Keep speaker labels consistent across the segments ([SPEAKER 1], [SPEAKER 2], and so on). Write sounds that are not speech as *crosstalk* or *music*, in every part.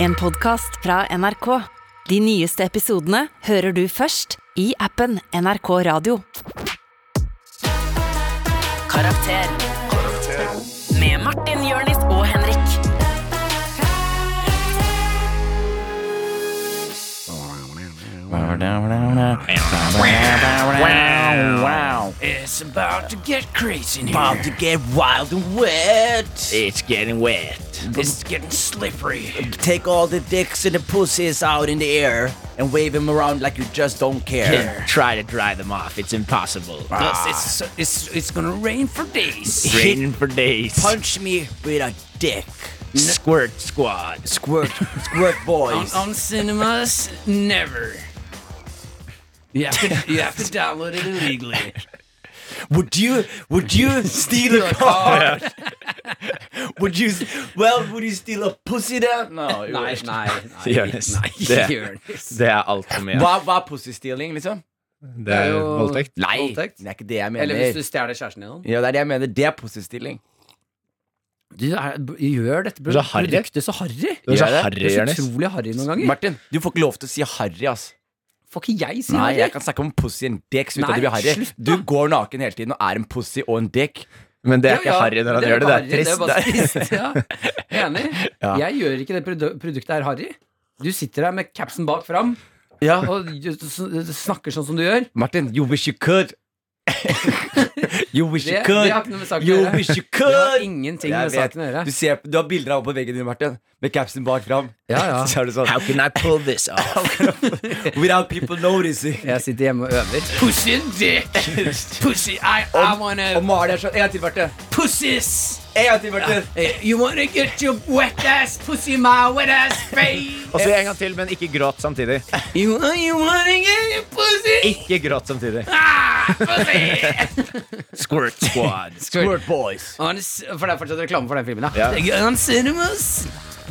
[SPEAKER 1] En podcast fra NRK. De nyeste episodene hører du først i appen NRK Radio. Karakter. Med Martin, Jørnis og Henrik.
[SPEAKER 2] Wow.
[SPEAKER 3] It's about to get crazy in here.
[SPEAKER 2] About to get wild and wet.
[SPEAKER 3] It's getting wet.
[SPEAKER 2] It's
[SPEAKER 3] It's getting slippery.
[SPEAKER 2] Take all the dicks and the pussies out in the air and wave them around like you just don't care.
[SPEAKER 3] Try to dry them off. It's impossible.
[SPEAKER 2] Ah.
[SPEAKER 3] It's, it's, it's gonna rain for days.
[SPEAKER 2] Hit-
[SPEAKER 3] Raining for days.
[SPEAKER 2] Punch me with a dick.
[SPEAKER 3] Squirt squad.
[SPEAKER 2] Squirt, squirt
[SPEAKER 3] *laughs*
[SPEAKER 2] boys.
[SPEAKER 4] on, on cinemas, never. You have, to, you have to download it illegally.
[SPEAKER 2] Would you, would you steal a car? *laughs* would you, well, would you steal a pussy da? No. jo.
[SPEAKER 4] Nei, nei, nei.
[SPEAKER 3] Jonis.
[SPEAKER 4] nei
[SPEAKER 3] Det,
[SPEAKER 4] Jonis.
[SPEAKER 3] det er alt som er.
[SPEAKER 2] Hva, hva er pussystealing, liksom?
[SPEAKER 5] Det er
[SPEAKER 4] jo-
[SPEAKER 5] voldtekt.
[SPEAKER 2] Nei, det
[SPEAKER 4] Voldtekt?
[SPEAKER 2] er ikke det jeg mener.
[SPEAKER 4] Eller hvis du stjeler kjæresten din.
[SPEAKER 2] Ja, det er det jeg mener. Det er pussystilling.
[SPEAKER 4] Du er, gjør dette
[SPEAKER 5] Du er så harry.
[SPEAKER 4] produktet så harry.
[SPEAKER 5] Du er så
[SPEAKER 2] Gjør det?
[SPEAKER 5] harry,
[SPEAKER 4] Du er så
[SPEAKER 5] Jonis.
[SPEAKER 4] utrolig harry noen ganger.
[SPEAKER 2] Martin, du får ikke lov til å si harry, ass.
[SPEAKER 4] Får ikke jeg si
[SPEAKER 2] Nei,
[SPEAKER 4] harry?
[SPEAKER 2] jeg kan snakke om pussy og en dick uten
[SPEAKER 4] Nei,
[SPEAKER 2] at det blir harry.
[SPEAKER 4] slutt
[SPEAKER 2] Du går naken hele tiden og er en pussy og en dick.
[SPEAKER 5] Men det
[SPEAKER 4] Ja,
[SPEAKER 5] er ikke
[SPEAKER 4] ja,
[SPEAKER 5] harry når han
[SPEAKER 4] er
[SPEAKER 5] gjør det.
[SPEAKER 4] harry,
[SPEAKER 5] Det er
[SPEAKER 4] bare
[SPEAKER 5] trist. *laughs*
[SPEAKER 4] trist, ja. Jeg er Enig. Jeg gjør ikke det produ produktet er harry. Du sitter der med capsen bak fram
[SPEAKER 2] Ja.
[SPEAKER 4] og du s- snakker sånn som du gjør.
[SPEAKER 2] Martin, you wish you
[SPEAKER 4] *laughs*
[SPEAKER 2] could. you wish
[SPEAKER 4] Det,
[SPEAKER 2] you
[SPEAKER 4] det
[SPEAKER 2] could.
[SPEAKER 4] har ikke noe med saken å
[SPEAKER 2] You
[SPEAKER 4] gjøre.
[SPEAKER 2] wish you
[SPEAKER 4] Det har
[SPEAKER 2] could.
[SPEAKER 4] ingenting
[SPEAKER 2] Jeg
[SPEAKER 4] med
[SPEAKER 2] vet.
[SPEAKER 4] saken å gjøre.
[SPEAKER 2] Du, ser, du har bilder av på veggen din, Martin, med capsen bak fram.
[SPEAKER 4] Ja, ja.
[SPEAKER 2] *laughs* Så er det sånn
[SPEAKER 3] How can I pull
[SPEAKER 2] *laughs*
[SPEAKER 3] this off?
[SPEAKER 2] Without people
[SPEAKER 4] *laughs*
[SPEAKER 2] noticing.
[SPEAKER 4] Jeg sitter hjemme og øver.
[SPEAKER 3] Pussy and dick.
[SPEAKER 4] *laughs*
[SPEAKER 3] Pussy, I, I wanna
[SPEAKER 2] Og Mari er sånn En gang til, Martin.
[SPEAKER 3] pussies.
[SPEAKER 2] En gang til, Martin.
[SPEAKER 3] You wanna get your wet ass pussy in my wet ass face.
[SPEAKER 5] Og så en gang til, men ikke gråt samtidig.
[SPEAKER 3] You, you wanna get your pussy.
[SPEAKER 5] Ikke gråt
[SPEAKER 2] *laughs*
[SPEAKER 5] samtidig.
[SPEAKER 4] *laughs*
[SPEAKER 3] Squirt squad.
[SPEAKER 2] Squirt boys.
[SPEAKER 4] Og han s- For det er fortsatt reklame for den filmen,
[SPEAKER 5] Ja.
[SPEAKER 3] On cinemas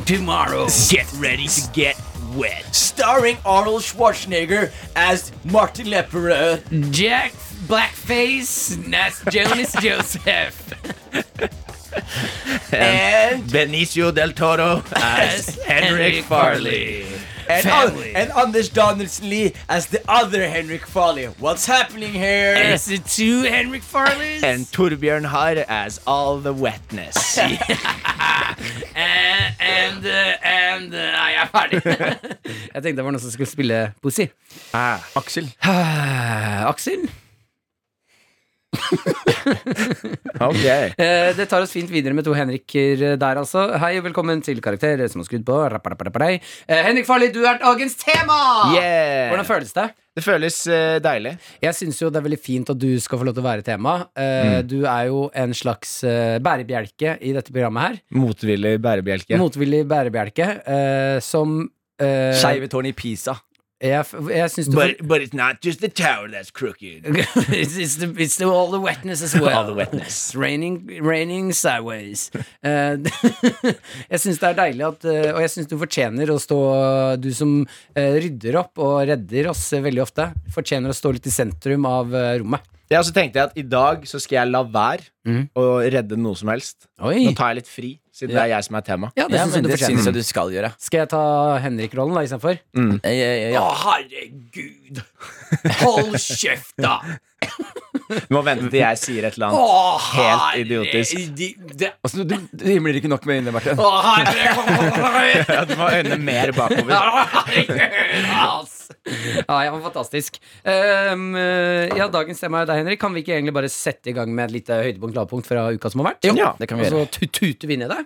[SPEAKER 3] tomorrow. Get ready to get wet.
[SPEAKER 2] Starring Arnold Schwarzenegger as Martin Lepperød.
[SPEAKER 3] Jack Blackface. That's Jonas
[SPEAKER 5] *laughs*
[SPEAKER 3] Joseph.
[SPEAKER 2] And,
[SPEAKER 5] Benicio del Toro as Henrik Farley.
[SPEAKER 2] and,
[SPEAKER 3] Family.
[SPEAKER 2] and Anders Danielsen Lee as the other Henrik Farley. What's happening here?
[SPEAKER 3] Is it two Henrik Farleys?
[SPEAKER 5] And Torbjørn Harr as All the
[SPEAKER 2] *laughs*
[SPEAKER 5] Wetness.
[SPEAKER 3] and and uh, and uh, Nei, jeg er
[SPEAKER 5] *laughs*
[SPEAKER 3] ferdig.
[SPEAKER 4] ah, *laughs* Jeg tenkte det var noen som skulle spille Pussy. *sighs*
[SPEAKER 2] Aksel.
[SPEAKER 4] Eh, Aksel,
[SPEAKER 5] Ok.
[SPEAKER 2] Ah.
[SPEAKER 4] eh, det tar oss fint videre med to Henriker eh, der, altså. Hei og velkommen til Karakter, dere som har skrudd på. Rapparaparaparaparai. Eh, Henrik Farley, du er dagens tema!
[SPEAKER 5] Yeah.
[SPEAKER 4] Hvordan føles det?
[SPEAKER 5] Det føles eh, deilig.
[SPEAKER 4] Jeg syns jo det er veldig fint at du skal få lov til å være tema. Eh, Du er jo en slags eh, bærebjelke i dette programmet her.
[SPEAKER 5] Motvillig bærebjelke.
[SPEAKER 4] Motvillig bærebjelke eh, som eh,
[SPEAKER 2] Skeive tårn i Pisa.
[SPEAKER 4] Jeg, f- jeg syns du
[SPEAKER 5] but it's not just the tower that's crooked.
[SPEAKER 4] it's, it's, the, it's the, all the wetness as well.
[SPEAKER 5] All the wetness.
[SPEAKER 4] It's raining, raining sideways. Eh, *laughs* jeg syns det er deilig at eh, Og jeg syns du fortjener å stå Du som eh, rydder opp og redder oss eh, veldig ofte, fortjener å stå litt i sentrum av eh, rommet.
[SPEAKER 5] Ja, så tenkte jeg at i dag så skal jeg la være å redde noe som helst. Nå
[SPEAKER 4] Mm. Oi!
[SPEAKER 5] tar jeg litt fri, siden det er jeg som er tema.
[SPEAKER 4] Ja, det
[SPEAKER 2] Ja,
[SPEAKER 4] syns jeg du
[SPEAKER 2] men det syns
[SPEAKER 4] fortjener.
[SPEAKER 2] jeg du skal gjøre.
[SPEAKER 4] Skal jeg ta Henrik-rollen da istedenfor?
[SPEAKER 2] Eh, eh, ja.
[SPEAKER 3] herregud. Hold kjeft, da.
[SPEAKER 5] Du må vente til jeg sier et eller annet. Helt idiotisk.
[SPEAKER 3] herre-
[SPEAKER 2] Altså, du, du himler ikke nok med øynene, Martin.
[SPEAKER 3] Å, herregud.
[SPEAKER 5] Ja, du må ha øynene mer bakover.
[SPEAKER 3] Herregud, ass.
[SPEAKER 4] Ja, ja, men fantastisk. Ehm, eh, ja, dagens tema er deg, Henrik. Kan vi ikke egentlig bare sette i gang med et lite høydepunkt lavpunkt fra uka som har vært?
[SPEAKER 5] Ja.
[SPEAKER 2] Det kan vi gjøre.
[SPEAKER 4] Og så tu- tuter vi ned deg.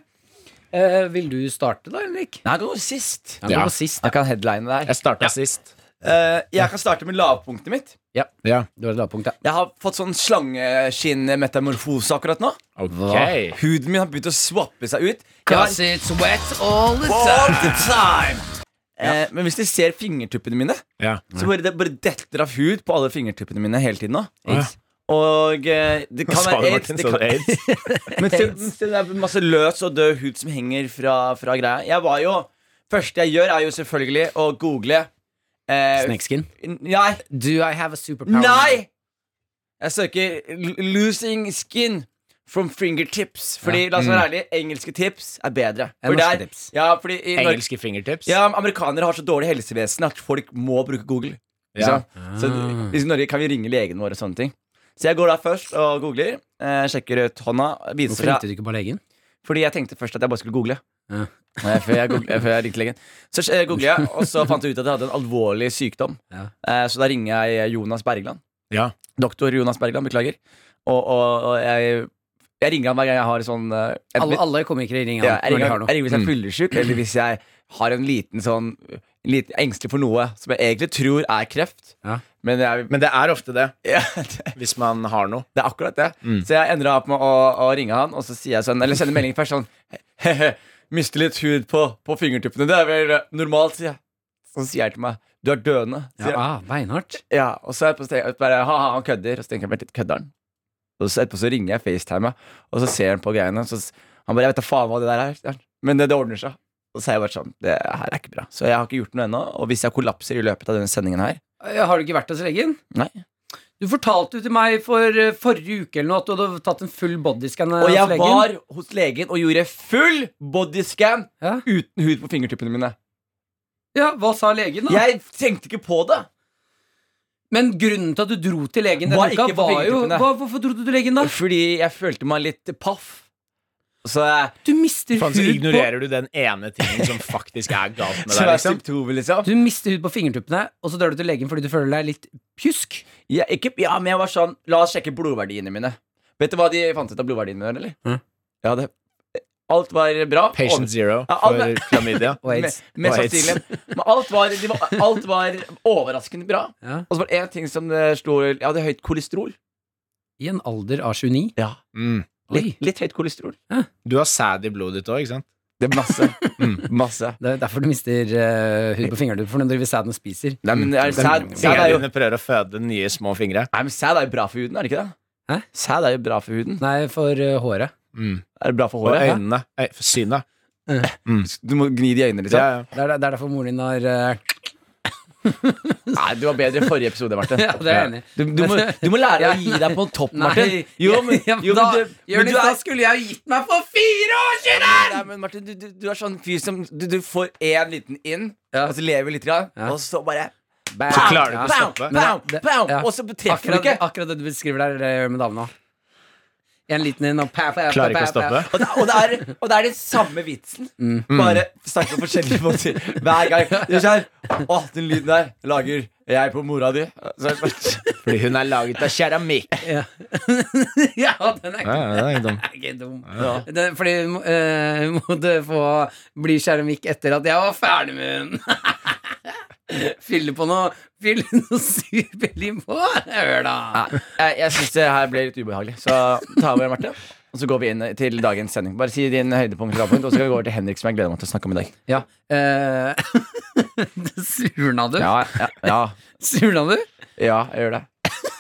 [SPEAKER 4] Eh, vil du starte, da, Henrik?
[SPEAKER 2] Nei, det var sist.
[SPEAKER 4] Ja,
[SPEAKER 5] Ja.
[SPEAKER 4] det var sist.
[SPEAKER 2] Jeg kan headline der.
[SPEAKER 5] Jeg starta sist.
[SPEAKER 2] Eh, jeg kan starte med lavpunktet mitt.
[SPEAKER 5] Ja.
[SPEAKER 4] Du har et lavpunkt, ja.
[SPEAKER 2] Jeg har fått sånn slangeskinn-metamorfose akkurat nå.
[SPEAKER 5] Ok.
[SPEAKER 2] Huden min har begynt å swappe seg ut. Jeg har
[SPEAKER 3] Cause it's wet all the
[SPEAKER 2] All
[SPEAKER 3] time.
[SPEAKER 2] the time eh, Men hvis de ser fingertuppene mine
[SPEAKER 5] Ja.
[SPEAKER 2] Så bare, det bare detter av hud på alle fingertuppene mine hele tiden nå Og eh, det kan
[SPEAKER 5] Sa du,
[SPEAKER 2] være
[SPEAKER 5] Martin,
[SPEAKER 2] aids, det
[SPEAKER 5] sa du
[SPEAKER 2] kan,
[SPEAKER 5] aids?
[SPEAKER 2] Men se, se, det er masse løs og død hud som henger fra, fra greia Jeg var jo, første jeg gjør er jo selvfølgelig å google eh,
[SPEAKER 4] Snakeskin.
[SPEAKER 2] Nei,
[SPEAKER 4] Do I have a superpower?
[SPEAKER 2] nei Jeg søker l- losing skin From fingertips. Fordi, la oss
[SPEAKER 5] Mm.
[SPEAKER 2] være ærlige, engelske tips er bedre.
[SPEAKER 4] Enn
[SPEAKER 2] For
[SPEAKER 4] norske
[SPEAKER 2] der-
[SPEAKER 4] tips.
[SPEAKER 2] Ja, fordi i Nor-
[SPEAKER 5] *laughs* Engelske fingertips.
[SPEAKER 2] ja, men amerikanere har så dårlig helsevesen at folk må bruke Google. ikke
[SPEAKER 5] Ja.
[SPEAKER 2] sant? Så
[SPEAKER 4] Ah.
[SPEAKER 2] hvis i Norge kan vi ringe legen vår og sånne ting. Så jeg går da først og googler. Eh, sjekker ut hånda. Viser
[SPEAKER 4] Hvorfor
[SPEAKER 2] fra
[SPEAKER 4] ringte du ikke bare legen?
[SPEAKER 2] Fordi Ah. jeg tenkte først at jeg bare skulle google.
[SPEAKER 4] Ja.
[SPEAKER 2] Eh, Før jeg, googlet, før jeg ringte legen. Så eh, googlet jeg, og så fant jeg ut at jeg hadde en alvorlig sykdom.
[SPEAKER 4] Ja.
[SPEAKER 2] Eh, Så da ringer jeg Jonas Bergland.
[SPEAKER 5] Ja.
[SPEAKER 2] Doktor Jonas Bergland, beklager. Og, og, og jeg, jeg ringer han hver gang jeg har sånn eh, enten-
[SPEAKER 4] Alle, alle komikere ringer
[SPEAKER 2] ja,
[SPEAKER 4] han når de
[SPEAKER 2] jeg, ringer,
[SPEAKER 4] har noe.
[SPEAKER 2] jeg
[SPEAKER 4] Mm.
[SPEAKER 2] ringer hvis jeg er fyllesyk, eller hvis jeg har en liten sånn litt engstelig for noe som jeg egentlig tror er kreft.
[SPEAKER 4] Ja.
[SPEAKER 2] Men jeg,
[SPEAKER 5] Men det er ofte det,
[SPEAKER 2] ja, det,
[SPEAKER 5] hvis man har noe.
[SPEAKER 2] det er akkurat det. Så jeg endra opp med å, å ringe han, og så sier jeg sånn Eller sender melding først sånn He-he, mister litt hud på, på fingertuppene. Det er vel eh, normalt, sier jeg. Så sier jeg til meg Du er døende. Sier
[SPEAKER 4] Ja,
[SPEAKER 2] jeg.
[SPEAKER 4] ah, beinhardt.
[SPEAKER 2] ja, og så er jeg på sted, bare, ha, ha, han kødder. Og så tenker jeg vent litt, kødder han? Og så etterpå så ringer jeg FaceTime, og så ser han på greiene. Så s- han bare Jeg vet da faen hva det der er. sier han. Men det, det ordner seg. Og så er jeg bare sånn Det her er ikke bra. Så jeg har ikke gjort noe ennå. Og hvis jeg kollapser i løpet av denne sendingen her
[SPEAKER 4] Eh, Har du ikke vært hos legen?
[SPEAKER 2] Nei.
[SPEAKER 4] Du fortalte jo til meg for eh, forrige uke eller noe at du hadde tatt en full bodyscan eh,
[SPEAKER 2] Og
[SPEAKER 4] hos
[SPEAKER 2] jeg
[SPEAKER 4] legen.
[SPEAKER 2] var hos legen og gjorde full bodyscan
[SPEAKER 4] Ja.
[SPEAKER 2] uten hud på fingertuppene mine.
[SPEAKER 4] Ja, Hva sa legen, da?
[SPEAKER 2] Jeg tenkte ikke på det.
[SPEAKER 4] Men grunnen til at du dro til legen denne
[SPEAKER 2] Var
[SPEAKER 4] uka,
[SPEAKER 2] ikke på
[SPEAKER 4] var jo
[SPEAKER 2] fingertuppene.
[SPEAKER 4] hva, Hvorfor dro du til legen, da?
[SPEAKER 2] Fordi jeg følte meg litt paff. Så jeg,
[SPEAKER 4] Du mister
[SPEAKER 5] Faen, så
[SPEAKER 4] hud på
[SPEAKER 5] ignorerer du den ene tingen som faktisk er galt *laughs* med
[SPEAKER 2] så
[SPEAKER 5] deg.
[SPEAKER 2] jeg
[SPEAKER 5] Liksom.
[SPEAKER 2] symptomer, liksom.
[SPEAKER 4] Du mister hud på fingertuppene, og så drar du til legen fordi du føler deg litt pjusk.
[SPEAKER 2] Ja, ikke, ja, men jeg var sånn La oss sjekke blodverdiene mine. Vet du hva de fant ut av blodverdiene mine, eller?
[SPEAKER 4] Hæ?
[SPEAKER 2] Ja, det, alt var bra.
[SPEAKER 5] Patient zero
[SPEAKER 2] Ja,
[SPEAKER 5] for
[SPEAKER 2] alle-
[SPEAKER 5] klamydia.
[SPEAKER 4] Og aids.
[SPEAKER 2] Me-
[SPEAKER 5] *laughs*
[SPEAKER 2] Mest
[SPEAKER 5] Og aids.
[SPEAKER 2] sannsynlig. Men alt var, de var, alt var overraskende bra.
[SPEAKER 4] Ja.
[SPEAKER 2] Og så var det én ting som eh, slo Jeg hadde høyt kolesterol.
[SPEAKER 4] I en alder av 29.
[SPEAKER 2] Ja,
[SPEAKER 5] Mm.
[SPEAKER 4] Oi.
[SPEAKER 2] Litt, litt høyt kolesterol.
[SPEAKER 5] Du har sæd i blodet ditt òg, ikke sant?
[SPEAKER 2] Det er masse. Mm, Masse.
[SPEAKER 4] Det er derfor du mister eh, hud på fingrene, for den driver sæden og spiser.
[SPEAKER 2] Nei, men er, sæd, sæd er
[SPEAKER 5] Fingrene
[SPEAKER 2] jo
[SPEAKER 5] dine prøver å føde nye små fingre.
[SPEAKER 2] Nei, men Sæd er jo bra for huden, er det ikke det?
[SPEAKER 4] Hæ?
[SPEAKER 2] Sæd er jo bra for huden.
[SPEAKER 4] Nei, for eh, håret.
[SPEAKER 5] Mm.
[SPEAKER 2] Er det bra for
[SPEAKER 5] Og
[SPEAKER 2] håret?
[SPEAKER 5] øynene. Øy, synet.
[SPEAKER 2] Du må gni det i øynene, liksom.
[SPEAKER 5] Ja, ja.
[SPEAKER 4] Det er, det er derfor moren din har eh, *laughs*
[SPEAKER 2] Nei, du var bedre i forrige episode, Martin.
[SPEAKER 4] *laughs* Ja, det er jeg enig i.
[SPEAKER 2] Du, du, må, du må lære å gi deg på en topp, Martin. Jo, men,
[SPEAKER 4] ja,
[SPEAKER 2] jo,
[SPEAKER 4] da,
[SPEAKER 2] men, du, men
[SPEAKER 4] Jonis,
[SPEAKER 2] du
[SPEAKER 4] da
[SPEAKER 2] er
[SPEAKER 4] skulle jeg jo gitt meg for fire år siden!
[SPEAKER 2] Nei, men Martin, du, du, du er sånn fyr som Du, du får én liten inn,
[SPEAKER 4] Ja.
[SPEAKER 2] og så lever litt, grann,
[SPEAKER 4] Ja.
[SPEAKER 2] og så bare
[SPEAKER 4] Bam.
[SPEAKER 5] Så klarer du ikke å
[SPEAKER 2] Pow,
[SPEAKER 5] stoppe.
[SPEAKER 2] pow,
[SPEAKER 4] Men det-
[SPEAKER 2] pow,
[SPEAKER 4] ja.
[SPEAKER 2] Og så treffer du
[SPEAKER 4] Akkurat,
[SPEAKER 2] ikke.
[SPEAKER 4] akkurat det du beskriver der, det gjør jeg med damene òg. En liten en og pa, pa, pa, pa,
[SPEAKER 5] Klarer ikke å
[SPEAKER 4] pa.
[SPEAKER 5] stoppe.
[SPEAKER 2] Og det, og, det er, og det er den samme vitsen, bare snakket på forskjellige måter hver gang. Det er sånn, Å, den lyden der lager jeg på mora di. Så er det bare-
[SPEAKER 5] Fordi hun er laget av keramikk.
[SPEAKER 4] *laughs* Ja, den er
[SPEAKER 5] Ja,
[SPEAKER 4] ikke,
[SPEAKER 5] ja, det er ikke dumt.
[SPEAKER 4] er ikke dum. Den, fordi eh, måtte få bli keramikk etter at jeg var ferdig *laughs* med den. Fylle på noe Fylle noe superlim på. Hør, da.
[SPEAKER 2] Jeg, jeg syns det her ble litt ubehagelig, så ta over, Marte. Og så går vi inn til dagens sending. Bare si din høydepunkt, lavpunkt, og så skal vi gå over til Henrik, som jeg gleder meg til å snakke om i dag.
[SPEAKER 4] Ja. eh, *laughs* surna du?
[SPEAKER 2] Ja, ja, ja,
[SPEAKER 4] Surna du?
[SPEAKER 2] ja jeg gjør det.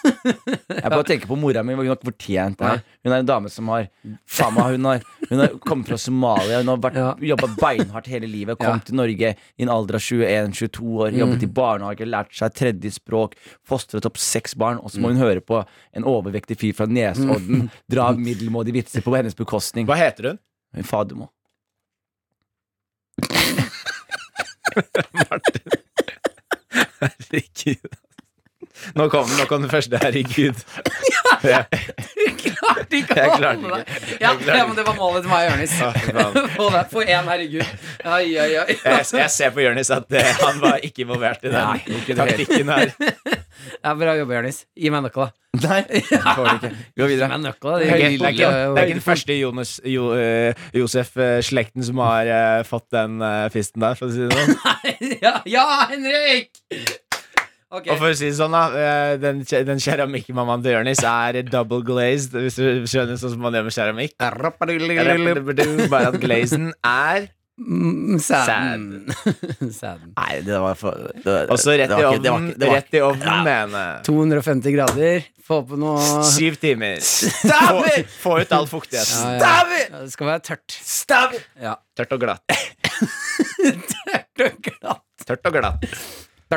[SPEAKER 2] Jeg bare tenker på mora mi. Hun har ikke fortjent det her. Hun er en dame som har faen meg, hun har, hun har kommet fra Somalia. Hun har vært,
[SPEAKER 4] Ja.
[SPEAKER 2] jobba beinhardt hele livet.
[SPEAKER 4] Ja.
[SPEAKER 2] Kom til Norge i en alder av 21-22
[SPEAKER 5] Mm.
[SPEAKER 2] år. Jobbet i barnehage, lært seg tredje språk, fostret opp seks barn. Og så må
[SPEAKER 5] Mm.
[SPEAKER 2] hun høre på en overvektig fyr fra Nesodden dra middelmådige vitser på hennes bekostning.
[SPEAKER 5] Hva heter hun?
[SPEAKER 2] Fadermo.
[SPEAKER 5] Herregud. Nå kommer nå kom den første. Herregud. Ja.
[SPEAKER 4] Du klarte ikke
[SPEAKER 5] Jeg
[SPEAKER 4] å
[SPEAKER 5] klarte
[SPEAKER 4] holde deg.
[SPEAKER 5] ikke. Jeg
[SPEAKER 4] Ja,
[SPEAKER 5] klarte
[SPEAKER 4] ja, men det var målet til meg og Jonis.
[SPEAKER 5] Ah, fy faen.
[SPEAKER 4] *laughs* Få deg- Få én, herregud. Ai, ai, ai.
[SPEAKER 5] Jeg, jeg ser på Jonis at eh, han var ikke involvert i den
[SPEAKER 2] Nei, ikke i det hele
[SPEAKER 5] taktikken her.
[SPEAKER 4] Ja, bra jobba, Jonis. Gi meg nøkla.
[SPEAKER 5] *laughs*
[SPEAKER 2] Nei, det får du ikke. Gå
[SPEAKER 4] Gi
[SPEAKER 2] videre.
[SPEAKER 4] meg nøkla.
[SPEAKER 5] Det
[SPEAKER 4] Det
[SPEAKER 5] er
[SPEAKER 4] er
[SPEAKER 5] ikke, det er ikke, det er ikke
[SPEAKER 4] lille-
[SPEAKER 5] den første Jonas, jo, eh, Josef-slekten som har eh, fått den eh, fisten der, for å si det sånn.
[SPEAKER 4] *laughs* Ja, ja, Henrik! Ok.
[SPEAKER 5] Og for å si det sånn, da, eh, den, ke- den keramikkmammaen til Jonis er double glazed, hvis du skjønner sånn som man gjør med keramikk. Bare at glazen er
[SPEAKER 4] Mm, Sæden. *laughs* Sæden.
[SPEAKER 2] Nei, det var for det-
[SPEAKER 5] Og så rett
[SPEAKER 2] det
[SPEAKER 5] i
[SPEAKER 2] var ikke- det var
[SPEAKER 5] ovnen,
[SPEAKER 2] ikke- det var
[SPEAKER 5] rett i ovnen, mener jeg.
[SPEAKER 4] 250 grader. Få på noe
[SPEAKER 5] Syv timer. *laughs* Få,
[SPEAKER 2] Stæver!
[SPEAKER 5] få ut all fuktigheten.
[SPEAKER 4] Ja, ja.
[SPEAKER 2] Stæver!
[SPEAKER 4] Ja, Det skal være tørt.
[SPEAKER 2] Stæver!
[SPEAKER 5] *laughs*
[SPEAKER 4] Ja.
[SPEAKER 5] Tørt og glatt.
[SPEAKER 4] Tørt og glatt.
[SPEAKER 5] Tørt og glatt.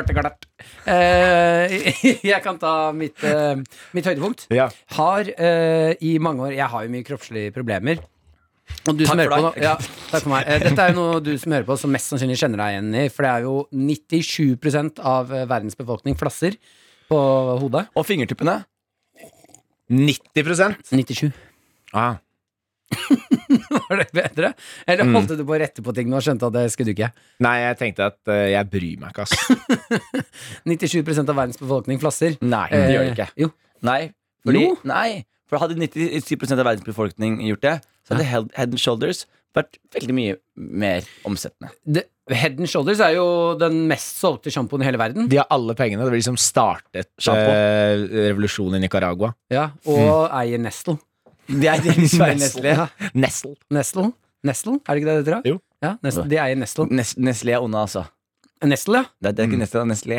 [SPEAKER 4] Tørt og glatt. Eh, *laughs* jeg kan ta mitt, eh, mitt høydepunkt.
[SPEAKER 5] Ja.
[SPEAKER 4] Har eh, i mange år Jeg har jo mye kroppslige problemer. Og du som hører
[SPEAKER 2] Takk for
[SPEAKER 4] på nå,
[SPEAKER 2] deg.
[SPEAKER 4] ja, takk for meg. Eh, Dette er jo noe du som hører på, som mest sannsynlig kjenner deg igjen i. For det er jo 97 av eh, verdens befolkning flasser på hodet.
[SPEAKER 2] Og fingertuppene.
[SPEAKER 5] 90
[SPEAKER 4] 97.
[SPEAKER 5] ah.
[SPEAKER 4] *laughs* Var det bedre? Eller holdt du på å rette på ting nå og skjønte at det skulle du ikke?
[SPEAKER 5] Nei, jeg tenkte at eh, jeg bryr meg ikke, ass.
[SPEAKER 4] 97 av verdens befolkning flasser.
[SPEAKER 2] Nei,
[SPEAKER 4] Eh,
[SPEAKER 2] det gjør det ikke.
[SPEAKER 4] Jo.
[SPEAKER 2] Nei, fordi,
[SPEAKER 4] Jo.
[SPEAKER 2] nei, for hadde 97 av verdens befolkning gjort det, så hadde Head, head and Shoulders vært veldig mye mer omsettende.
[SPEAKER 4] Det, Head and Shoulders er jo den mest solgte sjampoen i hele verden.
[SPEAKER 5] *laughs* De har alle pengene. Det var de som startet
[SPEAKER 2] Sjampo.
[SPEAKER 5] eh, revolusjonen i Nicaragua.
[SPEAKER 4] Ja, Mm. og eier *laughs* Nestle.
[SPEAKER 2] Det er det
[SPEAKER 5] Nestle.
[SPEAKER 2] *laughs* Nestle.
[SPEAKER 5] Nestle.
[SPEAKER 4] Nestle? Nestle? Er det ikke det det heter? da?
[SPEAKER 5] Jo.
[SPEAKER 4] Ja, Nestle. De eier Nestle.
[SPEAKER 2] Nes- Nestle er onde, altså.
[SPEAKER 4] Nestle, ja.
[SPEAKER 2] Det er, det er ikke Nestle, det er Nestle.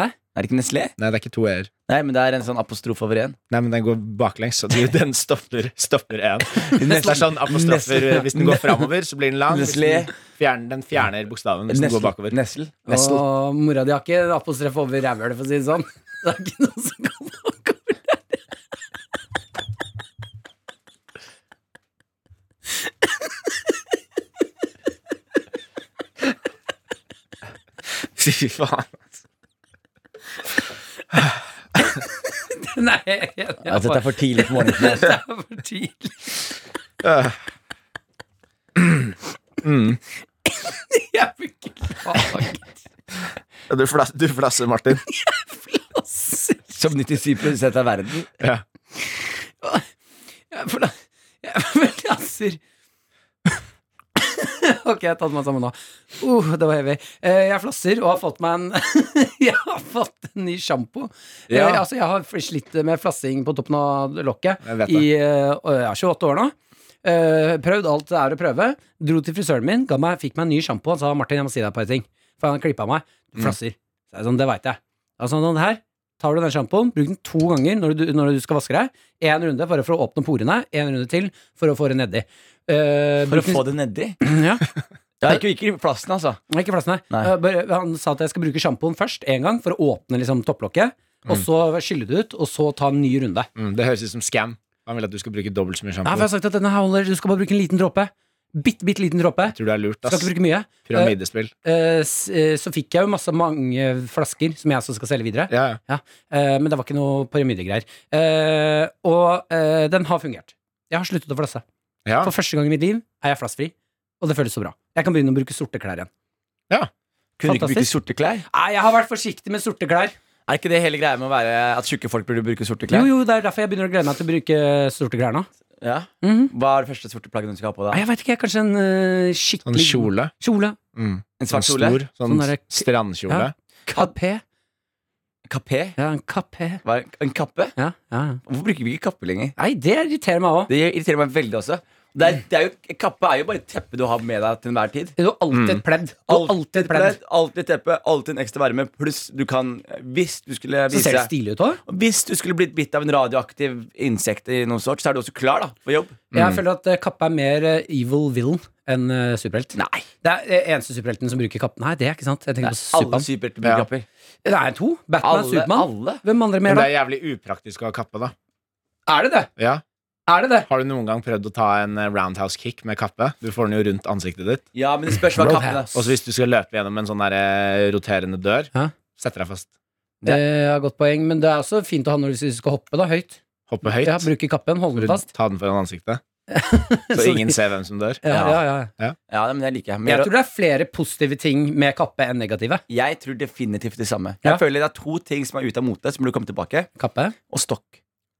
[SPEAKER 4] Hæ?
[SPEAKER 2] Er det ikke Nestle?
[SPEAKER 5] Nei, det er ikke to e-er.
[SPEAKER 2] Nei, men det er en sånn apostrof over en.
[SPEAKER 5] Nei, men den går baklengs, så du, *laughs* den stopper stopper én. Neste er sånn apostrofer.
[SPEAKER 2] Nestle.
[SPEAKER 5] Hvis den går framover, så blir den lang. Hvis
[SPEAKER 2] Nestle.
[SPEAKER 5] den, fjerner, den fjerner bokstaven hvis den går bakover.
[SPEAKER 2] Nestle.
[SPEAKER 5] Nestle.
[SPEAKER 4] Og mora di har ikke apostrof over rævhølet, for å si det sånn. *laughs* Det er ikke noe som *laughs* kan bakover der.
[SPEAKER 5] *laughs* Fy faen.
[SPEAKER 4] Nei, jeg, jeg,
[SPEAKER 2] Ja, dette er for tidlig på morgenen.
[SPEAKER 4] det er for tidlig. Jeg fikk ikke laget
[SPEAKER 5] Du, flas, du flasser, Martin.
[SPEAKER 4] plass.
[SPEAKER 2] *laughs* Som 97 av verden.
[SPEAKER 5] Ja.
[SPEAKER 4] Jeg er forla- *laughs* jeg er forlasser. *laughs* Ok, jeg har tatt meg sammen nå. Uh, det var heavy. Eh, Jeg flasser og har fått meg en *laughs* Jeg har fått en ny sjampo.
[SPEAKER 5] Ja.
[SPEAKER 4] Eh, Altså, jeg har slitt med flassing på toppen av lokket
[SPEAKER 5] Jeg vet det.
[SPEAKER 4] i eh, å, jeg er 28 år nå. Eh, prøvd alt det er å prøve. Dro til frisøren min, ga meg, fikk meg en ny sjampo. Han sa Martin, jeg må si deg et par ting. For han klippa meg.
[SPEAKER 5] Mm.
[SPEAKER 4] Du flasser. Så jeg er sånn, det veit jeg. Altså, sånn, her tar du den sjampoen, bruk den to ganger når du, når du skal vaske deg. Én runde bare for å åpne porene, én runde til for å få det nedi. Eh,
[SPEAKER 2] For å
[SPEAKER 4] bruk den-
[SPEAKER 2] få det nedi.
[SPEAKER 4] *clears throat* ja,
[SPEAKER 2] Ja, ikke, ikke i plassen, altså.
[SPEAKER 4] ikke plassen her.
[SPEAKER 2] Nei.
[SPEAKER 4] Eh, bare- Han sa at jeg skal bruke sjampoen først én gang for å åpne liksom, topplokket. Og
[SPEAKER 2] Mm.
[SPEAKER 4] så skylle det ut, og så ta en ny runde.
[SPEAKER 5] Mm, det høres ut som scam. Han vil at du skal bruke dobbelt så mye
[SPEAKER 4] Nei, for jeg
[SPEAKER 5] sjampo.
[SPEAKER 4] har sagt at denne her holder, du skal bare bruke en liten dråpe. Bitte, bitte liten dråpe.
[SPEAKER 5] Tror du det er lurt,
[SPEAKER 4] Skal
[SPEAKER 5] ass.
[SPEAKER 4] ikke bruke mye. Eh,
[SPEAKER 5] Pyramidespill.
[SPEAKER 4] eh, s- eh, så fikk jeg jo masse mange flasker som jeg også skal selge videre.
[SPEAKER 5] Ja, ja.
[SPEAKER 4] Ja, eh, men det var ikke noe pyramidegreier. Eh, og eh, den har fungert. Jeg har sluttet å flasse.
[SPEAKER 5] ja.
[SPEAKER 4] For første gang i mitt liv er jeg flassfri, og det føles så bra. Jeg kan begynne å bruke sorte klær igjen.
[SPEAKER 2] Kunne du ikke bruke
[SPEAKER 4] Fantastisk.
[SPEAKER 2] sorte klær?
[SPEAKER 4] Nei, jeg har vært forsiktig med sorte klær.
[SPEAKER 2] Er ikke det hele greia med å være at tjukke folk burde bruke sorte
[SPEAKER 4] Jo,
[SPEAKER 2] klær?
[SPEAKER 4] jo, det er derfor jeg begynner å glede meg til å bruke eh, sorte klær nå.
[SPEAKER 2] Ja.
[SPEAKER 4] Mhm.
[SPEAKER 2] Hva er det første sorte plagget du skal ha på
[SPEAKER 4] Nei,
[SPEAKER 2] deg?
[SPEAKER 4] jeg veit ikke, jeg. Kanskje en eh,
[SPEAKER 5] Sånn
[SPEAKER 4] skikkelig
[SPEAKER 5] kjole.
[SPEAKER 4] Kjole.
[SPEAKER 5] Mm.
[SPEAKER 2] En
[SPEAKER 5] Sånn
[SPEAKER 2] svart kjole?
[SPEAKER 5] stor sånn
[SPEAKER 4] Sånn derre-
[SPEAKER 5] strandkjole.
[SPEAKER 4] Ja. Kapé.
[SPEAKER 2] Kapé?
[SPEAKER 4] Ja, en kapé.
[SPEAKER 2] Hva er- En kappe?
[SPEAKER 4] Ja, ja. ja.
[SPEAKER 2] Hvorfor bruker vi ikke kappe lenger?
[SPEAKER 4] Nei, det irriterer meg òg.
[SPEAKER 2] Det irriterer meg veldig også. Det er, det er jo, kappe er jo bare et teppe du har med deg til enhver tid.
[SPEAKER 4] Du har alltid et pledd. Du har Mm. alltid et pledd.
[SPEAKER 2] Alltid teppe, alltid en ekstra varme, pluss du kan Hvis du skulle
[SPEAKER 4] Så ser
[SPEAKER 2] vise
[SPEAKER 4] det stilig ut òg.
[SPEAKER 2] Hvis du skulle blitt bitt av en radioaktiv insekt i noen sort, så er du også klar da, for jobb.
[SPEAKER 4] Jeg føler at eh, Kappe er mer eh, evil villain enn eh, superhelt.
[SPEAKER 2] Nei.
[SPEAKER 4] Det er eh, eneste superhelten som bruker kappen her. Det er ikke sant. Jeg tenker på
[SPEAKER 2] Alle
[SPEAKER 4] Superman.
[SPEAKER 5] Ja.
[SPEAKER 2] superhelter bruker kapper.
[SPEAKER 4] Det er to. Batman,
[SPEAKER 2] Alle,
[SPEAKER 4] Supermann.
[SPEAKER 2] alle.
[SPEAKER 4] Hvem andre mer,
[SPEAKER 5] Men det
[SPEAKER 4] da?
[SPEAKER 5] er jævlig upraktisk å ha kappe, da.
[SPEAKER 4] Er det det?
[SPEAKER 5] Ja.
[SPEAKER 4] Er det det?
[SPEAKER 5] Har du noen gang prøvd å ta en eh, roundhouse kick med kappe? Du får den jo rundt ansiktet ditt.
[SPEAKER 2] Ja, men det spørs hva kappen er.
[SPEAKER 5] Og så hvis du skal løpe gjennom en sånn der, eh, roterende dør,
[SPEAKER 4] Hæ?
[SPEAKER 5] setter deg fast.
[SPEAKER 2] Det-
[SPEAKER 4] Det er Eh, godt poeng, men det er også fint å ha når du skal hoppe, da. Høyt.
[SPEAKER 5] Hoppe høyt.
[SPEAKER 4] Ja, bruke kappen, holde
[SPEAKER 5] Hvor
[SPEAKER 4] den
[SPEAKER 5] du
[SPEAKER 4] fast.
[SPEAKER 5] Ta den
[SPEAKER 4] *laughs*
[SPEAKER 5] foran ansiktet. Så
[SPEAKER 4] Så-
[SPEAKER 5] ingen ser hvem som dør.
[SPEAKER 4] Ja, ja, ja.
[SPEAKER 2] Ja, men det liker jeg. Men
[SPEAKER 4] Jeg
[SPEAKER 2] jeg,
[SPEAKER 4] tror det er flere positive ting med kappe enn negative.
[SPEAKER 2] jeg tror definitivt det samme.
[SPEAKER 4] Ja.
[SPEAKER 2] Jeg føler det er to ting som er ute av mote, som burde komme tilbake.
[SPEAKER 4] Kappe.
[SPEAKER 2] Og stokk.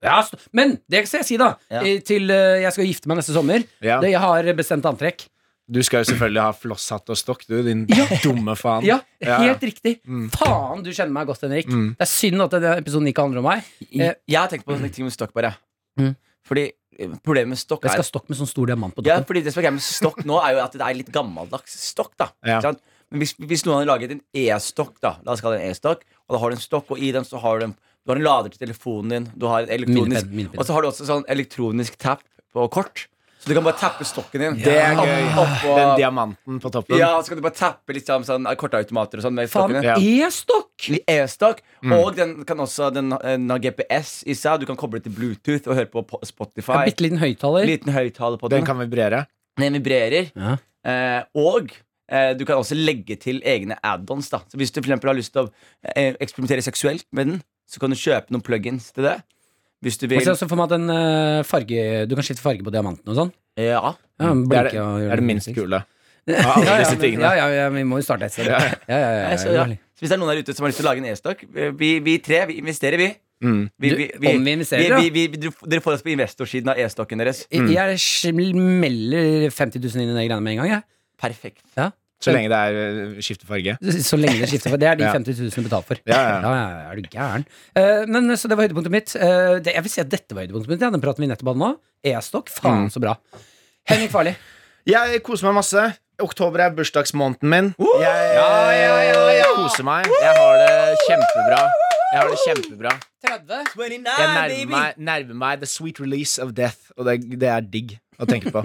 [SPEAKER 4] Ja, st- men det skal jeg si, da.
[SPEAKER 2] Ja.
[SPEAKER 4] Eh, Til eh, jeg skal gifte meg neste sommer.
[SPEAKER 5] Ja.
[SPEAKER 4] Det- Jeg har bestemt antrekk.
[SPEAKER 5] Du skal jo selvfølgelig ha flosshatt og stokk, du, din dumme faen.
[SPEAKER 4] Ja,
[SPEAKER 5] Ja,
[SPEAKER 4] helt
[SPEAKER 5] ja.
[SPEAKER 4] riktig. Faen, du kjenner meg godt, Henrik.
[SPEAKER 5] Mm.
[SPEAKER 4] Det er synd at denne episoden ikke handler om meg. Eh.
[SPEAKER 2] Jeg, jeg har tenkt på en ting med stokk, bare.
[SPEAKER 4] Mm.
[SPEAKER 2] Fordi eh, problemet med stokk
[SPEAKER 4] Jeg
[SPEAKER 2] er
[SPEAKER 4] skal stokke med sånn stor diamant på
[SPEAKER 2] Ja,
[SPEAKER 4] toppen.
[SPEAKER 2] fordi det som er greia med stokk nå, er jo at det er litt gammeldags stokk. da
[SPEAKER 5] Ja.
[SPEAKER 2] Ikke sant? Men hvis, hvis noen hadde laget en e-stokk, da La oss kalle det en e-stokk og da har du en stokk, og i den så har du en, du har en lader til telefonen din, du har en elektronisk
[SPEAKER 4] Minneped, minneped.
[SPEAKER 2] Og så har du også sånn elektronisk tap på kort. Så du kan bare tappe stokken din.
[SPEAKER 5] Det er gøy.
[SPEAKER 2] Opp- oppå-
[SPEAKER 5] Den diamanten på toppen.
[SPEAKER 2] Ja, så kan du bare tappe litt sånn, sånn kortautomater og sånn med
[SPEAKER 4] Faen,
[SPEAKER 2] stokkene.
[SPEAKER 5] Ja.
[SPEAKER 4] E-stokk!
[SPEAKER 2] I E-stokk.
[SPEAKER 5] Mm.
[SPEAKER 2] Og den kan også den, eh, den har GPS i seg. Du kan koble til Bluetooth og høre på po- Spotify.
[SPEAKER 4] Bitte liten høyttaler.
[SPEAKER 2] Liten høyttaler på den.
[SPEAKER 5] Den kan vibrere.
[SPEAKER 2] Den vibrerer.
[SPEAKER 4] Ja.
[SPEAKER 2] Eh, og eh, du kan også legge til egne add-ons. da. Så Hvis du for eksempel har lyst til å eh, eksperimentere seksuelt med den, så kan du kjøpe noen plugins til det. Hvis du
[SPEAKER 4] Jeg
[SPEAKER 2] vil.
[SPEAKER 4] ser også for meg at den eh, farge Du kan skifte farge på diamanten og sånn.
[SPEAKER 2] Ja.
[SPEAKER 4] Ja, men
[SPEAKER 5] Mm. Det er
[SPEAKER 4] blinke
[SPEAKER 5] det,
[SPEAKER 4] og gjøre
[SPEAKER 5] det, er det
[SPEAKER 4] noe
[SPEAKER 5] minst
[SPEAKER 4] sexy. *laughs*
[SPEAKER 5] kule. Av alle
[SPEAKER 4] Ja, ja,
[SPEAKER 5] disse
[SPEAKER 4] men-
[SPEAKER 5] tingene.
[SPEAKER 4] ja, ja, ja, vi må jo starte et sted. Ja, ja, ja, ja,
[SPEAKER 2] Nei, Eh, Så,
[SPEAKER 4] ja.
[SPEAKER 2] ja. så hvis det er noen der ute som har lyst til å lage en e-stokk eh, vi, vi tre vi investerer, vi.
[SPEAKER 5] Mm.
[SPEAKER 2] vi,
[SPEAKER 4] Du,
[SPEAKER 2] vi,
[SPEAKER 4] om vi investerer,
[SPEAKER 2] vi, vi, vi, du- Dere får oss på investorsiden av e-stokken deres.
[SPEAKER 5] mm.
[SPEAKER 4] Jeg- Jeg smeller 50 000 inn i de greiene med en gang, jeg.
[SPEAKER 2] Perfekt.
[SPEAKER 4] Ja.
[SPEAKER 5] Så lenge det er eh, skiftefarge.
[SPEAKER 4] Så lenge det skifter. for Det er de
[SPEAKER 5] Ja.
[SPEAKER 4] 50 000 du betaler for.
[SPEAKER 5] Ja, ja.
[SPEAKER 4] er du gæren? Eh, men Så det var høydepunktet mitt. Eh, det, jeg vil si at dette var høydepunktet mitt. Ja, den praten vi nettopp hadde nå. E-stokk, faen
[SPEAKER 5] Mm.
[SPEAKER 4] så bra. Henrik Farli.
[SPEAKER 5] Jeg koser meg masse. Oktober er bursdagsmåneden min. Jeg koser meg. Jeg har det kjempebra. Jeg har det kjempebra.
[SPEAKER 4] 30.
[SPEAKER 5] Jeg nærmer meg, nærmer meg the sweet release of death, og det, det er digg å
[SPEAKER 4] *laughs*
[SPEAKER 5] tenke på.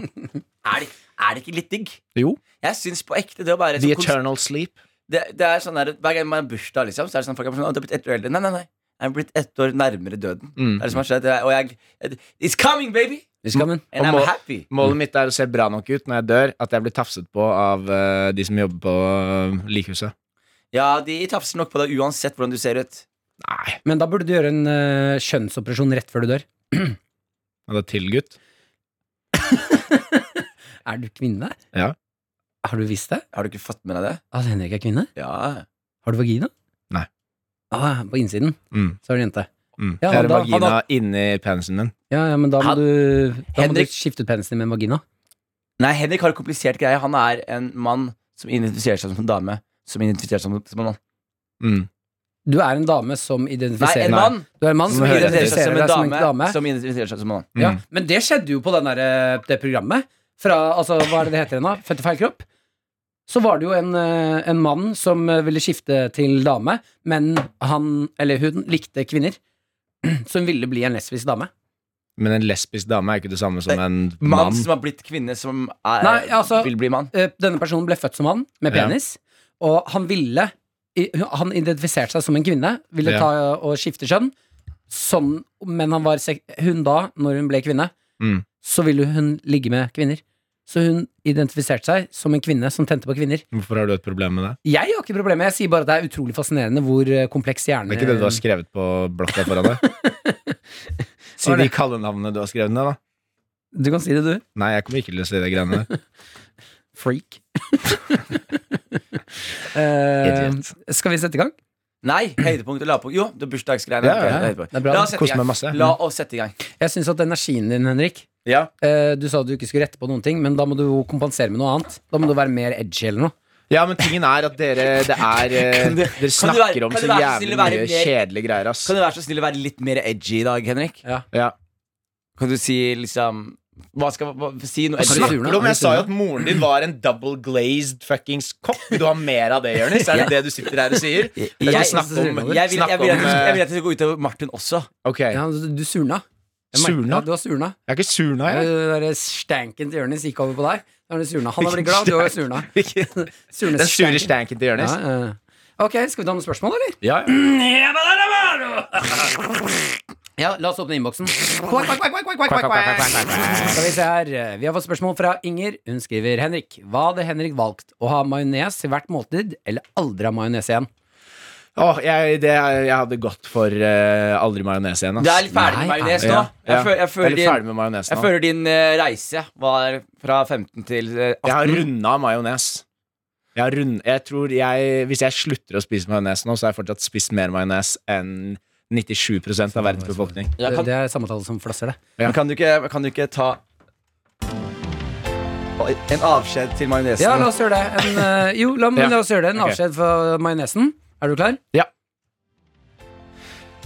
[SPEAKER 2] Er det, er det ikke litt digg?
[SPEAKER 5] Jo.
[SPEAKER 2] Jeg syns på ekte det å være
[SPEAKER 5] The
[SPEAKER 2] så kons-
[SPEAKER 5] eternal sleep.
[SPEAKER 2] det, det er sånn der, Hver gang man har bursdag, liksom, så er det sånn folk er sånn, «Å, du er blitt ett år eldre. Nei, nei, nei. Jeg er blitt ett år nærmere døden.
[SPEAKER 5] Mm.
[SPEAKER 2] Det er det som har skjedd. Og jeg It's coming, baby!
[SPEAKER 4] Skammen.
[SPEAKER 5] Og
[SPEAKER 2] And I'm
[SPEAKER 5] må-
[SPEAKER 2] happy.
[SPEAKER 5] Målet mitt er å se bra nok ut når jeg dør, at jeg blir tafset på av eh, de som jobber på eh, likhuset.
[SPEAKER 2] Ja, de tafser nok på deg uansett hvordan du ser ut.
[SPEAKER 5] Nei,
[SPEAKER 4] Men da burde du gjøre en eh, kjønnsoperasjon rett før du dør.
[SPEAKER 5] men det er til, gutt.
[SPEAKER 4] Er du kvinne?
[SPEAKER 5] Ja.
[SPEAKER 4] Har du visst det?
[SPEAKER 2] Har du ikke fått med deg det?
[SPEAKER 4] At Henrik er kvinne?
[SPEAKER 2] Ja.
[SPEAKER 4] Har du vagina?
[SPEAKER 5] Nei.
[SPEAKER 4] Ah, på innsiden
[SPEAKER 5] Mm.
[SPEAKER 4] så er du jente.
[SPEAKER 5] Mm.
[SPEAKER 4] Ja,
[SPEAKER 5] jeg har
[SPEAKER 4] han da-
[SPEAKER 5] en
[SPEAKER 4] han
[SPEAKER 5] vagina inni penisen min.
[SPEAKER 4] Ja, ja, men da må,
[SPEAKER 2] Han-
[SPEAKER 4] du, da må du
[SPEAKER 2] Henrik-
[SPEAKER 4] skifte ut penisen din med en vagina.
[SPEAKER 2] Nei, Henrik har en komplisert greie. Han er en mann som identifiserer seg som en dame. Som identifiserer seg som, som en mann.
[SPEAKER 5] Mm.
[SPEAKER 4] Du er en dame som
[SPEAKER 2] Nei,
[SPEAKER 4] identifiserer
[SPEAKER 2] en mann
[SPEAKER 4] Du er en mann som
[SPEAKER 2] som
[SPEAKER 5] hører
[SPEAKER 2] identifiserer seg
[SPEAKER 4] identifiserer
[SPEAKER 2] som
[SPEAKER 4] deg som
[SPEAKER 2] en
[SPEAKER 4] en
[SPEAKER 2] dame.
[SPEAKER 4] dame.
[SPEAKER 2] Som identifiserer seg som en mann.
[SPEAKER 5] Mm.
[SPEAKER 4] Ja, men det skjedde jo på den der, eh, det programmet. Fra, altså, hva er det det heter igjen da? Født i feil kropp? Så var det jo en, eh, en mann som eh, ville skifte til dame, men han, eller hun, likte kvinner. *clears throat* Så hun ville bli en lesbisk dame.
[SPEAKER 5] Men en lesbisk dame er ikke det samme
[SPEAKER 2] Eh,
[SPEAKER 5] som en
[SPEAKER 2] Mann
[SPEAKER 5] mann.
[SPEAKER 2] som har blitt kvinne, som er,
[SPEAKER 4] Nei, altså-
[SPEAKER 2] vil bli mann.
[SPEAKER 4] Eh, Denne personen ble født som mann, med
[SPEAKER 5] Ja.
[SPEAKER 4] penis, og han ville i- Han identifiserte seg som en kvinne, ville
[SPEAKER 5] Ja.
[SPEAKER 4] ta og skifte kjønn, sånn, men han var sek hun da, når hun ble kvinne,
[SPEAKER 5] Mm.
[SPEAKER 4] så ville hun ligge med kvinner. Så hun identifiserte seg som en kvinne som tente på kvinner.
[SPEAKER 5] Hvorfor har du et problem med det?
[SPEAKER 4] Jeg har ikke problemer, jeg sier bare at det er utrolig fascinerende hvor eh, kompleks hjernen
[SPEAKER 5] Det er ikke det du har
[SPEAKER 2] Eh.
[SPEAKER 5] skrevet på blokka foran
[SPEAKER 2] *laughs*
[SPEAKER 5] deg? Si
[SPEAKER 4] Var
[SPEAKER 5] de
[SPEAKER 4] det?
[SPEAKER 5] kallenavnene du har skrevet ned, da.
[SPEAKER 4] Du kan si det, du.
[SPEAKER 5] Nei, jeg kommer ikke til å si de greiene
[SPEAKER 2] *laughs*
[SPEAKER 5] der.
[SPEAKER 4] Freak. *laughs* Eh,
[SPEAKER 5] Idiot.
[SPEAKER 4] skal vi sette i gang?
[SPEAKER 2] Nei, høydepunkt og lavpunkt. Jo, det er bursdagsgreiene.
[SPEAKER 5] Ja, ja, ja.
[SPEAKER 2] Ok, høydepunkt.
[SPEAKER 4] Det er bra.
[SPEAKER 2] La oss sette i
[SPEAKER 5] Koser
[SPEAKER 2] gang.
[SPEAKER 5] meg masse.
[SPEAKER 2] La oss sette i gang.
[SPEAKER 4] Jeg syns at energien din, Henrik
[SPEAKER 5] Ja.
[SPEAKER 4] eh, Du sa at du ikke skulle rette på noen ting, men da må du jo kompensere med noe annet. Da må du være mer edgy eller noe.
[SPEAKER 5] ja, men tingen er at dere det er, eh,
[SPEAKER 2] Kan du-
[SPEAKER 5] Dere
[SPEAKER 2] kan du være-
[SPEAKER 5] snakker om
[SPEAKER 2] kan
[SPEAKER 5] så
[SPEAKER 2] du være så snill
[SPEAKER 5] jævlig
[SPEAKER 2] å være
[SPEAKER 5] mye
[SPEAKER 2] mer-
[SPEAKER 5] kjedelige greier, ass.
[SPEAKER 2] Kan du være så snill å være litt mer edgy i dag, Henrik?
[SPEAKER 5] Ja.
[SPEAKER 2] Kan du si liksom Hva skal hva, Si noe
[SPEAKER 4] Hva
[SPEAKER 2] edgy.
[SPEAKER 4] snakker
[SPEAKER 5] Snakker
[SPEAKER 4] du om?
[SPEAKER 5] du om?
[SPEAKER 4] Er du
[SPEAKER 5] Jeg sa jo
[SPEAKER 4] sur
[SPEAKER 5] at moren din var en double glazed fuckings kopp. Vil du ha mer av det, Jonis? Er det det du sitter her og sier?
[SPEAKER 2] Jeg,
[SPEAKER 5] Jeg
[SPEAKER 2] jeg,
[SPEAKER 5] skal snakke om,
[SPEAKER 2] vil, jeg, vil,
[SPEAKER 5] snakke
[SPEAKER 2] at du-
[SPEAKER 5] om,
[SPEAKER 2] jeg vil
[SPEAKER 5] eh, Altså,
[SPEAKER 2] at du skal gå ut over Martin også.
[SPEAKER 5] Ok. Jeg
[SPEAKER 4] Ja, altså, du, du surna. Jeg merker-
[SPEAKER 5] Surna?
[SPEAKER 4] Ja, du har surna.
[SPEAKER 5] er ikke sur nå,
[SPEAKER 4] Ja.
[SPEAKER 5] *laughs* jeg.
[SPEAKER 4] Den der stanken til Jonis gikk over på deg. Da har du surna. Han har
[SPEAKER 5] *laughs*
[SPEAKER 4] blitt glad, du har surna. Surnes
[SPEAKER 5] Den sure
[SPEAKER 4] stanken.
[SPEAKER 5] stanken til Jonis.
[SPEAKER 4] Ja, ja. Ok, skal vi ta noen spørsmål, eller?
[SPEAKER 5] Ja, ja.
[SPEAKER 4] Ja, la oss åpne innboksen. Skal vi se her. Vi har fått spørsmål fra Inger. Hun skriver Henrik. Hva hadde Henrik valgt? Å ha majones til hvert måltid, eller aldri ha majones igjen?
[SPEAKER 5] Åh, jeg, det, jeg hadde gått for eh, aldri majones igjen. ass.
[SPEAKER 2] Du er litt ferdig med
[SPEAKER 4] Nei,
[SPEAKER 2] majones
[SPEAKER 5] Ja,
[SPEAKER 2] nå.
[SPEAKER 5] ja.
[SPEAKER 2] Jeg, føl, jeg,
[SPEAKER 5] Jeg er
[SPEAKER 2] føler
[SPEAKER 5] litt ferdig
[SPEAKER 2] din,
[SPEAKER 5] med majones
[SPEAKER 2] jeg
[SPEAKER 5] nå.
[SPEAKER 2] føler din eh, reise var fra 15 til eh,
[SPEAKER 5] Jeg
[SPEAKER 2] 18.
[SPEAKER 5] har runda majones. Jeg har rund, jeg tror jeg, hvis jeg slutter å spise majones nå, så har jeg fortsatt spist mer majones enn 97 av verdens befolkning.
[SPEAKER 2] Ja, kan,
[SPEAKER 4] Det er samme tall som flasser, det.
[SPEAKER 5] Ja.
[SPEAKER 2] men kan, du ikke, kan du ikke ta Oi, en avskjed til majonesen?
[SPEAKER 4] Ja, la oss gjøre det. En, eh, jo, la, men
[SPEAKER 5] Ja.
[SPEAKER 4] la oss gjøre det. En
[SPEAKER 5] Ok.
[SPEAKER 4] avskjed for majonesen. Er du klar?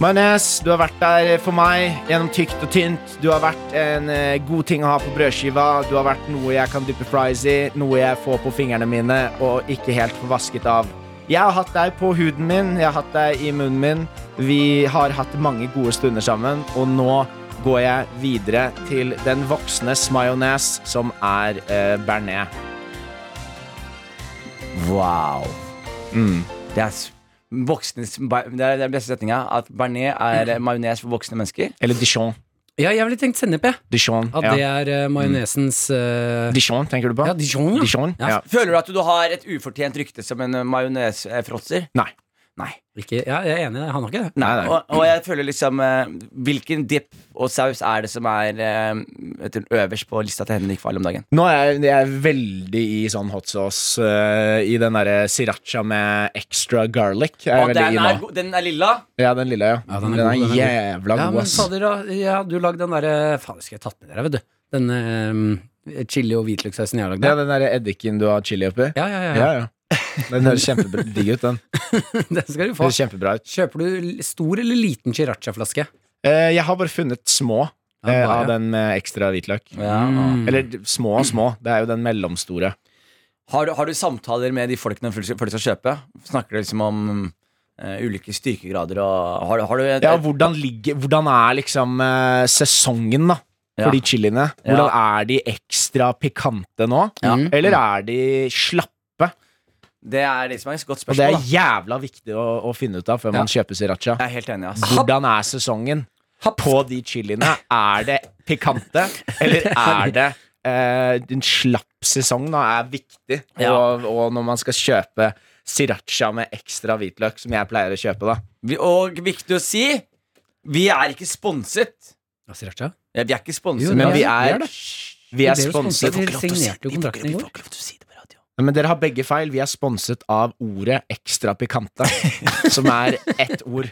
[SPEAKER 5] Majones, du har vært der for meg gjennom tykt og tynt. Du har vært en eh, god ting å ha på brødskiva. Du har vært noe jeg kan dyppe fries i, noe jeg får på fingrene mine og ikke helt får vasket av. Jeg har hatt deg på huden min, jeg har hatt deg i munnen min. Vi har hatt mange gode stunder sammen, og nå går jeg videre til den voksnes majones, som er eh, bearnés.
[SPEAKER 2] Wow. Mm. Det er s- voksnes ba- Det er det er den beste setninga. At bearnés er mm. majones for voksne mennesker.
[SPEAKER 5] Eller dijon.
[SPEAKER 4] Ja, jeg ville tenkt sennep, jeg.
[SPEAKER 5] Dijon.
[SPEAKER 4] At det
[SPEAKER 5] Ja.
[SPEAKER 4] er eh, majonesens eh,
[SPEAKER 5] Dijon, tenker du på?
[SPEAKER 4] Ja, Dijon, ja.
[SPEAKER 5] Dijon?
[SPEAKER 4] Ja.
[SPEAKER 5] Ja.
[SPEAKER 2] Føler du at du har et ufortjent rykte som en eh, majonesfråtser?
[SPEAKER 5] Nei.
[SPEAKER 2] Nei.
[SPEAKER 4] ikke, Ja, jeg er enig i det. Han har ikke det.
[SPEAKER 5] Nei, nei.
[SPEAKER 2] Og, og jeg føler liksom eh, Hvilken dipp og saus er det som er eh, vet du, øverst på lista til Henrik Farley om dagen?
[SPEAKER 5] Nå er jeg, jeg er veldig i sånn hot sauce eh, I den derre sriracha med extra garlic er
[SPEAKER 2] Og
[SPEAKER 5] jeg veldig i
[SPEAKER 2] den, er,
[SPEAKER 5] nå.
[SPEAKER 2] go- den er lilla.
[SPEAKER 5] Ja, den lille, ja.
[SPEAKER 4] Ja, den er
[SPEAKER 5] den, er
[SPEAKER 4] god, den er god.
[SPEAKER 5] jævla
[SPEAKER 4] Ja,
[SPEAKER 5] god,
[SPEAKER 4] men
[SPEAKER 5] ass.
[SPEAKER 4] fader, da. Jeg hadde jo lagd den eh, derre Fader, skulle jeg tatt med dere, vet du. Den eh, chili- og hvitløkssausen jeg har lagd.
[SPEAKER 5] Ja,
[SPEAKER 4] Ja,
[SPEAKER 5] den derre eddiken du har chili oppi.
[SPEAKER 4] ja, ja. ja.
[SPEAKER 5] Ja, ja. Den høres kjempedigg ut, den.
[SPEAKER 4] *laughs* Den skal du
[SPEAKER 5] Det
[SPEAKER 4] få.
[SPEAKER 5] ser kjempebra ut.
[SPEAKER 4] Kjøper du l- stor eller liten sriracha-flaske?
[SPEAKER 5] Eh, jeg har bare funnet små
[SPEAKER 4] Ja,
[SPEAKER 5] eh,
[SPEAKER 4] bare.
[SPEAKER 5] av den med ekstra hvitløk.
[SPEAKER 4] Mm.
[SPEAKER 5] Eller d- små og små. Det er jo den mellomstore.
[SPEAKER 2] Har, du, har du samtaler med de folkene før du skal kjøpe? Snakker du liksom om eh, ulike styrkegrader og Har, du- har du et,
[SPEAKER 5] Ja, hvordan, ligger, hvordan er liksom eh, sesongen, da? For
[SPEAKER 2] Ja.
[SPEAKER 5] de chiliene.
[SPEAKER 2] Ja.
[SPEAKER 5] Hvordan er de ekstra pikante nå?
[SPEAKER 4] Ja.
[SPEAKER 5] Eller er de slappe?
[SPEAKER 2] Det er liksom et
[SPEAKER 5] Og
[SPEAKER 2] godt
[SPEAKER 5] det
[SPEAKER 2] spørsmål.
[SPEAKER 5] er
[SPEAKER 2] da.
[SPEAKER 5] jævla viktig å, å finne ut av før man kjøper sriracha.
[SPEAKER 2] Jeg er helt enig, ass.
[SPEAKER 5] Hvordan er sesongen på de chiliene? Er det pikante, *laughs* eller er det eh, en slapp sesong? Da er viktig.
[SPEAKER 2] Ja.
[SPEAKER 5] Og, og når man skal kjøpe sriracha med ekstra hvitløk, som jeg pleier å kjøpe, da.
[SPEAKER 2] Vi, og viktig å si, vi er ikke sponset.
[SPEAKER 4] Ja, sriracha?
[SPEAKER 2] Ja, vi er ikke
[SPEAKER 4] Jo,
[SPEAKER 2] sponset,
[SPEAKER 5] Men
[SPEAKER 4] ja,
[SPEAKER 5] vi
[SPEAKER 4] vi er
[SPEAKER 5] er,
[SPEAKER 4] det.
[SPEAKER 5] vi
[SPEAKER 4] Vi
[SPEAKER 5] er
[SPEAKER 4] ble jo
[SPEAKER 5] sponset
[SPEAKER 4] sponset. Dere signerte jo kontrakten i går.
[SPEAKER 2] ikke lov til å si det på radio.
[SPEAKER 5] Nei, Men dere har begge feil. Vi er sponset av ordet 'ekstra
[SPEAKER 4] *laughs*
[SPEAKER 5] pikante', som er ett ord.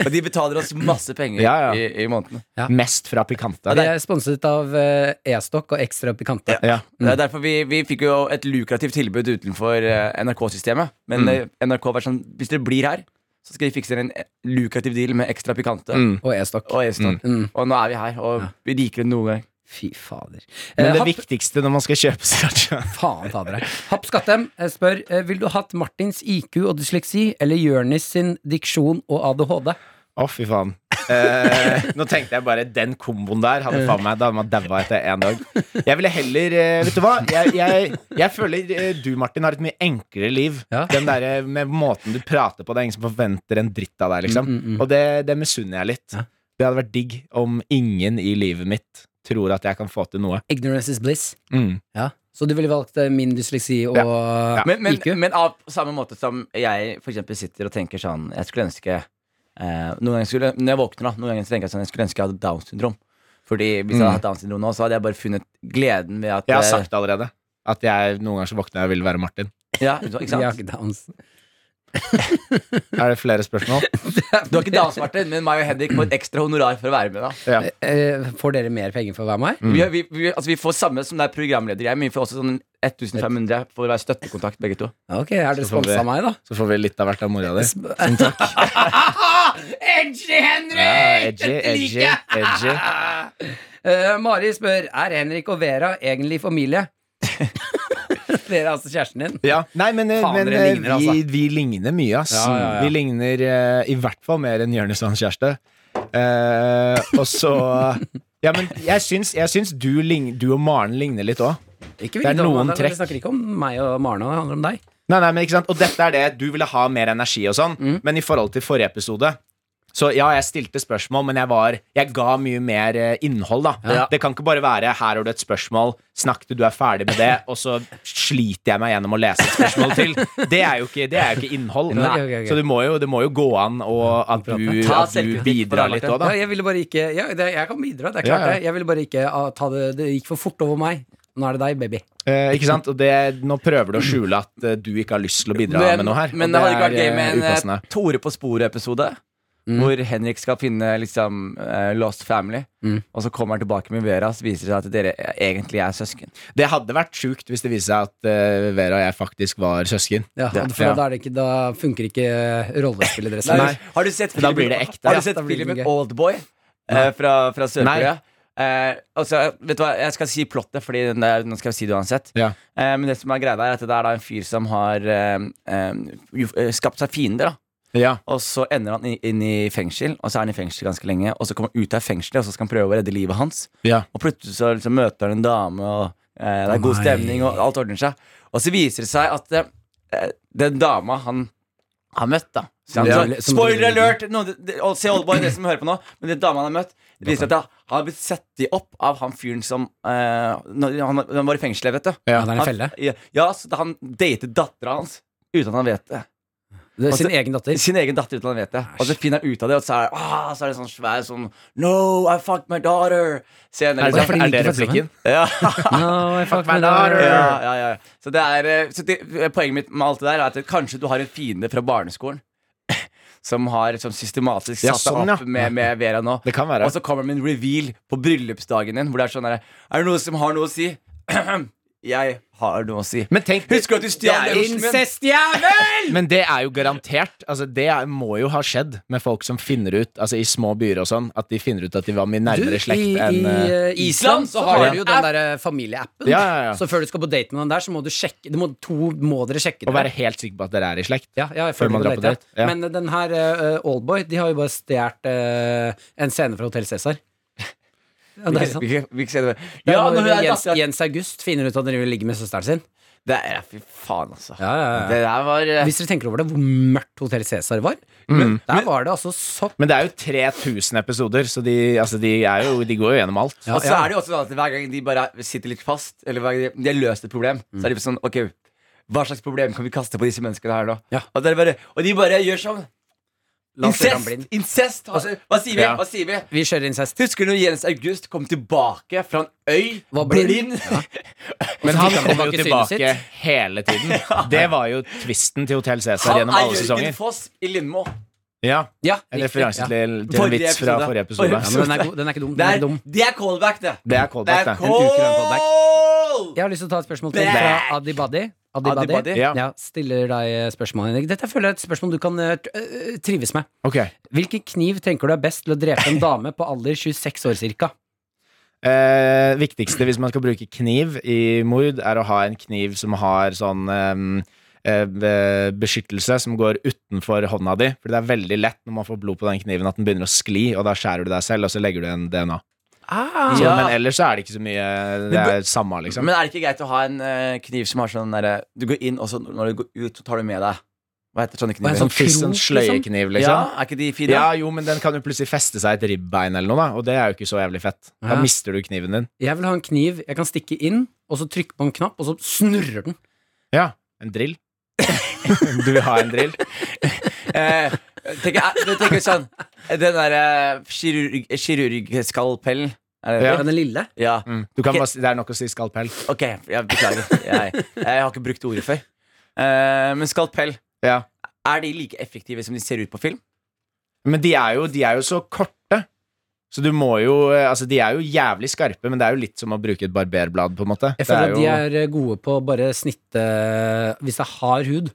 [SPEAKER 2] Og de betaler oss masse
[SPEAKER 4] *laughs*
[SPEAKER 2] penger
[SPEAKER 5] Ja, ja.
[SPEAKER 2] I, i måneden.
[SPEAKER 5] Mest fra pikante.
[SPEAKER 4] Vi er sponset av eh, E-stokk og Ekstra Pikante.
[SPEAKER 5] Ja.
[SPEAKER 2] Det er derfor vi, vi fikk jo et lukrativt tilbud utenfor eh, NRK-systemet.
[SPEAKER 4] Mm.
[SPEAKER 2] Men eh, NRK var sånn Hvis dere blir her, så skal vi fikse dere en eh, lukrativ deal med ekstra pikante.
[SPEAKER 5] Mm.
[SPEAKER 4] Og E-stokk.
[SPEAKER 2] Og Eston.
[SPEAKER 4] Mm.
[SPEAKER 2] Og nå er vi her, og vi liker det noen gang.
[SPEAKER 4] Fy fader.
[SPEAKER 5] Men
[SPEAKER 4] Eh,
[SPEAKER 5] det
[SPEAKER 4] Happ-
[SPEAKER 5] viktigste når man skal kjøpe sriracha
[SPEAKER 4] Faen ta dere. Happ Skattem eh, spør eh, Vil du hatt Martins IQ og dysleksi eller Jørnis sin diksjon og ADHD?
[SPEAKER 5] Å, fy faen. Eh, nå tenkte jeg bare den komboen der hadde faen meg Da hadde man daua etter én dag. Jeg ville heller eh, Vet du hva? Jeg, jeg, jeg føler eh, du, Martin, har et mye enklere liv.
[SPEAKER 4] Ja.
[SPEAKER 5] Den derre med måten du prater på, det er ingen som forventer en dritt av deg, liksom. Og det, det misunner jeg litt.
[SPEAKER 4] Mm, Ja.
[SPEAKER 5] Det hadde vært digg om ingen i livet mitt tror at jeg kan få til noe.
[SPEAKER 4] Ignorance is bliss.
[SPEAKER 5] Mm.
[SPEAKER 4] Ja. Så du ville valgt eh, min dysleksi og
[SPEAKER 2] Men, men,
[SPEAKER 4] IQ?
[SPEAKER 2] men av samme måte som jeg for eksempel sitter og tenker sånn Jeg skulle ønske eh, Noen ganger skulle, Når jeg våkner, da Noen ganger så tenker jeg sånn Jeg skulle ønske jeg hadde Downs syndrom. Fordi hvis jeg hadde hatt Downs syndrom nå, så hadde jeg bare funnet gleden ved at
[SPEAKER 5] Jeg har
[SPEAKER 2] eh,
[SPEAKER 5] sagt det allerede. At jeg noen ganger så våkner jeg og vil være Martin.
[SPEAKER 2] ja,
[SPEAKER 4] *laughs*
[SPEAKER 2] ikke sant?
[SPEAKER 4] Jeg har ikke downs.
[SPEAKER 5] Er det flere
[SPEAKER 4] *laughs*
[SPEAKER 5] spørsmål?
[SPEAKER 2] Du har ikke Downs, Martin, men meg og Henrik får et ekstra honorar for å være med. da
[SPEAKER 5] Ja.
[SPEAKER 4] Eh, Får dere mer penger for å være meg?
[SPEAKER 5] Mm.
[SPEAKER 2] vi, har- vi, vi, altså, vi får samme som det er programledergreier, men vi får også sånn 1500 for å være støttekontakt, begge to.
[SPEAKER 4] Ok, er dere
[SPEAKER 5] Så får vi-
[SPEAKER 4] sponsa av *laughs* meg, da?
[SPEAKER 5] Så får vi litt av hvert av mora di.
[SPEAKER 4] *laughs* Edgy Henrik!
[SPEAKER 5] Ja, edgy, edgy, edgy.
[SPEAKER 4] *laughs* Eh, Mari spør Er Henrik og Vera egentlig familie. *laughs* Dere er altså kjæresten din.
[SPEAKER 5] Ja. Nei, men, eh,
[SPEAKER 4] Faen,
[SPEAKER 5] men
[SPEAKER 4] dere
[SPEAKER 5] eh,
[SPEAKER 4] ligner,
[SPEAKER 5] vi,
[SPEAKER 4] altså.
[SPEAKER 5] vi ligner mye, ass.
[SPEAKER 4] Ja, ja, ja.
[SPEAKER 5] Vi ligner eh, i hvert fall mer enn Jonis og hans kjæreste. Eh, og så *laughs* Ja, men jeg syns, jeg syns du, lign- du og Maren ligner litt òg.
[SPEAKER 4] Ikke
[SPEAKER 5] Det er
[SPEAKER 4] vi-
[SPEAKER 5] noen
[SPEAKER 4] Dere
[SPEAKER 5] trekk.
[SPEAKER 4] snakker ikke om meg og Marna, det handler om deg.
[SPEAKER 5] Nei, nei, men ikke sant Og dette er det du ville ha mer energi og sånn
[SPEAKER 2] Mm.
[SPEAKER 5] Men i forhold til forrige episode Så ja, jeg stilte spørsmål Men jeg, var, jeg ga mye mer eh, innhold da
[SPEAKER 4] Ja.
[SPEAKER 5] Det kan ikke bare være Her har du et spørsmål Snakk til du er ferdig
[SPEAKER 2] *laughs*
[SPEAKER 5] med det Og så sliter jeg meg gjennom å lese et spørsmål til Det er jo ikke, det er jo ikke innhold
[SPEAKER 4] Nei, ok, ok, ok.
[SPEAKER 5] Så det må, jo, det må jo gå an og at, du,
[SPEAKER 2] Ta
[SPEAKER 5] at du
[SPEAKER 2] selvkritikk på det,
[SPEAKER 5] bidrar litt
[SPEAKER 2] Martin.
[SPEAKER 5] også
[SPEAKER 4] Ja,
[SPEAKER 5] da
[SPEAKER 4] jeg ville bare ikke ja, det, Jeg kan bidra, det er
[SPEAKER 5] Ja,
[SPEAKER 4] klart
[SPEAKER 5] ja.
[SPEAKER 4] det. Jeg ville bare ikke ah, ta det Det gikk for fort over meg. Nå er det deg, baby.
[SPEAKER 5] eh, Ikke sant? Og det, nå prøver du å skjule at eh, du ikke har lyst til å bidra med noe her og
[SPEAKER 2] men det hadde ikke vært
[SPEAKER 5] er,
[SPEAKER 2] gøy
[SPEAKER 5] eh,
[SPEAKER 2] med en
[SPEAKER 5] upassende.
[SPEAKER 2] eh, Tore på sporet-episode.
[SPEAKER 5] Mm.
[SPEAKER 2] Hvor Henrik skal finne liksom eh, Lost Family,
[SPEAKER 4] Mm.
[SPEAKER 2] og så kommer han tilbake med Vera. Så viser det seg at dere eh, egentlig er søsken.
[SPEAKER 5] Det hadde vært sjukt hvis det viste seg at eh, Vera og jeg faktisk var søsken.
[SPEAKER 4] Ja,
[SPEAKER 5] Det-
[SPEAKER 4] for
[SPEAKER 5] ja.
[SPEAKER 4] Da, er det ikke, da funker ikke *laughs* rollespillet deres.
[SPEAKER 5] Nei.
[SPEAKER 2] Har du sett
[SPEAKER 5] Da blir det ekte.
[SPEAKER 2] Har
[SPEAKER 4] Ja,
[SPEAKER 2] du sett
[SPEAKER 4] da blir det
[SPEAKER 2] filmen
[SPEAKER 4] gøy.
[SPEAKER 2] Oldboy eh, fra, fra Sør-Korea? Eh, altså, vet du hva, Jeg skal si plottet, Fordi den der, nå skal jeg si det uansett.
[SPEAKER 5] Ja.
[SPEAKER 2] Eh, men det som er greia, der, er at det er da en fyr som har eh, eh, jo- eh, skapt seg fiender. da
[SPEAKER 5] Ja.
[SPEAKER 2] Og så ender han i- inn i fengsel, og så er han i fengsel ganske lenge. Og så kommer han ut av fengselet, og så skal han prøve å redde livet hans.
[SPEAKER 5] Ja.
[SPEAKER 2] Og plutselig så liksom møter han en dame, og eh, det er god
[SPEAKER 5] Nei.
[SPEAKER 2] stemning, og alt ordner seg. Og så viser det seg at eh, den dama han har møtt, da som,
[SPEAKER 4] Ja,
[SPEAKER 2] så,
[SPEAKER 4] som-
[SPEAKER 2] Spoiler alert! No, det, det, og se Oldboy, det som hører på nå. Men den dama han har møtt, det viser seg at han har blitt satt i opp av han fyren som eh, når han, når han var i fengselet, vet du.
[SPEAKER 4] Ja, det er en
[SPEAKER 2] Han-
[SPEAKER 4] felle.
[SPEAKER 2] Ja, ja, så da han datet dattera hans uten at han vet det.
[SPEAKER 4] Det er
[SPEAKER 2] Altså-
[SPEAKER 4] sin egen datter. *laughs*
[SPEAKER 2] Sin egen datter uten at han vet det. Og så finner han ut av det, og så er, ah, så er det sånn svær sånn No, I fucked my daughter. Senere,
[SPEAKER 5] Er det,
[SPEAKER 4] fordi de
[SPEAKER 5] er det
[SPEAKER 4] ikke får
[SPEAKER 5] replikken?
[SPEAKER 2] Ja.
[SPEAKER 4] No, I fuck
[SPEAKER 5] my
[SPEAKER 4] my
[SPEAKER 5] daughter.
[SPEAKER 4] daughter.
[SPEAKER 2] ja, ja, ja. Så, det er, eh, så det, poenget mitt med alt det der er at det- kanskje du har en fiende fra barneskolen *laughs* som har som systematisk satt
[SPEAKER 5] Ja, sånn,
[SPEAKER 2] deg opp
[SPEAKER 5] ja.
[SPEAKER 2] med, med Vera nå.
[SPEAKER 5] Det kan være.
[SPEAKER 2] Og så kommer det med en reveal på bryllupsdagen din, hvor det er sånn der Er det noe som har noe å si? *clears throat* Jeg har noe å si.
[SPEAKER 5] Men tenk
[SPEAKER 2] Husker du at du stjal
[SPEAKER 5] Det er
[SPEAKER 2] rosen min?
[SPEAKER 4] Incestjævel!
[SPEAKER 5] Men det er jo garantert. Altså, det er, må jo ha skjedd med folk som finner ut, altså i små byer og sånn, at de finner ut at de var mye nærmere slekt enn eh,
[SPEAKER 4] eh, Island så har du jo den der eh, familieappen.
[SPEAKER 5] Ja, ja, ja.
[SPEAKER 4] Så før du skal på date med noen der, så må du sjekke det må, to, må dere sjekke
[SPEAKER 5] Å være helt sikker på at dere er i slekt.
[SPEAKER 4] Ja, ja, jeg føler
[SPEAKER 5] Før man
[SPEAKER 4] det
[SPEAKER 5] drar på
[SPEAKER 4] date,
[SPEAKER 5] date, ja.
[SPEAKER 4] Men eh, den her eh, Oldboy, de har jo bare stjålet eh, en scene fra Hotell Cæsar. Ja, det er sant.
[SPEAKER 2] Hvilken- hvilken scene?
[SPEAKER 4] Det er
[SPEAKER 2] Ja,
[SPEAKER 4] jo
[SPEAKER 2] når hun er
[SPEAKER 4] Jens,
[SPEAKER 2] datteren
[SPEAKER 4] Jens August finner ut at han ligger med søsteren sin.
[SPEAKER 2] Det er Fy faen, altså.
[SPEAKER 4] Ja, ja, ja.
[SPEAKER 2] Det der var eh,
[SPEAKER 4] Hvis dere tenker over det, hvor mørkt Hotell Cæsar var. der var det altså så
[SPEAKER 5] Men det er jo 3000 episoder, så de, altså, de, er jo, de går jo gjennom alt.
[SPEAKER 4] Ja,
[SPEAKER 2] Og så
[SPEAKER 4] ja.
[SPEAKER 2] er det jo også sånn at hver gang de bare sitter litt fast, eller hver gang de, de har løst et problem, så er de sånn Ok, hva slags problem kan vi kaste på disse menneskene her nå?
[SPEAKER 4] Ja.
[SPEAKER 2] Og, det er bare, og de bare gjør sånn.
[SPEAKER 4] La oss gjøre ham
[SPEAKER 2] Incest!
[SPEAKER 4] blind.
[SPEAKER 2] incest altså, hva sier vi?
[SPEAKER 5] Ja.
[SPEAKER 2] Hva sier vi?
[SPEAKER 4] Vi kjører incest.
[SPEAKER 2] Husker du når Jens August kom tilbake fra en øy?
[SPEAKER 4] Var blind.
[SPEAKER 5] Men
[SPEAKER 4] Så
[SPEAKER 5] han
[SPEAKER 4] fikk han
[SPEAKER 5] kommer jo
[SPEAKER 4] tilbake synet
[SPEAKER 5] tilbake hele tiden. Det var jo tvisten til Hotell
[SPEAKER 2] *laughs*
[SPEAKER 5] Cæsar
[SPEAKER 2] Han
[SPEAKER 5] gjennom
[SPEAKER 2] er
[SPEAKER 5] alle
[SPEAKER 2] Jørgen
[SPEAKER 5] sesonger.
[SPEAKER 2] Foss i Lindmo.
[SPEAKER 5] Ja,
[SPEAKER 4] Ja,
[SPEAKER 5] En
[SPEAKER 4] riktig,
[SPEAKER 5] referanse
[SPEAKER 4] ja.
[SPEAKER 5] til, til en
[SPEAKER 2] Forrige
[SPEAKER 5] vits fra
[SPEAKER 2] episode.
[SPEAKER 5] forrige episode.
[SPEAKER 2] Forrige
[SPEAKER 4] Ja, men den er, god, den er ikke dum. Den
[SPEAKER 2] Det
[SPEAKER 4] er
[SPEAKER 2] er,
[SPEAKER 4] dum.
[SPEAKER 2] det er callback, det.
[SPEAKER 5] Det er callback,
[SPEAKER 2] det.
[SPEAKER 5] det.
[SPEAKER 2] Er
[SPEAKER 5] En ukelønn callback.
[SPEAKER 2] call!
[SPEAKER 4] Jeg har lyst til å ta et spørsmål til
[SPEAKER 2] Back!
[SPEAKER 4] fra Adibadi. Adibadi.
[SPEAKER 2] Adibadi?
[SPEAKER 4] Ja.
[SPEAKER 5] Ja.
[SPEAKER 4] stiller deg spørsmål, Henrik. Dette føler jeg er et spørsmål du kan eh, t- eh, trives med.
[SPEAKER 5] Ok.
[SPEAKER 4] Hvilken kniv tenker du er best til å drepe en dame på alder 26 år cirka?
[SPEAKER 5] Eh, viktigste hvis man skal bruke kniv i mord, er å ha en kniv som har sånn eh, eh, be- beskyttelse som går utenfor hånda di. For det er veldig lett når man får blod på den kniven at den begynner å skli, og da skjærer du deg selv, og så legger du igjen DNA.
[SPEAKER 4] Ah,
[SPEAKER 5] Så,
[SPEAKER 2] Ja.
[SPEAKER 5] Men ellers så er det ikke så mye Det er samme, liksom.
[SPEAKER 2] Men er det ikke greit å ha en eh, kniv som har sånn derre Du går inn, og så når du går ut, så tar du med deg Hva heter sånne kniver?
[SPEAKER 4] en
[SPEAKER 5] Sånn
[SPEAKER 4] sånn
[SPEAKER 5] fiss en
[SPEAKER 4] krok,
[SPEAKER 5] sløyekniv,
[SPEAKER 2] Ja,
[SPEAKER 5] liksom.
[SPEAKER 2] er ikke de fine?
[SPEAKER 5] Ja, jo, men den kan jo plutselig feste seg i et ribbein eller noe, da, og det er jo ikke så jævlig fett. Da
[SPEAKER 4] Ja.
[SPEAKER 5] mister du kniven din.
[SPEAKER 4] Jeg vil ha en kniv jeg kan stikke inn, og så trykke på en knapp, og så snurrer den.
[SPEAKER 5] Ja. En drill. *laughs* du vil ha en drill?
[SPEAKER 2] Eh, tenker, jeg- jeg tenker sånn Den derre kirurg, kirurgskalpellen er det
[SPEAKER 5] Ja.
[SPEAKER 2] det?
[SPEAKER 4] Den lille.
[SPEAKER 2] Ja.
[SPEAKER 5] Mm. Du kan
[SPEAKER 2] Ok.
[SPEAKER 5] bare, si- det er nok å si skalpell.
[SPEAKER 2] Ok, jeg beklager. Jeg, jeg har ikke brukt ordet før. Eh, men skalpell,
[SPEAKER 5] Ja.
[SPEAKER 2] er de like effektive som de ser ut på film?
[SPEAKER 5] Men de er jo, de er jo så korte. Så du må jo eh, Altså, de er jo jævlig skarpe, men det er jo litt som å bruke et barberblad, på en
[SPEAKER 4] Jeg
[SPEAKER 5] måte. Det
[SPEAKER 4] føler at de er
[SPEAKER 5] jo-
[SPEAKER 4] eh, gode på å bare snitte eh, Hvis det er hard hud.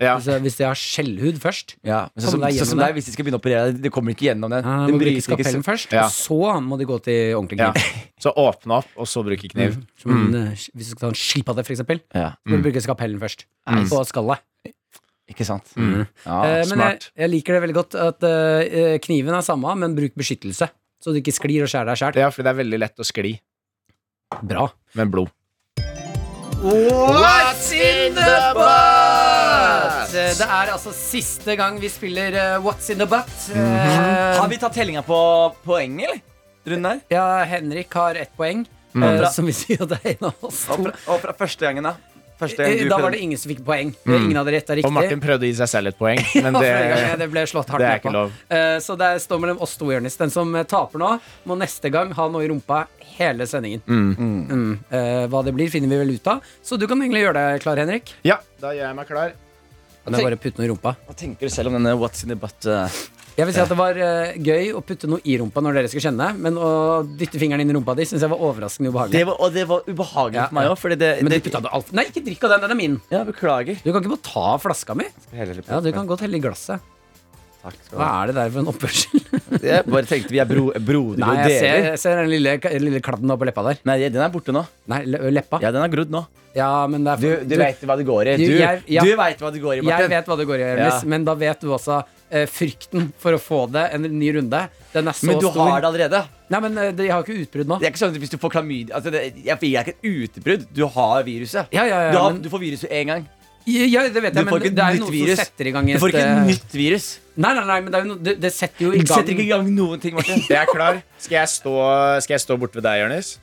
[SPEAKER 5] ja.
[SPEAKER 4] *laughs* Hvis, jeg, hvis jeg har skjellhud først.
[SPEAKER 2] Ja, men sånn som,
[SPEAKER 4] Kommer deg
[SPEAKER 2] sånn som
[SPEAKER 4] gjennom
[SPEAKER 2] deg, hvis de skal begynne å operere deg, de kommer ikke gjennom den.
[SPEAKER 4] Ja,
[SPEAKER 2] Den
[SPEAKER 4] Ah, må bruke
[SPEAKER 2] brytes ikke
[SPEAKER 4] skapellen
[SPEAKER 2] så-
[SPEAKER 4] først,
[SPEAKER 5] Ja.
[SPEAKER 4] og så må de gå til ordentlig
[SPEAKER 5] ja.
[SPEAKER 4] kniv.
[SPEAKER 5] Så åpne opp, og så bruke kniv. Mm.
[SPEAKER 4] Som en, eh, Hvis du skal ta en skilpadde, for eksempel,
[SPEAKER 2] ja,
[SPEAKER 4] så må du bruke skapellen først. På skallet.
[SPEAKER 2] ikke sant?
[SPEAKER 4] Eh,
[SPEAKER 2] Ja,
[SPEAKER 4] men jeg,
[SPEAKER 5] smart.
[SPEAKER 4] jeg liker det veldig godt at eh, kniven er samme, men bruk beskyttelse. Så du ikke sklir og skjærer deg sjæl.
[SPEAKER 5] Ja, for det er veldig lett å skli
[SPEAKER 4] Bra.
[SPEAKER 5] med blod.
[SPEAKER 4] What's in the butt? Det er altså siste gang vi spiller eh, What's in the butt.
[SPEAKER 5] Mhm.
[SPEAKER 4] Eh,
[SPEAKER 2] Har vi tatt tellinga på poeng, eller? Rundt der?
[SPEAKER 4] ja, Henrik har ett poeng,
[SPEAKER 5] Mm.
[SPEAKER 4] eh, som vil si at det er en av oss
[SPEAKER 2] Og
[SPEAKER 4] to.
[SPEAKER 2] fra, og fra første gangen, da? Første gang
[SPEAKER 4] Eh,
[SPEAKER 2] du
[SPEAKER 4] Da var
[SPEAKER 2] prøvde-
[SPEAKER 4] det ingen som fikk poeng. Ingen hadde rett. Det er riktig.
[SPEAKER 5] Mm. Og Martin prøvde å gi seg selv et poeng, men
[SPEAKER 4] *laughs* Ja,
[SPEAKER 5] det
[SPEAKER 4] flere ganger, det ble slått hardt
[SPEAKER 5] det er
[SPEAKER 4] ned på.
[SPEAKER 5] ikke lov.
[SPEAKER 4] Eh, så det står mellom oss to, Jonis. Den som eh, taper nå, må neste gang ha noe i rumpa hele sendingen. Mm. Eh, hva det blir, finner vi vel ut av. Så du kan egentlig gjøre deg klar, Henrik.
[SPEAKER 5] Ja, da gjør jeg meg klar.
[SPEAKER 4] Kan jeg bare putte noe i rumpa?
[SPEAKER 2] Hva tenker du selv om denne What's in the butt? eh?
[SPEAKER 4] Jeg vil si at det var eh, gøy å putte noe i rumpa når dere skulle kjenne, men å dytte fingeren inn i rumpa di syns jeg var overraskende ubehagelig.
[SPEAKER 2] Det var, og det var ubehagelig
[SPEAKER 4] Ja,
[SPEAKER 2] for meg
[SPEAKER 4] ja.
[SPEAKER 2] òg, fordi det,
[SPEAKER 4] men
[SPEAKER 2] det
[SPEAKER 4] du putta det alt Nei, ikke drikk av den, den er min.
[SPEAKER 2] Ja, beklager.
[SPEAKER 4] Du kan ikke bare ta flaska mi. Ja, Du kan godt helle i glasset.
[SPEAKER 2] Takk skal du
[SPEAKER 4] Hva
[SPEAKER 2] ha.
[SPEAKER 4] er det der for en oppførsel?
[SPEAKER 2] Jeg bare tenkte vi er bro, brodere
[SPEAKER 4] Nei,
[SPEAKER 2] og
[SPEAKER 4] jeg ser,
[SPEAKER 2] deler.
[SPEAKER 4] jeg ser den lille, den lille kladden oppå leppa der.
[SPEAKER 2] Nei, den er borte nå.
[SPEAKER 4] Nei, le- leppa.
[SPEAKER 2] Ja, den er grodd nå.
[SPEAKER 4] Ja, men det er
[SPEAKER 2] Du, du, vet hva det går i.
[SPEAKER 4] Du,
[SPEAKER 2] Du,
[SPEAKER 4] jeg- ja.
[SPEAKER 2] du vet hva det går i,
[SPEAKER 4] Jeg
[SPEAKER 2] Martin.
[SPEAKER 4] vet hva det går i, Ørnes,
[SPEAKER 2] Ja.
[SPEAKER 4] men da vet du også eh, frykten for å få det en ny runde, den er så
[SPEAKER 2] Men du
[SPEAKER 4] stor.
[SPEAKER 2] har det allerede.
[SPEAKER 4] Nei, men eh, det- jeg har ikke utbrudd nå.
[SPEAKER 2] Det er ikke sånn at hvis du får klamydia altså det, Jeg jeg er ikke et utbrudd. Du har viruset.
[SPEAKER 4] Ja, ja, ja,
[SPEAKER 2] du, har,
[SPEAKER 4] men-
[SPEAKER 2] du får viruset én gang.
[SPEAKER 4] Ja, det vet
[SPEAKER 2] Du
[SPEAKER 4] jeg,
[SPEAKER 2] får
[SPEAKER 4] men
[SPEAKER 2] ikke
[SPEAKER 4] det er
[SPEAKER 2] et
[SPEAKER 4] jo
[SPEAKER 2] nytt
[SPEAKER 4] noe
[SPEAKER 2] virus.
[SPEAKER 4] som setter i gang
[SPEAKER 2] Du
[SPEAKER 4] et
[SPEAKER 2] får ikke
[SPEAKER 4] eh,
[SPEAKER 2] et nytt virus.
[SPEAKER 4] Nei, nei, nei, men det, er jo noe, det, det setter jo i
[SPEAKER 2] Du
[SPEAKER 4] gang
[SPEAKER 2] setter ikke i gang noen ting, Martin.
[SPEAKER 5] Jeg er klar. Skal jeg stå, skal jeg stå borte ved deg, Jonis?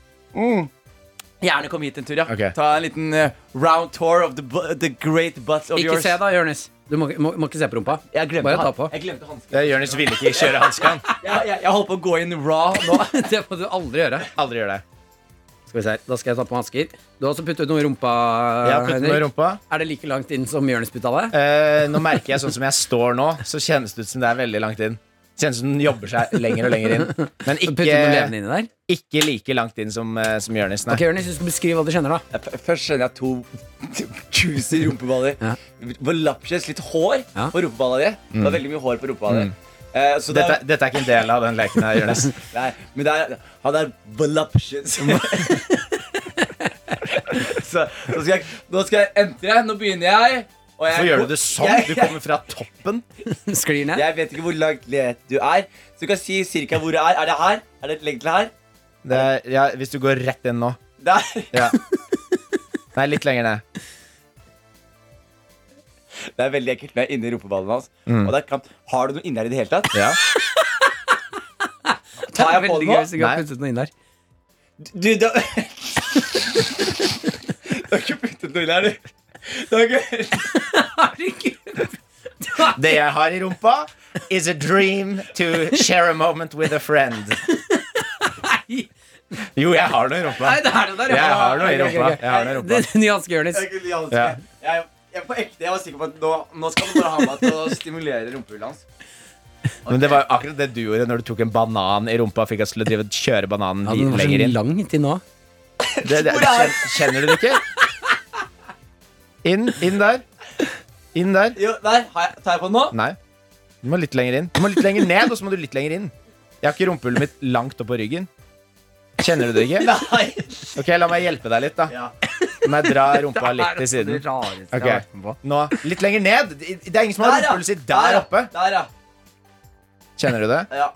[SPEAKER 2] Gjerne kom hit en tur, ja.
[SPEAKER 5] Ok.
[SPEAKER 2] Ta en liten eh, round tour of the, bu- the great butts of
[SPEAKER 4] Ikke
[SPEAKER 2] yours.
[SPEAKER 4] se da, Jonis. Du må, må, må ikke se på rumpa. *laughs*
[SPEAKER 2] Jeg glemte,
[SPEAKER 4] Bare ta
[SPEAKER 2] han-
[SPEAKER 4] på.
[SPEAKER 2] Jeg glemte hansken.
[SPEAKER 5] Det- Jonis ville ikke kjøre hanskene.
[SPEAKER 2] Jeg, jeg, jeg holdt på å gå inn raw nå.
[SPEAKER 4] det må du aldri gjøre.
[SPEAKER 5] Aldri gjør det.
[SPEAKER 4] Skal vi se, her. Da skal jeg ta på hansker. Du har også puttet noe i rumpa,
[SPEAKER 5] Jeg har puttet noe i
[SPEAKER 4] Henrik.
[SPEAKER 5] rumpa.
[SPEAKER 4] Er det like langt inn som Jonis putta det?
[SPEAKER 5] Eh, nå merker jeg sånn som jeg står nå, så kjennes det ut som det er veldig langt inn. Kjennes som den jobber seg lenger og lenger inn. Men
[SPEAKER 2] Eh,
[SPEAKER 4] Så puttet noe
[SPEAKER 5] ikke,
[SPEAKER 4] levende inni der?
[SPEAKER 5] ikke like langt inn som, eh, som Jonis. nei.
[SPEAKER 4] Ok, Jonis, du skal beskrive hva du kjenner, da.
[SPEAKER 2] *laughs*
[SPEAKER 4] *laughs*
[SPEAKER 2] Jeg f- Først kjenner jeg to *laughs* juicy rumpeballer.
[SPEAKER 4] Ja.
[SPEAKER 2] På lappkjeks litt hår
[SPEAKER 4] Ja.
[SPEAKER 2] på rumpeballa di. Det var veldig mye hår på rumpa di. Eh, så det
[SPEAKER 5] Mm. Dette,
[SPEAKER 2] er-
[SPEAKER 5] dette er ikke en del av den leken her, Jonis.
[SPEAKER 2] Nei, men det er, han er
[SPEAKER 5] *laughs*
[SPEAKER 2] voluptuous. *laughs* så nå skal, jeg, nå skal jeg entre. Nå begynner jeg. Og jeg
[SPEAKER 5] Hvorfor gjør du det sånn? Du kommer fra toppen.
[SPEAKER 4] Sklir ned?
[SPEAKER 2] *laughs* Jeg vet ikke hvor langt ned du er. Så du kan si cirka hvor det er. Er det her? Er det egentlig her?
[SPEAKER 5] Det er, ja, hvis du går rett inn nå.
[SPEAKER 2] Der.
[SPEAKER 5] Ja. Nei, litt lenger ned.
[SPEAKER 2] Det er veldig ekkelt når jeg er inni rumpeballen hans. Og det er klamt. Har du noe inni her i det hele tatt?
[SPEAKER 5] Ja.
[SPEAKER 4] Det
[SPEAKER 2] Tar
[SPEAKER 4] er
[SPEAKER 2] jeg på
[SPEAKER 4] veldig
[SPEAKER 2] det
[SPEAKER 4] gøy
[SPEAKER 2] nå?
[SPEAKER 4] hvis du ikke har
[SPEAKER 5] Nei.
[SPEAKER 4] puttet noe inn der.
[SPEAKER 2] Du, da Du *laughs* har ikke puttet noe inn her, du. Det er ikke
[SPEAKER 5] Det jeg har i rumpa, is a dream to share a moment with a friend.
[SPEAKER 4] Nei,
[SPEAKER 5] Jo, jeg har noe i rumpa.
[SPEAKER 4] nei, det er det der,
[SPEAKER 5] Jeg har noe i
[SPEAKER 4] Ok, ok,
[SPEAKER 5] rumpa.
[SPEAKER 4] ok.
[SPEAKER 5] Jeg har noe i rumpa.
[SPEAKER 4] Det er Ny hanske, Jonis.
[SPEAKER 2] Jeg kunne aldri-
[SPEAKER 5] Ja.
[SPEAKER 2] Jeg, jeg, på ekte, jeg var sikker på at nå, nå skal du bare ha meg til å stimulere rumpehullet hans.
[SPEAKER 5] Men det var jo akkurat det du gjorde når du tok en banan i rumpa og fikk oss til å drive og kjøre bananen
[SPEAKER 4] Ja,
[SPEAKER 5] dit
[SPEAKER 4] den var
[SPEAKER 5] lenger
[SPEAKER 4] så
[SPEAKER 5] inn.
[SPEAKER 4] lang til nå.
[SPEAKER 5] Det, det, det, kjen- kjenner du det ikke? Inn, inn der. Inn der.
[SPEAKER 2] Jo, der har jeg, tar jeg på den nå.
[SPEAKER 5] Nei. Du må litt lenger inn. Du må litt lenger ned, og så må du litt lenger inn. Jeg har ikke rumpehullet mitt langt opp på ryggen. Kjenner du det ikke?
[SPEAKER 2] Nei.
[SPEAKER 5] Ok, La meg hjelpe deg litt, da.
[SPEAKER 2] Ja.
[SPEAKER 5] Må jeg dra rumpa litt til siden. Ok, nå Litt lenger ned. Det det er ingen som har rumpehullet sitt der
[SPEAKER 2] ja.
[SPEAKER 5] oppe.
[SPEAKER 2] Der, ja.
[SPEAKER 5] Kjenner du det?
[SPEAKER 2] Ja.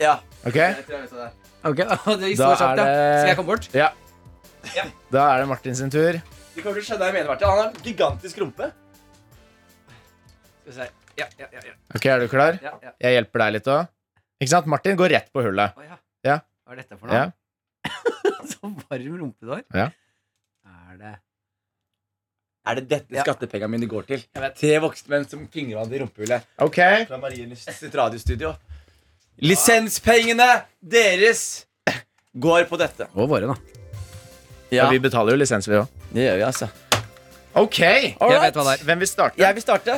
[SPEAKER 2] ja.
[SPEAKER 5] Ok?
[SPEAKER 2] Jeg tror jeg vet hva det er.
[SPEAKER 4] Ok, *laughs* det gikk så
[SPEAKER 5] Da er
[SPEAKER 4] kjapt, ja.
[SPEAKER 5] det-
[SPEAKER 4] Skal jeg komme bort?
[SPEAKER 5] Ja. Da er det Martin sin tur.
[SPEAKER 2] Du kommer til å skjønne hva jeg mener, Martin. Han har en gigantisk rumpe.
[SPEAKER 4] Skal vi se. Ja, ja, ja, ja,
[SPEAKER 5] Ok, Er du klar?
[SPEAKER 4] ja, ja.
[SPEAKER 5] Jeg hjelper deg litt òg. Ikke sant? Martin går rett på hullet.
[SPEAKER 4] Å, ja.
[SPEAKER 5] Ja.
[SPEAKER 4] Hva er dette for noe?
[SPEAKER 5] Ja.
[SPEAKER 4] *laughs* Så varm rumpe du har.
[SPEAKER 5] Ja.
[SPEAKER 4] Er det
[SPEAKER 2] Er det dette
[SPEAKER 4] Ja.
[SPEAKER 2] skattepengene mine går til? Tre voksne menn som fingrer hverandre i rumpehullet.
[SPEAKER 5] Ok,
[SPEAKER 2] Fra
[SPEAKER 4] *laughs*
[SPEAKER 2] Marienlyst sitt radiostudio. Lisenspengene deres går på dette.
[SPEAKER 4] Og våre, da.
[SPEAKER 5] Og vi betaler jo lisens, vi òg.
[SPEAKER 2] det gjør vi, altså.
[SPEAKER 5] Ok!
[SPEAKER 4] Jeg vet hva det er.
[SPEAKER 5] Hvem vil starte?
[SPEAKER 2] Jeg vil starte.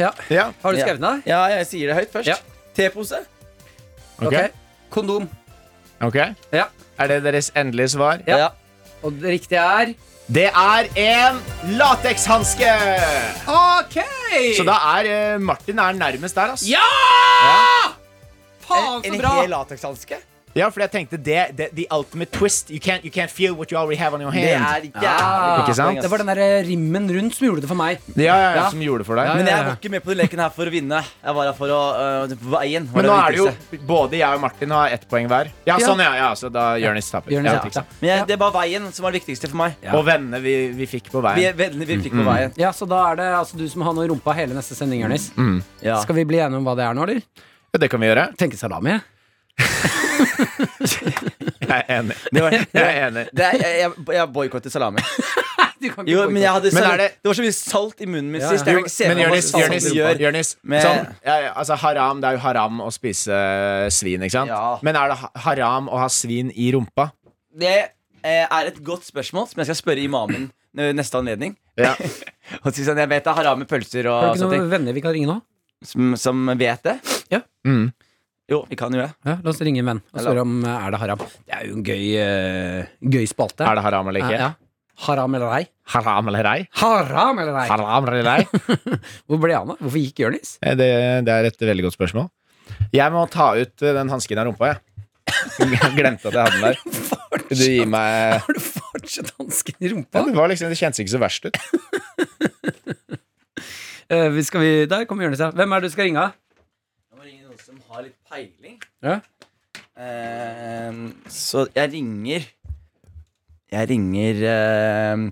[SPEAKER 4] Ja.
[SPEAKER 5] Ja.
[SPEAKER 4] Har du
[SPEAKER 2] Ja.
[SPEAKER 4] skrevet den? da?
[SPEAKER 2] Ja, jeg sier det høyt først.
[SPEAKER 4] Ja.
[SPEAKER 2] Tepose.
[SPEAKER 5] Ok.
[SPEAKER 4] Kondom.
[SPEAKER 5] Ok.
[SPEAKER 4] Ja.
[SPEAKER 5] Er det deres endelige svar?
[SPEAKER 4] Ja. Og det riktige er
[SPEAKER 5] Det er en latekshanske!
[SPEAKER 4] OK!
[SPEAKER 5] Så da er eh, Martin er nærmest der, ass.
[SPEAKER 4] Ja!
[SPEAKER 5] Ja.
[SPEAKER 4] Faen, så bra!
[SPEAKER 2] latekshanske?
[SPEAKER 5] Ja, for jeg tenkte det, det The ultimate twist. You can't, you can't feel what you already have on your hand.
[SPEAKER 2] Det er jævlig
[SPEAKER 4] Ja.
[SPEAKER 5] Ikke sant?
[SPEAKER 4] Det var den der rimmen rundt som gjorde det for meg.
[SPEAKER 5] ja, ja, ja,
[SPEAKER 4] Ja.
[SPEAKER 5] som gjorde det for deg.
[SPEAKER 4] Ja,
[SPEAKER 2] Men
[SPEAKER 5] Men,
[SPEAKER 2] jeg var ikke med på den leken her for å vinne. Jeg var her for å øh, på veien. var
[SPEAKER 5] men
[SPEAKER 2] det
[SPEAKER 5] nå er det
[SPEAKER 2] viktigste.
[SPEAKER 5] jo både jeg og Martin har ett poeng hver. Ja,
[SPEAKER 4] Ja.
[SPEAKER 5] sånn, ja. ja så da Jonis taper.
[SPEAKER 4] Jonis
[SPEAKER 5] Ja,
[SPEAKER 4] taper.
[SPEAKER 5] ikke sant.
[SPEAKER 2] Men jeg, det var veien som var det viktigste for meg.
[SPEAKER 4] Ja.
[SPEAKER 5] Og vennene vi, vi fikk på
[SPEAKER 2] Vi
[SPEAKER 5] veien.
[SPEAKER 2] er vennene vi fikk på veien.
[SPEAKER 4] Ja, Så da er det altså du som har noe i rumpa hele neste sending, Jonis.
[SPEAKER 2] Ja.
[SPEAKER 4] Skal vi bli enige om hva det er nå, eller?
[SPEAKER 5] Ja, det kan vi gjøre.
[SPEAKER 4] Tenke salami.
[SPEAKER 5] *laughs* Jeg er enig. Jeg er enig.
[SPEAKER 2] Det er, jeg jeg, jeg boikotter salami.
[SPEAKER 4] Du kan ikke
[SPEAKER 2] *laughs* Jo,
[SPEAKER 4] gå
[SPEAKER 2] men jeg hadde
[SPEAKER 5] Men
[SPEAKER 2] sal-
[SPEAKER 5] er det-
[SPEAKER 2] var så mye salt i munnen min
[SPEAKER 4] Ja,
[SPEAKER 2] sist.
[SPEAKER 4] ja.
[SPEAKER 2] Jeg kan ikke se
[SPEAKER 5] Men
[SPEAKER 2] for meg
[SPEAKER 5] Jonis,
[SPEAKER 2] hva
[SPEAKER 5] Jonis,
[SPEAKER 2] salt
[SPEAKER 5] gjør,
[SPEAKER 2] gjør.
[SPEAKER 5] Jonis
[SPEAKER 2] Med-
[SPEAKER 5] sånn, ja, ja, altså haram, Det er jo haram å spise eh, svin, ikke sant?
[SPEAKER 2] Ja.
[SPEAKER 5] Men er det ha- haram å ha svin i rumpa?
[SPEAKER 2] Det eh, er et godt spørsmål som jeg skal spørre imamen eh, neste anledning.
[SPEAKER 5] Ja.
[SPEAKER 2] Og si sånn, Jeg vet det er haram med pølser
[SPEAKER 4] Har
[SPEAKER 2] og
[SPEAKER 4] du ikke
[SPEAKER 2] sånne
[SPEAKER 4] noen
[SPEAKER 2] ting.
[SPEAKER 4] venner vi kan ringe nå?
[SPEAKER 2] Som, som vet det.
[SPEAKER 5] *laughs* Mm.
[SPEAKER 2] Jo, vi kan jo det.
[SPEAKER 4] Ja, La oss ringe en venn og
[SPEAKER 2] Eller-
[SPEAKER 4] spørre om eh, er det haram. Det er jo en gøy, eh, gøy spalte.
[SPEAKER 5] Er det haram eller ikke?
[SPEAKER 4] Ja, ja. Haram eller ei?
[SPEAKER 5] Haram eller ei?
[SPEAKER 4] Haram eller ei?
[SPEAKER 5] Haram eller *laughs* ei?
[SPEAKER 4] Hvor ble han av? Hvorfor gikk Jonis? *laughs*
[SPEAKER 5] Eh, Det, det er et veldig godt spørsmål. Jeg må ta ut eh, den hansken av rumpa, jeg. *laughs* jeg. Glemte at jeg hadde den der. Du gir meg
[SPEAKER 4] Har du fortsatt hansken i
[SPEAKER 5] ja,
[SPEAKER 4] rumpa?
[SPEAKER 5] det, var liksom, det kjentes ikke så verst ut.
[SPEAKER 4] Eh, vi skal vi, der kommer Jonis, ja. Hvem er det du skal ringe? av?
[SPEAKER 2] Jeg må ringe noen som har litt peiling.
[SPEAKER 4] Ja.
[SPEAKER 2] Ehm, så jeg ringer Jeg ringer ehm,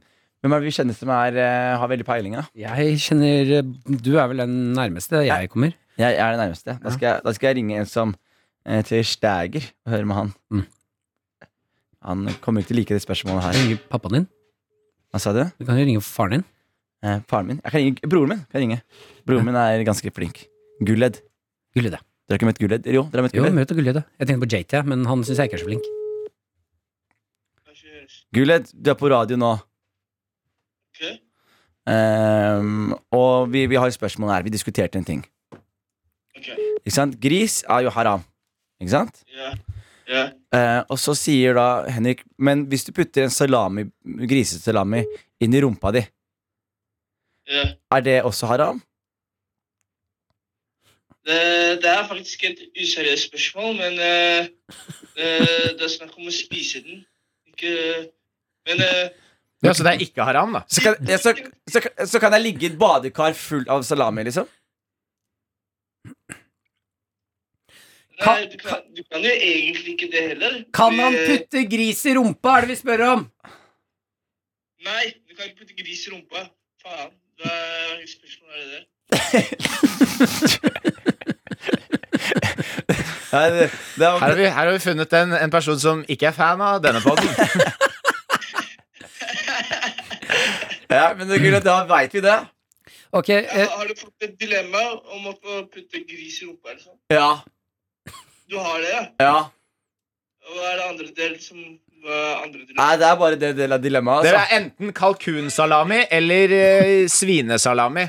[SPEAKER 2] Hvem er det vi kjenner som er, eh, har veldig peiling, da?
[SPEAKER 4] Jeg kjenner eh, Du er vel den nærmeste jeg kommer.
[SPEAKER 2] Jeg, jeg er det nærmeste. Da skal, jeg, da skal jeg ringe en som eh, heter Stæger, og høre med han.
[SPEAKER 4] Mm.
[SPEAKER 2] Han kommer ikke til å like det spørsmålet
[SPEAKER 4] Jeg
[SPEAKER 2] her.
[SPEAKER 4] ringer pappaen din.
[SPEAKER 2] Hva sa du?
[SPEAKER 4] Du kan jo ringe faren din.
[SPEAKER 2] Eh, faren min? Jeg kan ringe broren min. kan jeg ringe Broren min er ganske flink. Gulled.
[SPEAKER 4] Gullede.
[SPEAKER 2] Dere har ikke møtt Gulled? Jo, dere har møtt
[SPEAKER 4] Jo,
[SPEAKER 2] Gulled.
[SPEAKER 4] møt Gullede. Jeg tenkte på JT, ja, men han syns jeg ikke er så flink.
[SPEAKER 2] Gulled, du er på radio nå.
[SPEAKER 6] Ok.
[SPEAKER 2] Ehm, og vi, vi har et spørsmål her. Vi diskuterte en ting.
[SPEAKER 6] Ok.
[SPEAKER 2] Ikke sant? Gris er jo haram. Ikke sant?
[SPEAKER 6] Ja. Ja.
[SPEAKER 2] Eh, og så sier da Henrik Men hvis du putter en salami, grisesalami inn i rumpa di,
[SPEAKER 6] Ja.
[SPEAKER 2] er det også haram?
[SPEAKER 6] Det, det er faktisk et useriøst spørsmål, men eh, eh, det er snakk om å spise den. Ikke Men eh,
[SPEAKER 5] Ja, så det er ikke haram, da.
[SPEAKER 2] Så kan, ja, så, så, så kan jeg ligge i et badekar fullt av salami, liksom?
[SPEAKER 6] nei, du kan, du kan jo egentlig ikke det heller.
[SPEAKER 4] Kan han
[SPEAKER 6] fordi, eh,
[SPEAKER 4] putte gris i rumpa, er det vi spør om?
[SPEAKER 6] eh, Nei, du kan ikke putte gris i rumpa. Faen. Hva slags spørsmål er det der?
[SPEAKER 2] Nei, det, det
[SPEAKER 5] Her har
[SPEAKER 2] var,
[SPEAKER 5] vi, her har vi funnet en, en person som ikke er fan av denne
[SPEAKER 4] *laughs*
[SPEAKER 5] poden.
[SPEAKER 4] Altså.
[SPEAKER 2] ja, men det, Gulled, da veit vi det.
[SPEAKER 4] Ok, eh,
[SPEAKER 6] Har- Har du fått et dilemma om å få putte gris i rumpa? Liksom?
[SPEAKER 2] Ja.
[SPEAKER 6] Du har det, ja?
[SPEAKER 2] ja
[SPEAKER 6] Hva er det andre del som Hva er andre del?
[SPEAKER 2] Nei, det er bare det, det dilemmaet.
[SPEAKER 5] Det
[SPEAKER 2] Altså.
[SPEAKER 5] er enten kalkunsalami eller eh, svinesalami.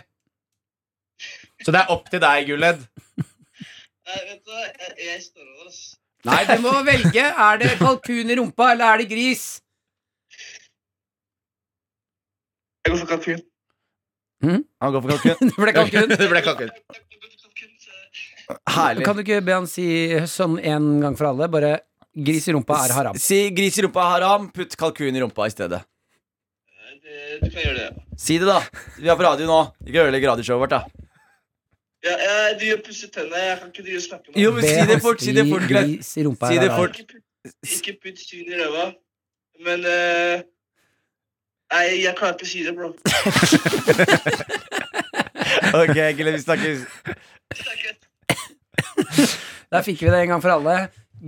[SPEAKER 5] Så det er opp til deg, Gulled.
[SPEAKER 6] Nei, vet du hva, jeg, jeg står over, ass.
[SPEAKER 4] nei, du må velge. Er det kalkun i rumpa, eller er det gris?
[SPEAKER 6] Jeg går for kalkun.
[SPEAKER 2] Han går for
[SPEAKER 4] *laughs*
[SPEAKER 2] kalkun.
[SPEAKER 4] Det ble kalkun.
[SPEAKER 5] *laughs* Det ble kalkun.
[SPEAKER 6] Jeg går for kalkun, så
[SPEAKER 2] Herlig.
[SPEAKER 4] Kan du ikke be han si sånn en gang for alle? Bare gris i rumpa er *laughs* haram.
[SPEAKER 2] Si gris i rumpa er haram, putt kalkun i rumpa i stedet.
[SPEAKER 6] Nei, det- Du kan gjøre det.
[SPEAKER 2] Si det, da. Vi er på radio nå. Ikke ødelegg radioshowet vårt, da.
[SPEAKER 6] Ja, jeg driver og pusser tennene. Jeg kan ikke drive og snakke med
[SPEAKER 2] Jo, men
[SPEAKER 4] Be
[SPEAKER 2] si det
[SPEAKER 4] han
[SPEAKER 2] fort. Si det fort, Glenn.
[SPEAKER 4] Gris i rumpa
[SPEAKER 2] Si
[SPEAKER 4] er
[SPEAKER 2] det
[SPEAKER 4] haram.
[SPEAKER 2] fort.
[SPEAKER 6] Ikke putt, ikke putt svin i ræva. Men eh, Nei, jeg klarer ikke å si det, bro.
[SPEAKER 2] Ok, Glenn, vi snakkes.
[SPEAKER 4] Der fikk vi det en gang for alle.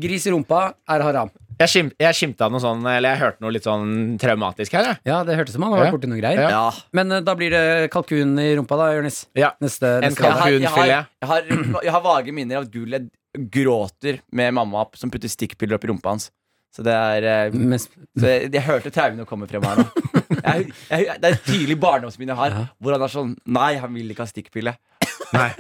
[SPEAKER 4] Gris i rumpa er haram.
[SPEAKER 5] Jeg, skim, jeg skimta noe sånn, eller jeg hørte noe litt sånn traumatisk her. Jeg.
[SPEAKER 4] Ja, det hørtes som han har vært
[SPEAKER 5] Ja.
[SPEAKER 4] borti noen greier.
[SPEAKER 5] Ja.
[SPEAKER 2] Ja.
[SPEAKER 4] Men eh, da blir det kalkun i rumpa, da, Jonis.
[SPEAKER 5] Ja.
[SPEAKER 4] Neste,
[SPEAKER 5] En
[SPEAKER 4] neste
[SPEAKER 5] kal-
[SPEAKER 4] gang.
[SPEAKER 2] jeg, har,
[SPEAKER 5] Kalkunfilet.
[SPEAKER 2] jeg, har, jeg, har, jeg har vage minner av at Guled gråter med mamma som putter stikkpiller opp i rumpa hans. Så det er eh,
[SPEAKER 4] Mens-
[SPEAKER 2] så jeg, jeg hørte traumene komme frem her nå. Jeg, jeg, det er et tydelig barndomsminne jeg har, hvor han er sånn Nei, han vil ikke ha stikkpille.
[SPEAKER 5] Nei.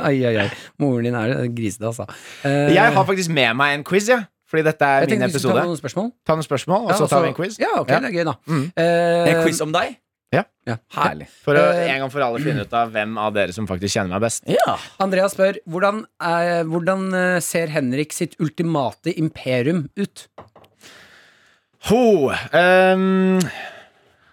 [SPEAKER 4] Ai, ai, ai. Moren din er en grisete, altså. Eh,
[SPEAKER 5] Jeg har faktisk med meg en quiz, jeg. Fordi dette er
[SPEAKER 4] jeg
[SPEAKER 5] min
[SPEAKER 4] tenkte vi skulle
[SPEAKER 5] episode.
[SPEAKER 4] ta noen spørsmål.
[SPEAKER 5] Ta noen spørsmål, og
[SPEAKER 4] Ja,
[SPEAKER 5] så
[SPEAKER 4] altså-
[SPEAKER 5] tar vi en quiz.
[SPEAKER 4] Ja, ok,
[SPEAKER 5] Ja.
[SPEAKER 4] det er gøy, da.
[SPEAKER 5] Mm.
[SPEAKER 4] Eh,
[SPEAKER 2] En quiz om deg?
[SPEAKER 5] Ja.
[SPEAKER 4] ja.
[SPEAKER 2] Herlig.
[SPEAKER 5] For å
[SPEAKER 4] Eh,
[SPEAKER 5] en gang for alle finne ut av hvem av dere som faktisk kjenner meg best.
[SPEAKER 2] Ja.
[SPEAKER 4] Andreas spør hvordan, er, hvordan eh, ser Henrik sitt ultimate imperium ut?
[SPEAKER 5] Ho, ehm,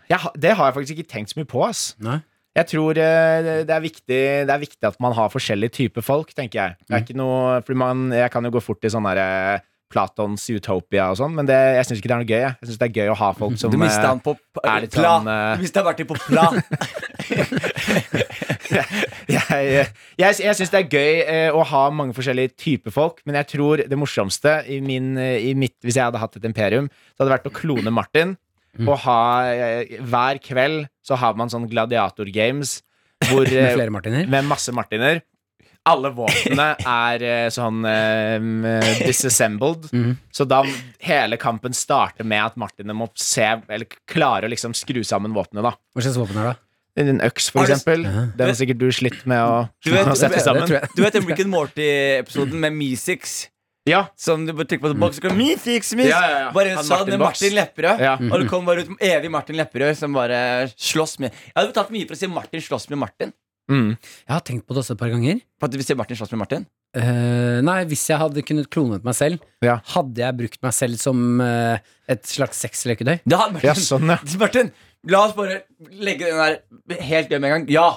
[SPEAKER 5] jeg, ha- det har jeg faktisk ikke tenkt så mye på, ass.
[SPEAKER 4] Nei.
[SPEAKER 5] Jeg tror eh, det er, viktig, det er viktig at man har forskjellige typer folk, tenker jeg.
[SPEAKER 2] Mm.
[SPEAKER 5] Det er ikke noe, fordi man, jeg kan jo gå fort i sånn der eh, Platons Utopia og sånn, men det, jeg syns ikke det er noe gøy. Jeg, jeg synes det er gøy å ha folk som
[SPEAKER 2] *laughs* Du mista
[SPEAKER 5] eh,
[SPEAKER 2] han på p-
[SPEAKER 5] er litt
[SPEAKER 2] pla.
[SPEAKER 5] sånn, eh,
[SPEAKER 2] Du mista verktøy på pla.
[SPEAKER 5] *laughs* jeg, eh, jeg, jeg syns det er gøy eh, å ha mange forskjellige typer folk, men jeg tror det morsomste i min, eh, i mitt, hvis jeg hadde hatt et imperium, så hadde det vært å klone Martin.
[SPEAKER 2] Mm.
[SPEAKER 5] Og ha eh, Hver kveld så har man sånn gladiatorgames
[SPEAKER 2] *laughs*
[SPEAKER 5] hvor
[SPEAKER 4] Med
[SPEAKER 5] eh,
[SPEAKER 4] flere martiner?
[SPEAKER 5] *laughs* med masse martiner. Alle våpnene er eh, sånn eh, disassembled. Så da hele kampen starter med at martinene må se Eller klare å liksom skru sammen våpnene, da.
[SPEAKER 4] Hva slags våpen er det?
[SPEAKER 5] En øks, for
[SPEAKER 2] Har du-
[SPEAKER 5] eksempel. Den har sikkert du slitt med å,
[SPEAKER 2] Du vet,
[SPEAKER 5] å *laughs* sette sammen.
[SPEAKER 4] tror jeg.
[SPEAKER 2] du vet den Rick and Morty-episoden med Meesix?
[SPEAKER 5] Ja.
[SPEAKER 2] Som du bare trykker på en boks, så kommer Meesix, Meesix.
[SPEAKER 5] Ja, ja, ja.
[SPEAKER 2] Bare
[SPEAKER 5] Han
[SPEAKER 2] sånn
[SPEAKER 5] Martin
[SPEAKER 2] Martin,
[SPEAKER 5] Boks.
[SPEAKER 2] Martin Lepperød.
[SPEAKER 5] Ja.
[SPEAKER 2] Og det kom bare ut evig Martin Lepperød som bare slåss med Jeg hadde betalt mye for å se Martin slåss med Martin.
[SPEAKER 5] Mm.
[SPEAKER 4] Jeg har tenkt på det også et par ganger.
[SPEAKER 2] For at vi ser Martin slåss med Martin.
[SPEAKER 4] Eh, nei, hvis jeg hadde kunnet klonet meg selv,
[SPEAKER 5] Ja.
[SPEAKER 4] hadde jeg brukt meg selv som eh, et slags sexleketøy?
[SPEAKER 2] Det har Martin. *laughs*
[SPEAKER 5] ja, sånn, ja.
[SPEAKER 2] Martin, La oss bare legge den der helt gøy med en gang. Ja!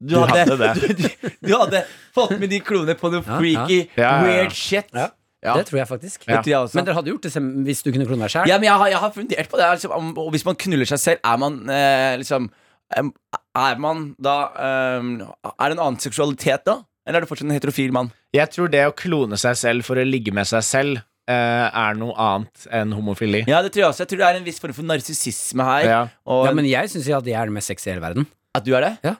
[SPEAKER 2] Du hadde,
[SPEAKER 7] hadde det.
[SPEAKER 2] *laughs* Du, du, du hadde fått med de klonene på noe
[SPEAKER 4] Ja,
[SPEAKER 2] freaky,
[SPEAKER 5] Ja, ja, ja.
[SPEAKER 2] weird shit.
[SPEAKER 4] Ja.
[SPEAKER 2] Ja.
[SPEAKER 4] Det tror jeg faktisk.
[SPEAKER 2] Det tror jeg også.
[SPEAKER 4] Men dere hadde gjort det sem- hvis du kunne klona deg sjæl?
[SPEAKER 2] Ja, men jeg har, jeg har fundert på det. her, Liksom, om, og hvis man knuller seg selv, er man eh, liksom em, Er man da em, Er det en annen seksualitet da? Eller er det fortsatt en heterofil mann?
[SPEAKER 5] Jeg tror det å klone seg selv for å ligge med seg selv eh, er noe annet enn homofili.
[SPEAKER 2] Ja, det tror jeg også. Jeg tror det er en viss form for narsissisme her.
[SPEAKER 5] Ja.
[SPEAKER 2] Og
[SPEAKER 4] Ja, men jeg syns at jeg er den mest sexy i hele verden.
[SPEAKER 2] at du er det?
[SPEAKER 4] Ja.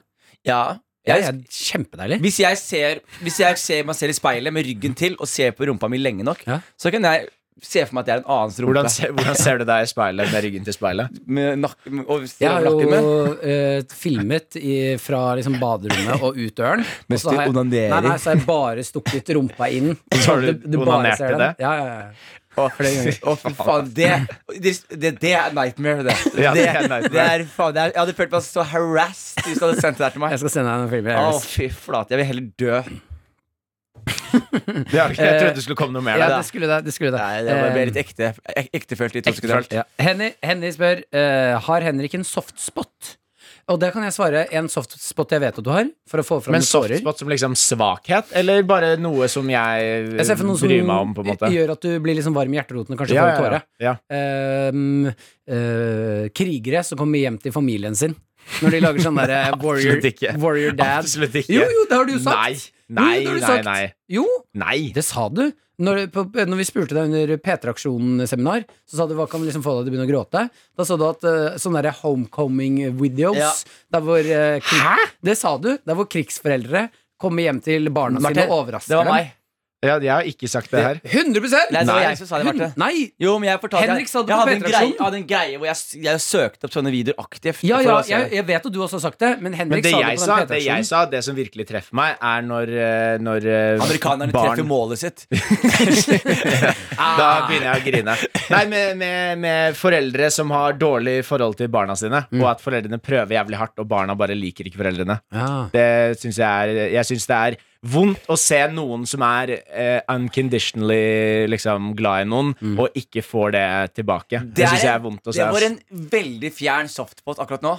[SPEAKER 2] ja.
[SPEAKER 4] Jeg,
[SPEAKER 2] Jeg,
[SPEAKER 4] er kjempedeilig.
[SPEAKER 2] hvis, jeg ser, hvis jeg ser meg selv i speilet med ryggen til og ser på rumpa mi lenge nok,
[SPEAKER 4] Ja.
[SPEAKER 2] så kan jeg se for meg at det er en annens rumpe.
[SPEAKER 5] Hvordan, ser, hvordan ser du deg i speilet med ryggen til speilet?
[SPEAKER 2] Med nak med- og
[SPEAKER 4] Jeg har jo
[SPEAKER 2] nakken min.
[SPEAKER 4] eh, filmet i, fra liksom baderommet og ut døren. og
[SPEAKER 2] Mens
[SPEAKER 4] så har
[SPEAKER 2] du
[SPEAKER 4] jeg-
[SPEAKER 2] onanerer.
[SPEAKER 4] Nei, nei, så har jeg bare stukket rumpa inn.
[SPEAKER 5] Så har du
[SPEAKER 4] bare
[SPEAKER 5] onanert
[SPEAKER 4] ser
[SPEAKER 5] til
[SPEAKER 4] den.
[SPEAKER 5] det?
[SPEAKER 4] Ja, ja, ja.
[SPEAKER 2] Å, fy faen. Det, det, det, det er nightmare, det.
[SPEAKER 5] *laughs* Ja, det er nightmare.
[SPEAKER 2] det er faen, det er, jeg hadde følt meg så harassed hvis du hadde sendt det der til
[SPEAKER 5] *laughs*
[SPEAKER 2] meg.
[SPEAKER 4] Jeg skal sende deg noen filmer.
[SPEAKER 2] Å,
[SPEAKER 4] Elvis.
[SPEAKER 2] fy flate. Jeg vil heller dø.
[SPEAKER 5] Ja, ok, jeg trodde det skulle komme noe mer.
[SPEAKER 4] ja,
[SPEAKER 5] der.
[SPEAKER 4] det skulle det. det, skulle det.
[SPEAKER 2] Nei, det
[SPEAKER 4] Eh,
[SPEAKER 2] ble litt ekte, ek ektefølt i to sekunder.
[SPEAKER 4] Ja. Henny, Henny spør eh, Har Henrik en softspot. Og det kan jeg svare. En softspot jeg vet at du har. For å få fram
[SPEAKER 5] Men
[SPEAKER 4] litt tårer.
[SPEAKER 5] softspot som liksom svakhet, eller bare noe som jeg,
[SPEAKER 4] Jeg ser for noe som
[SPEAKER 5] bryr meg om, på en måte?
[SPEAKER 4] gjør at du blir liksom varm i hjerteroten og kanskje
[SPEAKER 5] Ja,
[SPEAKER 4] får en
[SPEAKER 5] ja,
[SPEAKER 4] tåre.
[SPEAKER 5] ja, ja.
[SPEAKER 4] Ehm, eh, krigere som kommer hjem til familien sin. Når de lager sånn
[SPEAKER 2] *laughs*
[SPEAKER 4] derre warrior,
[SPEAKER 5] Absolutt ikke.
[SPEAKER 4] warrior dad.
[SPEAKER 5] Absolutt ikke.
[SPEAKER 4] Jo, jo, det har du jo sagt!
[SPEAKER 5] Nei,
[SPEAKER 4] Jo,
[SPEAKER 5] nei,
[SPEAKER 4] det har du
[SPEAKER 5] nei,
[SPEAKER 4] sagt.
[SPEAKER 5] nei.
[SPEAKER 4] Jo,
[SPEAKER 5] nei.
[SPEAKER 4] det sa du. Når, på, når vi spurte deg under P3-aksjonen-seminar, så sa du hva kan liksom få deg til å begynne å gråte. Da sa du at eh, sånne der homecoming-videos
[SPEAKER 2] Ja.
[SPEAKER 4] der hvor, eh, krig- Det sa du. Der hvor krigsforeldre kommer hjem til barna sine
[SPEAKER 2] Martin,
[SPEAKER 4] og overrasker
[SPEAKER 2] Det var meg.
[SPEAKER 5] Ja, jeg har ikke sagt det her.
[SPEAKER 4] dem. 100
[SPEAKER 2] Nei, det var jeg som sa det, Marte.
[SPEAKER 4] Hun- Nei!
[SPEAKER 2] Jo, men jeg fortalte
[SPEAKER 4] Henrik sa det
[SPEAKER 2] jeg,
[SPEAKER 4] på
[SPEAKER 2] jeg hadde en greie,
[SPEAKER 4] P3-aksjonen.
[SPEAKER 2] jeg hadde en greie hvor jeg, s- jeg søkte opp sånne videoer aktivt.
[SPEAKER 4] Ja,
[SPEAKER 2] for
[SPEAKER 4] ja,
[SPEAKER 2] å se
[SPEAKER 4] jeg,
[SPEAKER 2] det.
[SPEAKER 4] jeg vet at du også har sagt det, men Henrik
[SPEAKER 5] Men det
[SPEAKER 4] sa
[SPEAKER 5] jeg,
[SPEAKER 4] det på
[SPEAKER 5] sa,
[SPEAKER 4] den
[SPEAKER 5] det jeg
[SPEAKER 4] P3-aksjonen.
[SPEAKER 5] sa, det som virkelig treffer meg, er når, eh, når eh,
[SPEAKER 2] Amerikanerne
[SPEAKER 5] barn
[SPEAKER 2] treffer målet sitt.
[SPEAKER 5] Da begynner jeg å grine. Nei, med, med, med foreldre som har dårlig forhold til barna sine, og at foreldrene prøver jævlig hardt, og barna bare liker ikke foreldrene.
[SPEAKER 4] Ja.
[SPEAKER 5] Det synes jeg er Jeg syns det er vondt å se noen som er eh, unconditionally liksom, glad i noen, og ikke får det tilbake. Det, synes
[SPEAKER 2] er
[SPEAKER 5] syns jeg
[SPEAKER 2] en-
[SPEAKER 5] er vondt å se.
[SPEAKER 2] Mm. Det var
[SPEAKER 5] ass.
[SPEAKER 2] en veldig fjern softpot akkurat nå.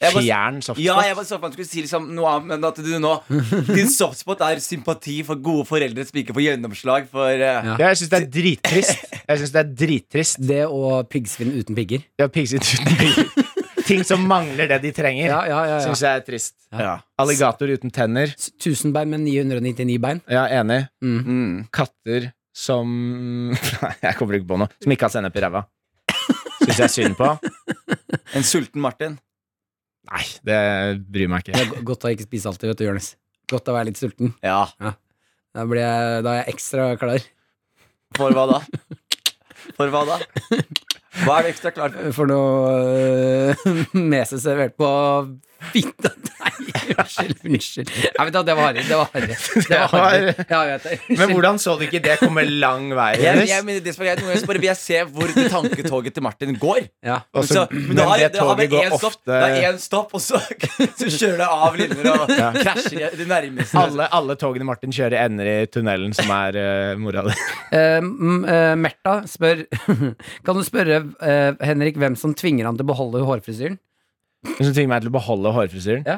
[SPEAKER 2] Jeg bare-
[SPEAKER 5] Fjern softspot.
[SPEAKER 2] Ja, jeg var så for at du skulle si liksom noe annet, men at du nå Din softspot er sympati for gode foreldre som ikke får gjennomslag for eh,
[SPEAKER 4] Ja.
[SPEAKER 5] Ja, jeg syns det er drittrist.
[SPEAKER 2] *laughs*
[SPEAKER 5] Jeg synes det er drittrist.
[SPEAKER 4] Det og piggsvinn uten pigger.
[SPEAKER 5] Det er piggsvin uten pigger. Ting som mangler det de trenger,
[SPEAKER 4] Ja, ja, ja, ja.
[SPEAKER 5] syns jeg er trist.
[SPEAKER 2] ja.
[SPEAKER 5] Alligator uten tenner.
[SPEAKER 4] S- 1000 bein med 999 bein.
[SPEAKER 5] Ja, enig.
[SPEAKER 2] Mm.
[SPEAKER 5] Katter som *laughs* Nei, jeg kommer ikke på noe. Som ikke har sennep i ræva. Syns jeg synd på.
[SPEAKER 2] En sulten Martin.
[SPEAKER 5] Nei, det bryr meg
[SPEAKER 4] Det
[SPEAKER 5] ikke.
[SPEAKER 4] er go- godt å ikke spise alltid, vet du, Jonis. Godt å være litt sulten.
[SPEAKER 2] Ja.
[SPEAKER 4] Da, blir jeg, da er jeg ekstra klar
[SPEAKER 2] For hva da? For hva da? Hva er du ekstra klar for?
[SPEAKER 4] for noe øh, *laughs* mese servert på fitta *laughs* Nei, unnskyld. unnskyld. Nei, vet du, hva, det var harry. Det var harry. Det var harry. Ja, jeg vet det.
[SPEAKER 5] Men hvordan så du ikke det komme lang vei?
[SPEAKER 2] Jeg, jeg,
[SPEAKER 5] Jonas?
[SPEAKER 2] mener, det som er greit, Noen ganger så bare vil jeg se hvor det tanketoget til Martin går.
[SPEAKER 4] Ja.
[SPEAKER 5] Og så-
[SPEAKER 2] men det har, det har bare én stopp,
[SPEAKER 5] ofte-
[SPEAKER 2] det er én stopp, og så, *laughs* så kjører det av linjer og krasjer i det nærmeste.
[SPEAKER 5] alle, alle togene Martin kjører, ender i tunnelen, som er uh, mora di. *laughs*
[SPEAKER 4] Eh, m- eh, Märtha spør *laughs* Kan du spørre eh, Henrik hvem som tvinger han til å beholde hårfrisyren?
[SPEAKER 5] Hun som tvinger meg til å beholde hårfrisyren.
[SPEAKER 4] Ja.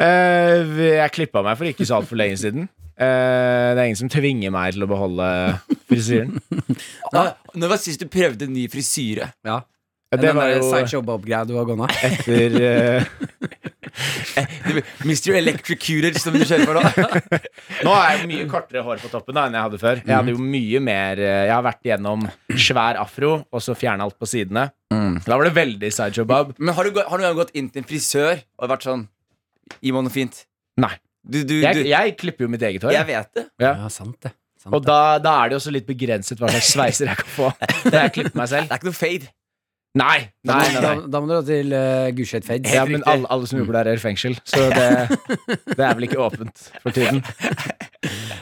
[SPEAKER 5] Eh, jeg klippa meg for ikke så altfor lenge siden. Eh, det er ingen som tvinger meg til å beholde frisyren.
[SPEAKER 2] Ah, Når var sist du prøvde en ny frisyre?
[SPEAKER 4] Ja.
[SPEAKER 5] Ja, Det
[SPEAKER 4] Den
[SPEAKER 5] var
[SPEAKER 4] der
[SPEAKER 5] jo
[SPEAKER 4] Sideshow Bob-greia du har gående av.
[SPEAKER 5] etter eh,
[SPEAKER 2] Mr. Electrocuted, som du kjører for nå.
[SPEAKER 5] Nå er jeg mye kortere hår på toppen da enn jeg hadde før. Jeg hadde jo mye mer eh, Jeg har vært gjennom svær afro, og så fjerna alt på sidene. Da var det veldig sideshow bob.
[SPEAKER 2] Men har du, gå- har du noen gang gått inn til en frisør og vært sånn Gi meg noe fint?
[SPEAKER 5] Nei.
[SPEAKER 2] Du, du, du,
[SPEAKER 5] Jeg,
[SPEAKER 2] jeg,
[SPEAKER 5] jeg klipper jo mitt eget hår.
[SPEAKER 2] vet det.
[SPEAKER 4] Ja, sant det. Sant
[SPEAKER 5] Og da, da er det jo også litt begrenset hva slags sveiser jeg kan *laughs* få. Da jeg klipper meg selv.
[SPEAKER 2] Det er ikke noe fade.
[SPEAKER 5] Nei! nei,
[SPEAKER 4] det.
[SPEAKER 5] nei,
[SPEAKER 4] Da,
[SPEAKER 5] nei.
[SPEAKER 4] da må du dra til uh, Gulset Fades.
[SPEAKER 5] Ja, men alle, alle som jobber der, er i fengsel, så det, det er vel ikke åpent for *laughs* tiden.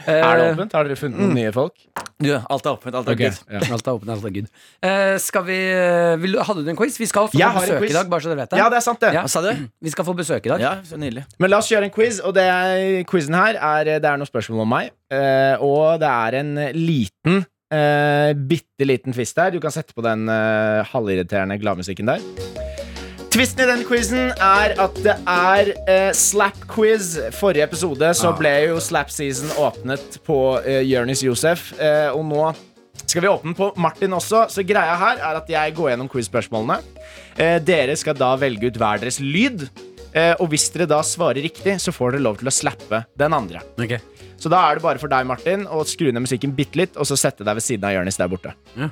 [SPEAKER 5] Er det åpent? Har dere funnet noen nye folk?
[SPEAKER 2] Du, alt er åpent. Alt
[SPEAKER 5] mm.
[SPEAKER 2] er
[SPEAKER 5] Ok,
[SPEAKER 2] okay.
[SPEAKER 5] ja.
[SPEAKER 4] Alt er åpent, alt er good. Eh, skal vi, eh, vil, du- hadde du en quiz? Vi skal få
[SPEAKER 5] Jeg har en
[SPEAKER 4] besøk
[SPEAKER 5] quiz.
[SPEAKER 4] i dag, bare så dere vet det.
[SPEAKER 5] ja, det er sant, det.
[SPEAKER 4] Ja.
[SPEAKER 2] Hva sa du?
[SPEAKER 4] Vi skal få besøk i dag.
[SPEAKER 2] Ja, så nydelig.
[SPEAKER 5] Men la oss kjøre en quiz, og det er, quizen her er Det er noen spørsmål om meg, eh, og det er en liten Eh, bitte liten twist der. Du kan sette på den eh, halvirriterende gladmusikken der. Twisten i den quizen er at det er eh, slap-quiz. Forrige episode så ble jo slap-season åpnet på eh, Jonis Josef, eh, og nå skal vi åpne på Martin også. Så greia her er at jeg går gjennom quiz-spørsmålene. Eh, dere skal da velge ut hver deres lyd, eh, og hvis dere da svarer riktig, så får dere lov til å slappe den andre.
[SPEAKER 4] Ok.
[SPEAKER 5] Så da er det bare for deg, Martin, å skru ned musikken bitte litt, og så sette deg ved siden av Jonis der borte.
[SPEAKER 4] Ja.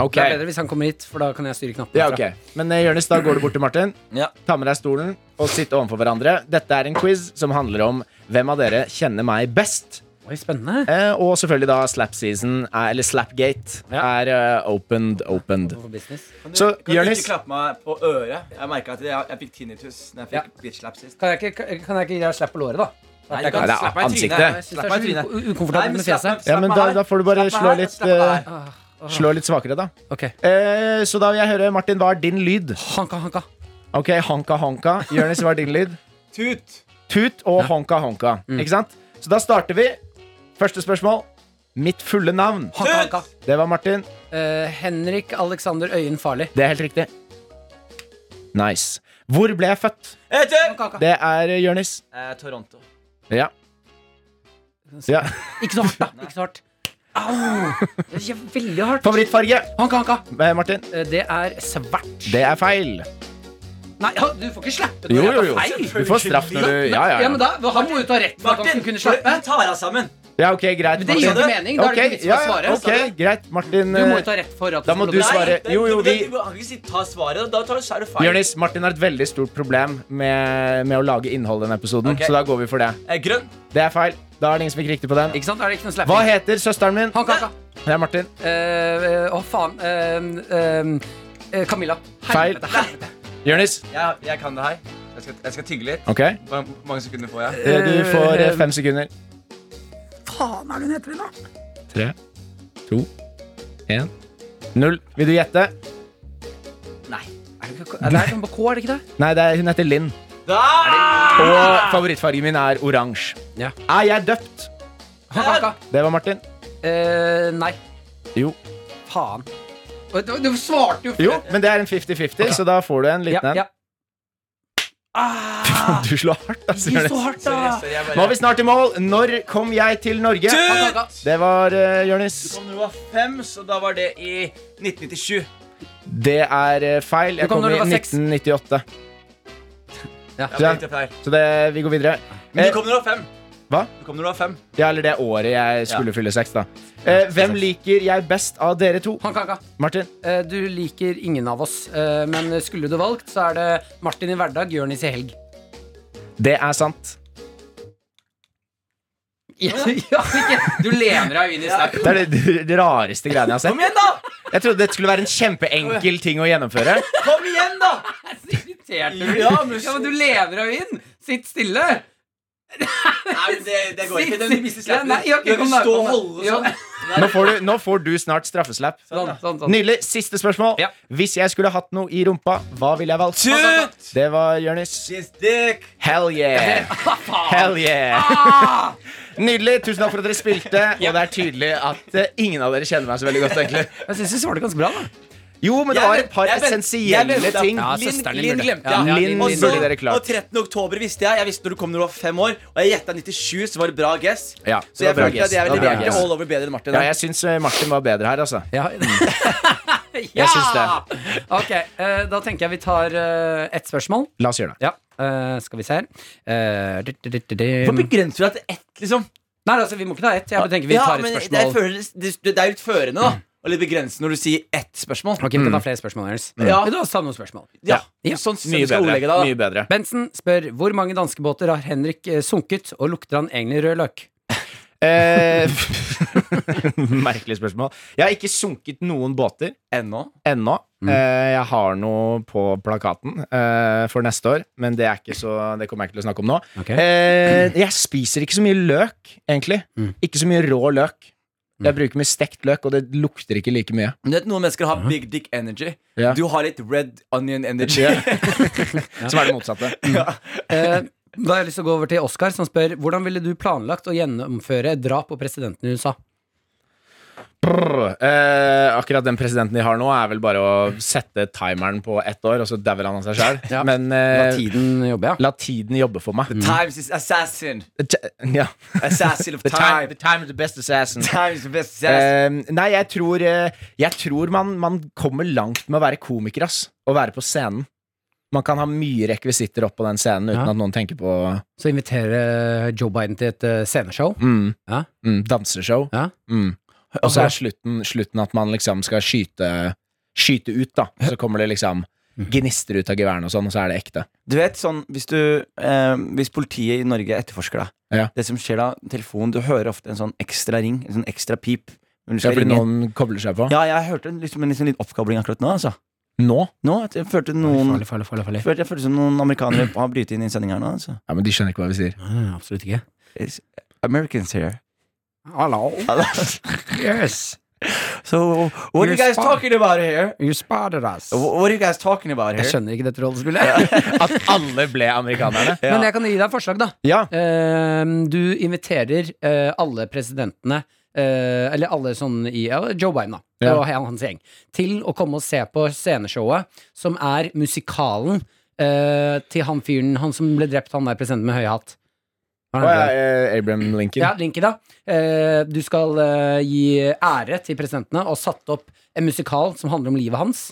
[SPEAKER 5] Ok.
[SPEAKER 4] Det er bedre hvis han kommer hit, for da kan jeg styre knappen.
[SPEAKER 5] Ja, ok. Men eh, Jonis, da går du bort til Martin.
[SPEAKER 2] Ja.
[SPEAKER 5] Ta med deg stolen og sitt overfor hverandre. Dette er en quiz som handler om hvem av dere kjenner meg best.
[SPEAKER 4] Oi, spennende.
[SPEAKER 5] Eh, og selvfølgelig da slap season, eh, eller slapgate,
[SPEAKER 4] Ja.
[SPEAKER 5] er eh, opened, opened.
[SPEAKER 4] For business.
[SPEAKER 5] Så
[SPEAKER 2] Kan du
[SPEAKER 5] Jonis
[SPEAKER 2] ikke klappe meg på øret? Jeg merket at jeg, jeg fikk tinnitus når jeg fikk bitch slap sist.
[SPEAKER 4] Kan jeg ikke, kan jeg ikke gi deg slapp på låret, da?
[SPEAKER 2] Nei,
[SPEAKER 4] jeg
[SPEAKER 2] du kan
[SPEAKER 5] Nei, det er
[SPEAKER 2] ikke slappe meg i
[SPEAKER 5] ansiktet.
[SPEAKER 2] trynet.
[SPEAKER 4] Jeg synes det
[SPEAKER 2] Slapp meg i
[SPEAKER 4] er så
[SPEAKER 2] trynet.
[SPEAKER 4] u- u- ukomfortabelt med fjeset. Ah,
[SPEAKER 5] Ja, men
[SPEAKER 2] slapp
[SPEAKER 5] da-
[SPEAKER 2] her.
[SPEAKER 5] da får du bare
[SPEAKER 2] Slapp her,
[SPEAKER 5] slå litt, eh,
[SPEAKER 2] slapp her.
[SPEAKER 5] slå litt svakere, da.
[SPEAKER 4] Ok.
[SPEAKER 5] Eh, så da vil jeg høre, Martin, hva er din lyd?
[SPEAKER 4] Hanka, hanka.
[SPEAKER 5] Ok, Honka Honka. Jonis, hva er din lyd?
[SPEAKER 2] Tut!
[SPEAKER 5] Tut og Honka Honka.
[SPEAKER 4] Mm.
[SPEAKER 5] Ikke sant? Så da starter vi. Første spørsmål. Mitt fulle navn.
[SPEAKER 4] Hanka, hanka.
[SPEAKER 5] Det var Martin.
[SPEAKER 4] Eh, Henrik Alexander Øyen Farli.
[SPEAKER 5] Det er helt riktig. Nice. Hvor ble jeg født?
[SPEAKER 2] Etter!
[SPEAKER 4] Hanka, hanka.
[SPEAKER 5] Det er eh, Jonis.
[SPEAKER 2] Eh, Toronto.
[SPEAKER 5] Ja. ja.
[SPEAKER 4] Ikke så hardt, da. Ikke så hardt. Au! Det er veldig hardt.
[SPEAKER 5] Favorittfarge?
[SPEAKER 4] Hanka, hanka.
[SPEAKER 5] Eh, Martin.
[SPEAKER 4] Eh, Det er svart.
[SPEAKER 5] Det er feil.
[SPEAKER 4] Nei, ja, du får ikke slappe.
[SPEAKER 5] Jo, jo,
[SPEAKER 4] Det
[SPEAKER 5] jo.
[SPEAKER 4] er feil.
[SPEAKER 5] Du får straff når du Ja, ja.
[SPEAKER 4] Ja, men
[SPEAKER 5] ja.
[SPEAKER 4] da, Han må jo ta rett for at han
[SPEAKER 2] Martin,
[SPEAKER 4] skulle kunne slappe.
[SPEAKER 2] vi tar deg sammen.
[SPEAKER 5] ja ok, greit.
[SPEAKER 4] Men det gir jo
[SPEAKER 5] Martin.
[SPEAKER 4] ikke mening. Da er det ikke
[SPEAKER 5] Ok,
[SPEAKER 4] vits i å
[SPEAKER 5] ja,
[SPEAKER 4] svare.
[SPEAKER 5] ok, greit. Martin
[SPEAKER 4] Du må jo
[SPEAKER 5] eh,
[SPEAKER 4] ta rett for at
[SPEAKER 5] Da må
[SPEAKER 4] skal
[SPEAKER 5] du
[SPEAKER 4] lov til å-
[SPEAKER 5] svare.
[SPEAKER 2] det-
[SPEAKER 5] Jo, jo,
[SPEAKER 2] det-
[SPEAKER 5] vi-
[SPEAKER 2] Du kan ikke si ta svaret. Da tar du, så er det feil.
[SPEAKER 5] Jonis, Martin har et veldig stort problem med, med å lage innhold i denne episoden,
[SPEAKER 2] Ok.
[SPEAKER 5] så da går vi for det.
[SPEAKER 2] Eh, grønn.
[SPEAKER 5] Det er feil. Da er det ingen som fikk riktig på den.
[SPEAKER 4] Ikke sant? Da er det ikke noe slapping.
[SPEAKER 5] Hva heter søsteren min?
[SPEAKER 4] Hanka, hanka.
[SPEAKER 5] Det er Martin.
[SPEAKER 4] Eh, eh, Å, faen. Eh, eh, Camilla.
[SPEAKER 5] Feil.
[SPEAKER 4] Helvete, helvete.
[SPEAKER 5] Jonis.
[SPEAKER 2] Jeg, jeg kan det her. Jeg skal, jeg skal tygge litt.
[SPEAKER 5] Ok. Eh,
[SPEAKER 2] Hvor hvor mange sekunder får jeg?
[SPEAKER 5] Du får eh, fem sekunder.
[SPEAKER 4] Faen, er det hun heter, da?
[SPEAKER 5] Tre, to, én, null. Vil du gjette?
[SPEAKER 4] Nei. Er det, ikke, er det, er det på K, er det ikke det?
[SPEAKER 5] Nei, det er, hun heter Linn.
[SPEAKER 2] Da!
[SPEAKER 5] Og favorittfargen min er oransje.
[SPEAKER 4] Ja.
[SPEAKER 5] Er jeg døpt?
[SPEAKER 4] Hanka, hanka.
[SPEAKER 5] Det var Martin.
[SPEAKER 4] Eh, nei.
[SPEAKER 5] Jo.
[SPEAKER 4] Faen. Du, du svarte jo
[SPEAKER 5] Jo, men det er en 50-50, så da får du en
[SPEAKER 4] Ja,
[SPEAKER 5] liten en.
[SPEAKER 4] *laughs* ja.
[SPEAKER 5] *laughs* Du slår hardt, altså.
[SPEAKER 4] Gi
[SPEAKER 5] Jonis.
[SPEAKER 4] så hardt,
[SPEAKER 2] Sorry,
[SPEAKER 4] da.
[SPEAKER 2] sorry, jeg bare-
[SPEAKER 5] Nå er vi snart i mål. Når kom jeg til Norge?
[SPEAKER 4] Hanka, hanka.
[SPEAKER 5] Det var uh, Jonis.
[SPEAKER 2] Om du var fem, så da var det i 1997.
[SPEAKER 5] Det er eh, feil. Jeg
[SPEAKER 4] Du kom
[SPEAKER 5] kom,
[SPEAKER 4] når
[SPEAKER 5] i
[SPEAKER 4] du var seks.
[SPEAKER 5] 1998.
[SPEAKER 2] Ja,
[SPEAKER 5] Ja.
[SPEAKER 2] det er feil.
[SPEAKER 5] Så det, vi går videre.
[SPEAKER 2] Men
[SPEAKER 5] Eh,
[SPEAKER 2] du kom når du var fem.
[SPEAKER 5] hva?
[SPEAKER 2] Du kom når du var fem.
[SPEAKER 5] Ja, eller det året jeg skulle fylle seks, da. Eh, hvem liker jeg best av dere to?
[SPEAKER 4] Hanka, hanka.
[SPEAKER 5] Martin.
[SPEAKER 4] Eh, Du liker ingen av oss, eh, men skulle du valgt, så er det Martin i hverdag, Jonis i
[SPEAKER 2] *laughs*
[SPEAKER 4] helg.
[SPEAKER 5] Det er sant.
[SPEAKER 4] Ja, ikke- du lener deg jo inn i snap. *laughs*
[SPEAKER 5] Det er det det rareste greiene jeg har sett.
[SPEAKER 2] Kom igjen, da!
[SPEAKER 5] Jeg trodde det skulle være en kjempeenkel ting å gjennomføre.
[SPEAKER 2] Kom igjen, da!
[SPEAKER 4] Jeg er så irritert.
[SPEAKER 2] Ja, men-
[SPEAKER 4] Ja, men du lener deg jo inn! Sitt stille!
[SPEAKER 2] Nei, men det, det går ikke. Den mister
[SPEAKER 4] Ja, nei, ok,
[SPEAKER 2] Den
[SPEAKER 4] kom
[SPEAKER 2] vil
[SPEAKER 4] da,
[SPEAKER 2] stå
[SPEAKER 4] kom
[SPEAKER 2] og
[SPEAKER 4] da.
[SPEAKER 2] holde
[SPEAKER 4] Ja.
[SPEAKER 2] sånn.
[SPEAKER 5] Nå får du, nå får du snart straffeslapp.
[SPEAKER 4] Sånn, sånn, sånn.
[SPEAKER 5] Nydelig. Siste spørsmål.
[SPEAKER 4] Ja.
[SPEAKER 5] Hvis jeg skulle hatt noe i rumpa, hva ville jeg valgt?
[SPEAKER 2] Tut!
[SPEAKER 5] Det var Jonis.
[SPEAKER 2] She's sånn, dick.
[SPEAKER 5] Hell
[SPEAKER 2] *laughs*
[SPEAKER 5] yeah!
[SPEAKER 2] Ah,
[SPEAKER 5] Hell yeah! *laughs* Nydelig. Tusen takk for at dere
[SPEAKER 2] *laughs*
[SPEAKER 5] spilte. Og det er tydelig at eh, ingen av dere kjenner meg så veldig godt. egentlig
[SPEAKER 4] Jeg syns du svarte ganske bra, da.
[SPEAKER 5] Jo, men det
[SPEAKER 2] Jeg
[SPEAKER 5] var
[SPEAKER 2] vent-
[SPEAKER 5] et par
[SPEAKER 2] jeg vent- jeg
[SPEAKER 5] essensielle
[SPEAKER 2] ventet.
[SPEAKER 5] ting.
[SPEAKER 4] Ja,
[SPEAKER 2] Linn
[SPEAKER 4] søsteren din
[SPEAKER 2] Linn
[SPEAKER 4] burde-
[SPEAKER 2] glemte
[SPEAKER 4] Ja,
[SPEAKER 2] jeg.
[SPEAKER 4] ja,
[SPEAKER 5] Linn
[SPEAKER 2] Og så-
[SPEAKER 5] burde dere klart.
[SPEAKER 2] Og 13. oktober visste jeg. Jeg visste når du kom når du var fem år. Og jeg gjetta 97, så var det bra guess.
[SPEAKER 5] Ja,
[SPEAKER 2] Så jeg følte at jeg
[SPEAKER 5] Det var
[SPEAKER 2] er veldig
[SPEAKER 5] bra
[SPEAKER 2] bedre
[SPEAKER 5] guess.
[SPEAKER 2] all over bedre enn Martin.
[SPEAKER 5] Ja, jeg syns eh, Martin var bedre her, altså.
[SPEAKER 4] Ja. *laughs*
[SPEAKER 5] Jeg syns det.
[SPEAKER 4] Ok, eh, da tenker jeg vi tar eh, ett spørsmål.
[SPEAKER 5] La oss gjøre det.
[SPEAKER 4] Ja, eh, skal vi se her. Eh, du, du, du, du, du.
[SPEAKER 2] Hvorfor begrenser du deg til ett, liksom?
[SPEAKER 4] Nei, altså, vi må ikke ta ett. Jeg bare tenker vi tar
[SPEAKER 2] men
[SPEAKER 4] et
[SPEAKER 2] det,
[SPEAKER 4] spørsmål.
[SPEAKER 2] er føles- det, det er litt førende, da. Og litt begrensende når du sier ett spørsmål.
[SPEAKER 4] Ok, vi kan ta flere spørsmål, Jonis.
[SPEAKER 2] Ja.
[SPEAKER 4] Vil du også ta noen spørsmål?
[SPEAKER 2] Ja,
[SPEAKER 4] Ja.
[SPEAKER 2] Sånn syns jeg
[SPEAKER 5] Mye
[SPEAKER 2] du skal ordlegge
[SPEAKER 5] bedre.
[SPEAKER 2] deg.
[SPEAKER 5] Mye bedre.
[SPEAKER 4] Bensen spør hvor mange danskebåter har Henrik eh, sunket, og lukter han egentlig rød løk?
[SPEAKER 5] Eh, *laughs* Merkelig spørsmål. Jeg har ikke sunket noen båter
[SPEAKER 2] da Ennå.
[SPEAKER 5] ennå. Eh, jeg har noe på plakaten eh, for neste år, men det, er ikke så, det kommer jeg ikke til å snakke om nå.
[SPEAKER 4] Ok.
[SPEAKER 5] Eh, jeg spiser ikke så mye løk, egentlig. Ikke så mye rå løk. Jeg bruker mye stekt løk, og det lukter ikke like mye.
[SPEAKER 2] Men Du vet, Noen mennesker har big dick energy.
[SPEAKER 5] Ja.
[SPEAKER 2] Du har litt red onion energy.
[SPEAKER 5] *laughs* *laughs* Ja. Mm. Som er det motsatte.
[SPEAKER 4] Eh, da har jeg lyst til å gå over til Oskar, som spør hvordan ville du planlagt å gjennomføre et drap på presidenten i USA?
[SPEAKER 5] Brr. Eh, akkurat den presidenten de har nå, er vel bare å sette timeren på ett år, og så dauer han av seg sjøl.
[SPEAKER 4] Ja.
[SPEAKER 5] Men eh,
[SPEAKER 4] Tiden jobber, ja.
[SPEAKER 5] la tiden jobbe for meg. Mm.
[SPEAKER 2] Times is assassin.
[SPEAKER 5] Ja.
[SPEAKER 2] Assassin of
[SPEAKER 5] The time,
[SPEAKER 2] time.
[SPEAKER 5] the time is the best assassin.
[SPEAKER 2] Time is the best assassin.
[SPEAKER 5] Eh, nei, jeg tror, eh, jeg tror man, man kommer langt med å være komiker, ass. Å være på scenen. Man kan ha mye rekvisitter opp på den scenen uten
[SPEAKER 4] Ja.
[SPEAKER 5] at noen tenker på
[SPEAKER 4] Så inviterer Joe Biden til et eh, sceneshow.
[SPEAKER 5] mm,
[SPEAKER 4] Ja.
[SPEAKER 5] mm, danseshow.
[SPEAKER 4] Ja. Altså-
[SPEAKER 5] Mm. Og så er slutten, slutten at man liksom skal skyte, skyte ut, da. Så kommer det liksom
[SPEAKER 4] Mhm.
[SPEAKER 5] gnister ut av geværene og sånn, og så er det ekte.
[SPEAKER 2] Du vet sånn, hvis, du, eh, hvis politiet i Norge etterforsker deg,
[SPEAKER 5] Ja.
[SPEAKER 2] det som skjer da, telefonen, du hører ofte en sånn ekstra ring, en sånn ekstra pip. Når du
[SPEAKER 5] Ja,
[SPEAKER 2] skal
[SPEAKER 5] fordi
[SPEAKER 2] ringe.
[SPEAKER 5] noen kobler seg på.
[SPEAKER 2] Ja, jeg hørte liksom, en liksom, litt oppkabling akkurat nå, altså.
[SPEAKER 5] Nå?
[SPEAKER 2] Nå, at jeg følte noen
[SPEAKER 4] Farlig, farlig, farlig. farlig.
[SPEAKER 2] følte, Jeg følte som noen amerikanere har brytet inn i sendinga nå, altså.
[SPEAKER 5] Ja, men de skjønner ikke hva vi sier.
[SPEAKER 4] Nei, absolutt ikke.
[SPEAKER 2] It's Americans here.
[SPEAKER 4] Hello. Yes.
[SPEAKER 2] *laughs* So, what are you guys talking about here?
[SPEAKER 4] You spotted us.
[SPEAKER 2] Wh- What are you guys talking about
[SPEAKER 4] Jeg
[SPEAKER 2] here?
[SPEAKER 4] skjønner ikke dette rollespillet.
[SPEAKER 5] At alle ble amerikanerne.
[SPEAKER 4] Men jeg kan gi deg et forslag, da.
[SPEAKER 5] Ja.
[SPEAKER 4] Ehm, du inviterer eh, alle presidentene eh, Eller alle sånn i ja, Joe Biden, da.
[SPEAKER 5] Ja.
[SPEAKER 4] Og han- hans gjeng. Til å komme og se på sceneshowet, som er musikalen eh, til han fyren Han som ble drept, han der presidenten med høy hatt. Hva er
[SPEAKER 5] Og
[SPEAKER 4] det han heter?
[SPEAKER 5] jeg, eh, Abraham Lincoln.
[SPEAKER 4] Ja, Linky, da. Eh, du skal eh, gi ære til presidentene og satt opp en musikal som handler om livet hans.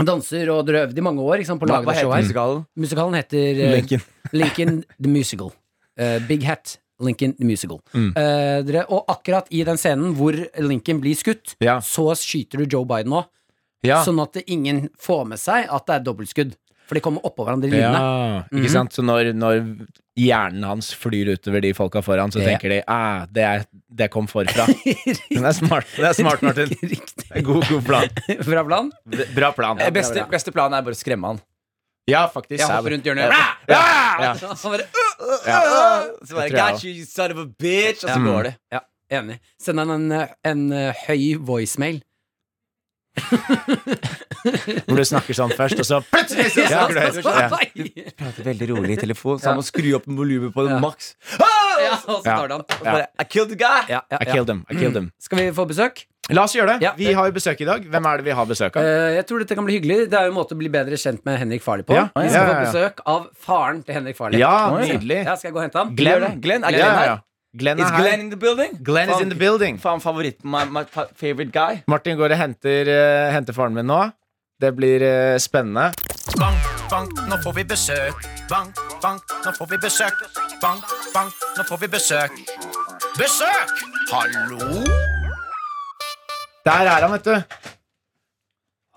[SPEAKER 4] Han danser og dere har øvd i mange år ikke sant, på å
[SPEAKER 2] Hva,
[SPEAKER 4] lage
[SPEAKER 2] hva
[SPEAKER 4] det
[SPEAKER 2] heter
[SPEAKER 4] showet. her.
[SPEAKER 2] musikalen?
[SPEAKER 4] Musikalen heter eh,
[SPEAKER 5] Lincoln.
[SPEAKER 4] Lincoln the Musical. Eh, Big Hat. Lincoln the Musical. Eh, dere, og akkurat i den scenen hvor Lincoln blir skutt,
[SPEAKER 5] Ja.
[SPEAKER 4] så skyter du Joe Biden òg.
[SPEAKER 5] Ja.
[SPEAKER 4] Sånn at ingen får med seg at det er dobbeltskudd. For de kommer oppå hverandre i linene.
[SPEAKER 5] Ja, ikke sant? Så når, når hjernen hans flyr utover de folka foran, så
[SPEAKER 4] Ja.
[SPEAKER 5] tenker de ah, det, er, det kom forfra. Den er smart, det er smart Martin.
[SPEAKER 4] Riktig.
[SPEAKER 5] Det er God, god plan.
[SPEAKER 4] Fra Blan.
[SPEAKER 5] B- Bra plan.
[SPEAKER 2] Eh, Beste, beste planen er bare å skremme *laughs* han.
[SPEAKER 5] Ja, faktisk.
[SPEAKER 4] Jeg hopper rundt hjørnet. Bra!
[SPEAKER 5] Ja, ja.
[SPEAKER 4] Han bare,
[SPEAKER 2] Så bare,
[SPEAKER 5] Det tror jeg
[SPEAKER 2] Got you, you son of a bitch!
[SPEAKER 5] Mm.
[SPEAKER 2] Og så går det.
[SPEAKER 4] Ja, enig. Send han en, eh, en eh, høy voicemail.
[SPEAKER 5] Hvor du snakker sånn først, og så plutselig så snakker du høyt.
[SPEAKER 4] Ja,
[SPEAKER 5] Ja.
[SPEAKER 2] Prater veldig rolig i telefon, så han må skru opp volumet på
[SPEAKER 4] Ja.
[SPEAKER 2] maks. Ah!
[SPEAKER 4] ja, og så tar det han.
[SPEAKER 2] Og så bare, I killed the guy!
[SPEAKER 4] Ja, ja,
[SPEAKER 5] I
[SPEAKER 4] ja.
[SPEAKER 5] killed them. I killed them.
[SPEAKER 4] Skal vi få besøk?
[SPEAKER 5] La oss gjøre det.
[SPEAKER 4] Ja.
[SPEAKER 5] Vi har jo besøk i dag. Hvem er det vi har besøk av?
[SPEAKER 4] Eh, jeg tror dette kan bli hyggelig. Det er jo en måte å bli bedre kjent med Henrik Farley på.
[SPEAKER 5] Ja,
[SPEAKER 4] Vi
[SPEAKER 5] ja,
[SPEAKER 4] skal
[SPEAKER 5] ja,
[SPEAKER 4] få
[SPEAKER 5] ja.
[SPEAKER 4] besøk av faren til Henrik Farley.
[SPEAKER 5] Ja,
[SPEAKER 2] Oi.
[SPEAKER 5] nydelig.
[SPEAKER 4] Ja, skal jeg gå og hente han?
[SPEAKER 2] Glenn, Glenn, er
[SPEAKER 5] Ja,
[SPEAKER 2] Glenn
[SPEAKER 5] ja, ja.
[SPEAKER 2] her?
[SPEAKER 5] Glenn
[SPEAKER 2] Is
[SPEAKER 5] er
[SPEAKER 2] Glenn
[SPEAKER 5] her.
[SPEAKER 2] in the building?
[SPEAKER 5] Glenn is in the building.
[SPEAKER 2] Faen, favoritten. My, my fa- favorite guy.
[SPEAKER 5] Martin går og henter, eh, henter faren min nå. Det blir eh, spennende.
[SPEAKER 7] Bank, bank, nå får vi besøk. Bank, bank, nå får vi besøk. Bank, bank, nå får vi besøk. Besøk! Hallo?
[SPEAKER 5] Der er han, vet du.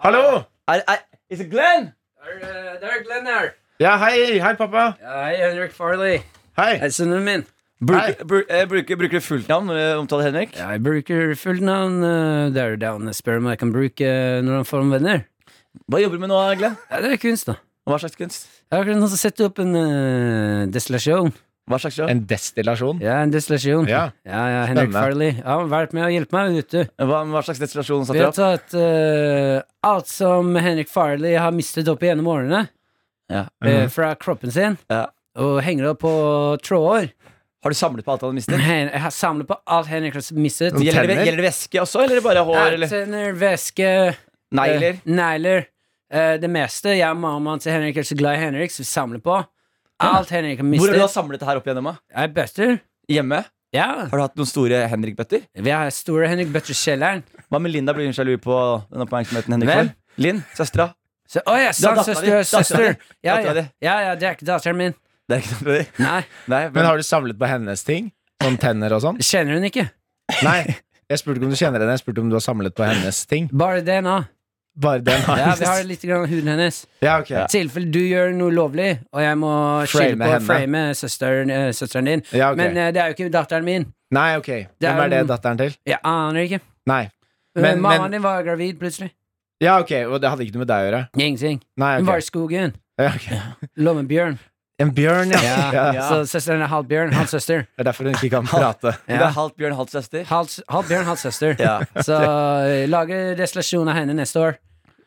[SPEAKER 5] Hallo!
[SPEAKER 2] Er, er, is it Glenn?
[SPEAKER 4] Der, der er Glenn her.
[SPEAKER 5] Ja, hei, hei, pappa.
[SPEAKER 4] Ja, Hei, Henrik Farley.
[SPEAKER 5] Hei.
[SPEAKER 4] Hei, sønnen min.
[SPEAKER 2] Bruker, bru- eh, bruker, bruker du fullt navn når du omtaler Henrik?
[SPEAKER 4] Ja, Jeg bruker fullt navn. eh, Der er det han spør om jeg kan bruke eh, når han får om venner.
[SPEAKER 2] Hva jobber du med nå, Glenn?
[SPEAKER 4] Ja, det er kunst, da.
[SPEAKER 2] Hva slags kunst?
[SPEAKER 4] Jeg har akkurat nå sett opp en eh, destillasjon.
[SPEAKER 2] Hva slags jobb?
[SPEAKER 5] En destillasjon.
[SPEAKER 4] Ja, en destillasjon.
[SPEAKER 5] Ja.
[SPEAKER 4] Ja, ja, Henrik
[SPEAKER 5] Spennende.
[SPEAKER 4] Farley ja, han har vært med og hjulpet meg, vet du.
[SPEAKER 2] Hva, hva slags destillasjon
[SPEAKER 4] Vi
[SPEAKER 2] satte du
[SPEAKER 4] har
[SPEAKER 2] opp?
[SPEAKER 4] tatt eh, alt som Henrik Farley har mistet opp gjennom årene
[SPEAKER 2] Ja.
[SPEAKER 4] eh, fra kroppen sin,
[SPEAKER 2] Ja.
[SPEAKER 4] og henger det opp på tråder.
[SPEAKER 2] Har du samlet på alt
[SPEAKER 4] *clears throat*
[SPEAKER 2] han mistet?
[SPEAKER 4] Hen- Jeg har samlet på alt Henrik har mistet.
[SPEAKER 5] Noen
[SPEAKER 2] Gjelder det,
[SPEAKER 5] tenner?
[SPEAKER 2] gjelder det væske også, eller er det bare hår? Eller?
[SPEAKER 4] Tenner, væske,
[SPEAKER 2] Negler?
[SPEAKER 4] eh, negler. Eh, det meste. Jeg og mammaen til Henrik er så glad i Henrik, så vi samler på alt Henrik har
[SPEAKER 2] Hvor har du da
[SPEAKER 4] mistet.
[SPEAKER 2] samlet det her opp igjennom? da?
[SPEAKER 4] Jeg er bøtter.
[SPEAKER 2] Hjemme?
[SPEAKER 4] Ja.
[SPEAKER 2] Har du hatt noen store Henrik-bøtter?
[SPEAKER 4] Vi har store Henrik Bøtter-kjelleren.
[SPEAKER 2] Hva med Linda blir hun sjalu på den oppmerksomheten Henrik
[SPEAKER 4] Hvem?
[SPEAKER 2] får? Linn? Søstera?
[SPEAKER 4] Så, å ja,
[SPEAKER 2] datteren
[SPEAKER 4] sant,
[SPEAKER 2] din.
[SPEAKER 4] søster,
[SPEAKER 2] Datteren
[SPEAKER 4] søster.
[SPEAKER 2] din.
[SPEAKER 4] Ja,
[SPEAKER 2] Datteren
[SPEAKER 4] ja,
[SPEAKER 2] din.
[SPEAKER 4] ja, ja, det er ikke datteren min.
[SPEAKER 2] Det er ikke sant? det er-
[SPEAKER 4] Nei,
[SPEAKER 2] Nei,
[SPEAKER 5] Men har du samlet på hennes ting? Sånn tenner og sånn?
[SPEAKER 4] kjenner hun ikke.
[SPEAKER 5] Nei. Jeg spurte ikke om du kjenner henne, jeg spurte om du har samlet på hennes ting.
[SPEAKER 4] Bare DNA.
[SPEAKER 5] Bare den har
[SPEAKER 4] Ja, vi har litt grann av huden hennes.
[SPEAKER 5] Ja, ok.
[SPEAKER 4] I tilfelle du gjør noe lovlig, og jeg må skille
[SPEAKER 5] Frame
[SPEAKER 4] på å
[SPEAKER 5] henne.
[SPEAKER 4] frame søsteren, eh, søsteren din.
[SPEAKER 5] Ja, ok.
[SPEAKER 4] Men eh, det er jo ikke datteren min.
[SPEAKER 5] Nei, ok.
[SPEAKER 4] er
[SPEAKER 5] Hvem er det
[SPEAKER 4] jo-
[SPEAKER 5] datteren til?
[SPEAKER 4] Jeg aner ikke.
[SPEAKER 5] Nei.
[SPEAKER 4] Men,
[SPEAKER 5] Men-
[SPEAKER 4] Mammaen
[SPEAKER 5] men-
[SPEAKER 4] din var gravid plutselig.
[SPEAKER 5] Ja, ok, og det hadde ikke noe med deg å gjøre.
[SPEAKER 4] Ingenting.
[SPEAKER 5] Nei,
[SPEAKER 4] Hun var
[SPEAKER 5] ok.
[SPEAKER 4] i skogen.
[SPEAKER 5] Ja, ok.
[SPEAKER 4] Lå med bjørn.
[SPEAKER 5] En
[SPEAKER 4] *laughs*
[SPEAKER 5] bjørn, ja. ja.
[SPEAKER 4] Så søsteren er halv bjørn, halv søster.
[SPEAKER 5] Det er derfor hun ikke kan prate.
[SPEAKER 2] Hun er halvt bjørn, halvt søster.
[SPEAKER 4] Halv, halv bjørn, halv søster.
[SPEAKER 2] Ja.
[SPEAKER 4] Så eh, lager destillasjon av henne neste år.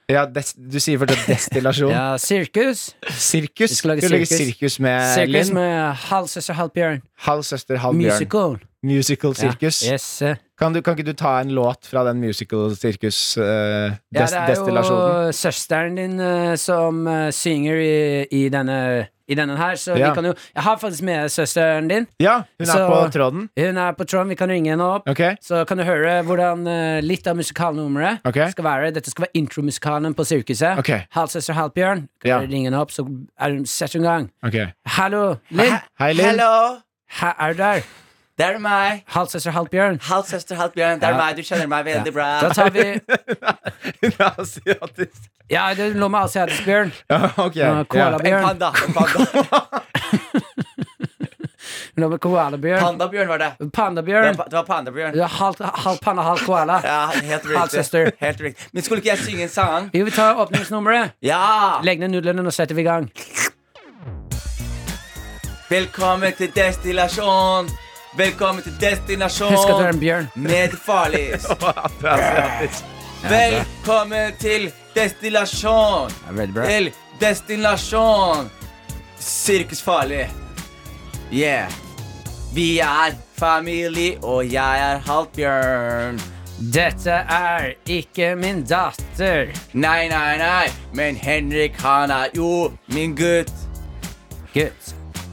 [SPEAKER 5] Ja, des, du sier
[SPEAKER 4] *laughs*
[SPEAKER 5] fortsatt destillasjon.
[SPEAKER 4] Ja, sirkus.
[SPEAKER 5] Sirkus.
[SPEAKER 4] Vi
[SPEAKER 5] Du
[SPEAKER 4] skal lage
[SPEAKER 5] lager
[SPEAKER 4] sirkus.
[SPEAKER 5] sirkus med
[SPEAKER 4] Sirkus
[SPEAKER 5] Eh, Linn.
[SPEAKER 4] med halv søster, halv bjørn.
[SPEAKER 5] Halv søster, halv bjørn.
[SPEAKER 4] Musical.
[SPEAKER 5] Musical Circus.
[SPEAKER 4] Yes. eh.
[SPEAKER 5] Kan, du, kan ikke du ta en låt fra den Musical eh,
[SPEAKER 4] Ja, det er
[SPEAKER 5] Circus-destillasjonen?
[SPEAKER 4] jo søsteren din eh, som eh, synger i, i, denne, i denne her, så
[SPEAKER 5] Ja.
[SPEAKER 4] vi kan jo Jeg har faktisk med søsteren din.
[SPEAKER 5] ja, hun er
[SPEAKER 4] så-
[SPEAKER 5] på tråden.
[SPEAKER 4] Hun er på Trond, vi kan ringe henne opp.
[SPEAKER 5] Ok,
[SPEAKER 4] Så kan du høre hvordan eh, litt av musikalnummeret
[SPEAKER 5] Ok.
[SPEAKER 4] skal være. Dette skal være intromusikalen på sirkuset.
[SPEAKER 5] Ok.
[SPEAKER 4] Halvsøster Halvbjørn. Kan
[SPEAKER 5] Ja.
[SPEAKER 4] dere ringe henne opp, så er hun setter hun i gang.
[SPEAKER 5] ok.
[SPEAKER 4] Hallo, Linn.
[SPEAKER 5] Hei, Linn.
[SPEAKER 2] Hello,
[SPEAKER 4] Hæ, er du der?
[SPEAKER 2] det er meg.
[SPEAKER 4] Halvsøster Halvbjørn.
[SPEAKER 2] Halvsøster, halvbjørn. Det er
[SPEAKER 4] Ja.
[SPEAKER 2] meg. Du kjenner meg veldig bra.
[SPEAKER 4] Da
[SPEAKER 2] *laughs*
[SPEAKER 4] tar vi
[SPEAKER 5] Hun er asiatisk.
[SPEAKER 4] Ja, det lå med asiatisk bjørn.
[SPEAKER 5] Ja, ok.
[SPEAKER 4] Ja,
[SPEAKER 5] Ja.
[SPEAKER 2] En
[SPEAKER 4] Koalabjørn.
[SPEAKER 2] panda.
[SPEAKER 4] *laughs*
[SPEAKER 2] En panda.
[SPEAKER 4] Lå med koalabjørn.
[SPEAKER 2] Pandabjørn var det. Det var,
[SPEAKER 4] Pandabjørn.
[SPEAKER 2] pa- det var pandabjørn.
[SPEAKER 4] Du er halvt halv panna, halv koala.
[SPEAKER 2] Ja, helt
[SPEAKER 4] Halvsøster.
[SPEAKER 2] riktig. Helt riktig. Men skulle ikke jeg synge en sang?
[SPEAKER 4] Jo, vi tar åpningsnummeret.
[SPEAKER 2] Ja!
[SPEAKER 4] Legg ned nudlene, nå setter vi i gang.
[SPEAKER 2] Velkommen til destillasjon. Velkommen til destinasjon.
[SPEAKER 4] Husk at du er en bjørn.
[SPEAKER 2] Med farlis. Velkommen til destillasjon.
[SPEAKER 4] Veldig
[SPEAKER 2] Til destinasjon. Sirkus Farlig. Yeah. Vi er familie, og jeg er halvt bjørn.
[SPEAKER 4] Dette er ikke min datter.
[SPEAKER 2] Nei, nei, nei, men Henrik han er jo min gutt.
[SPEAKER 4] Gutt.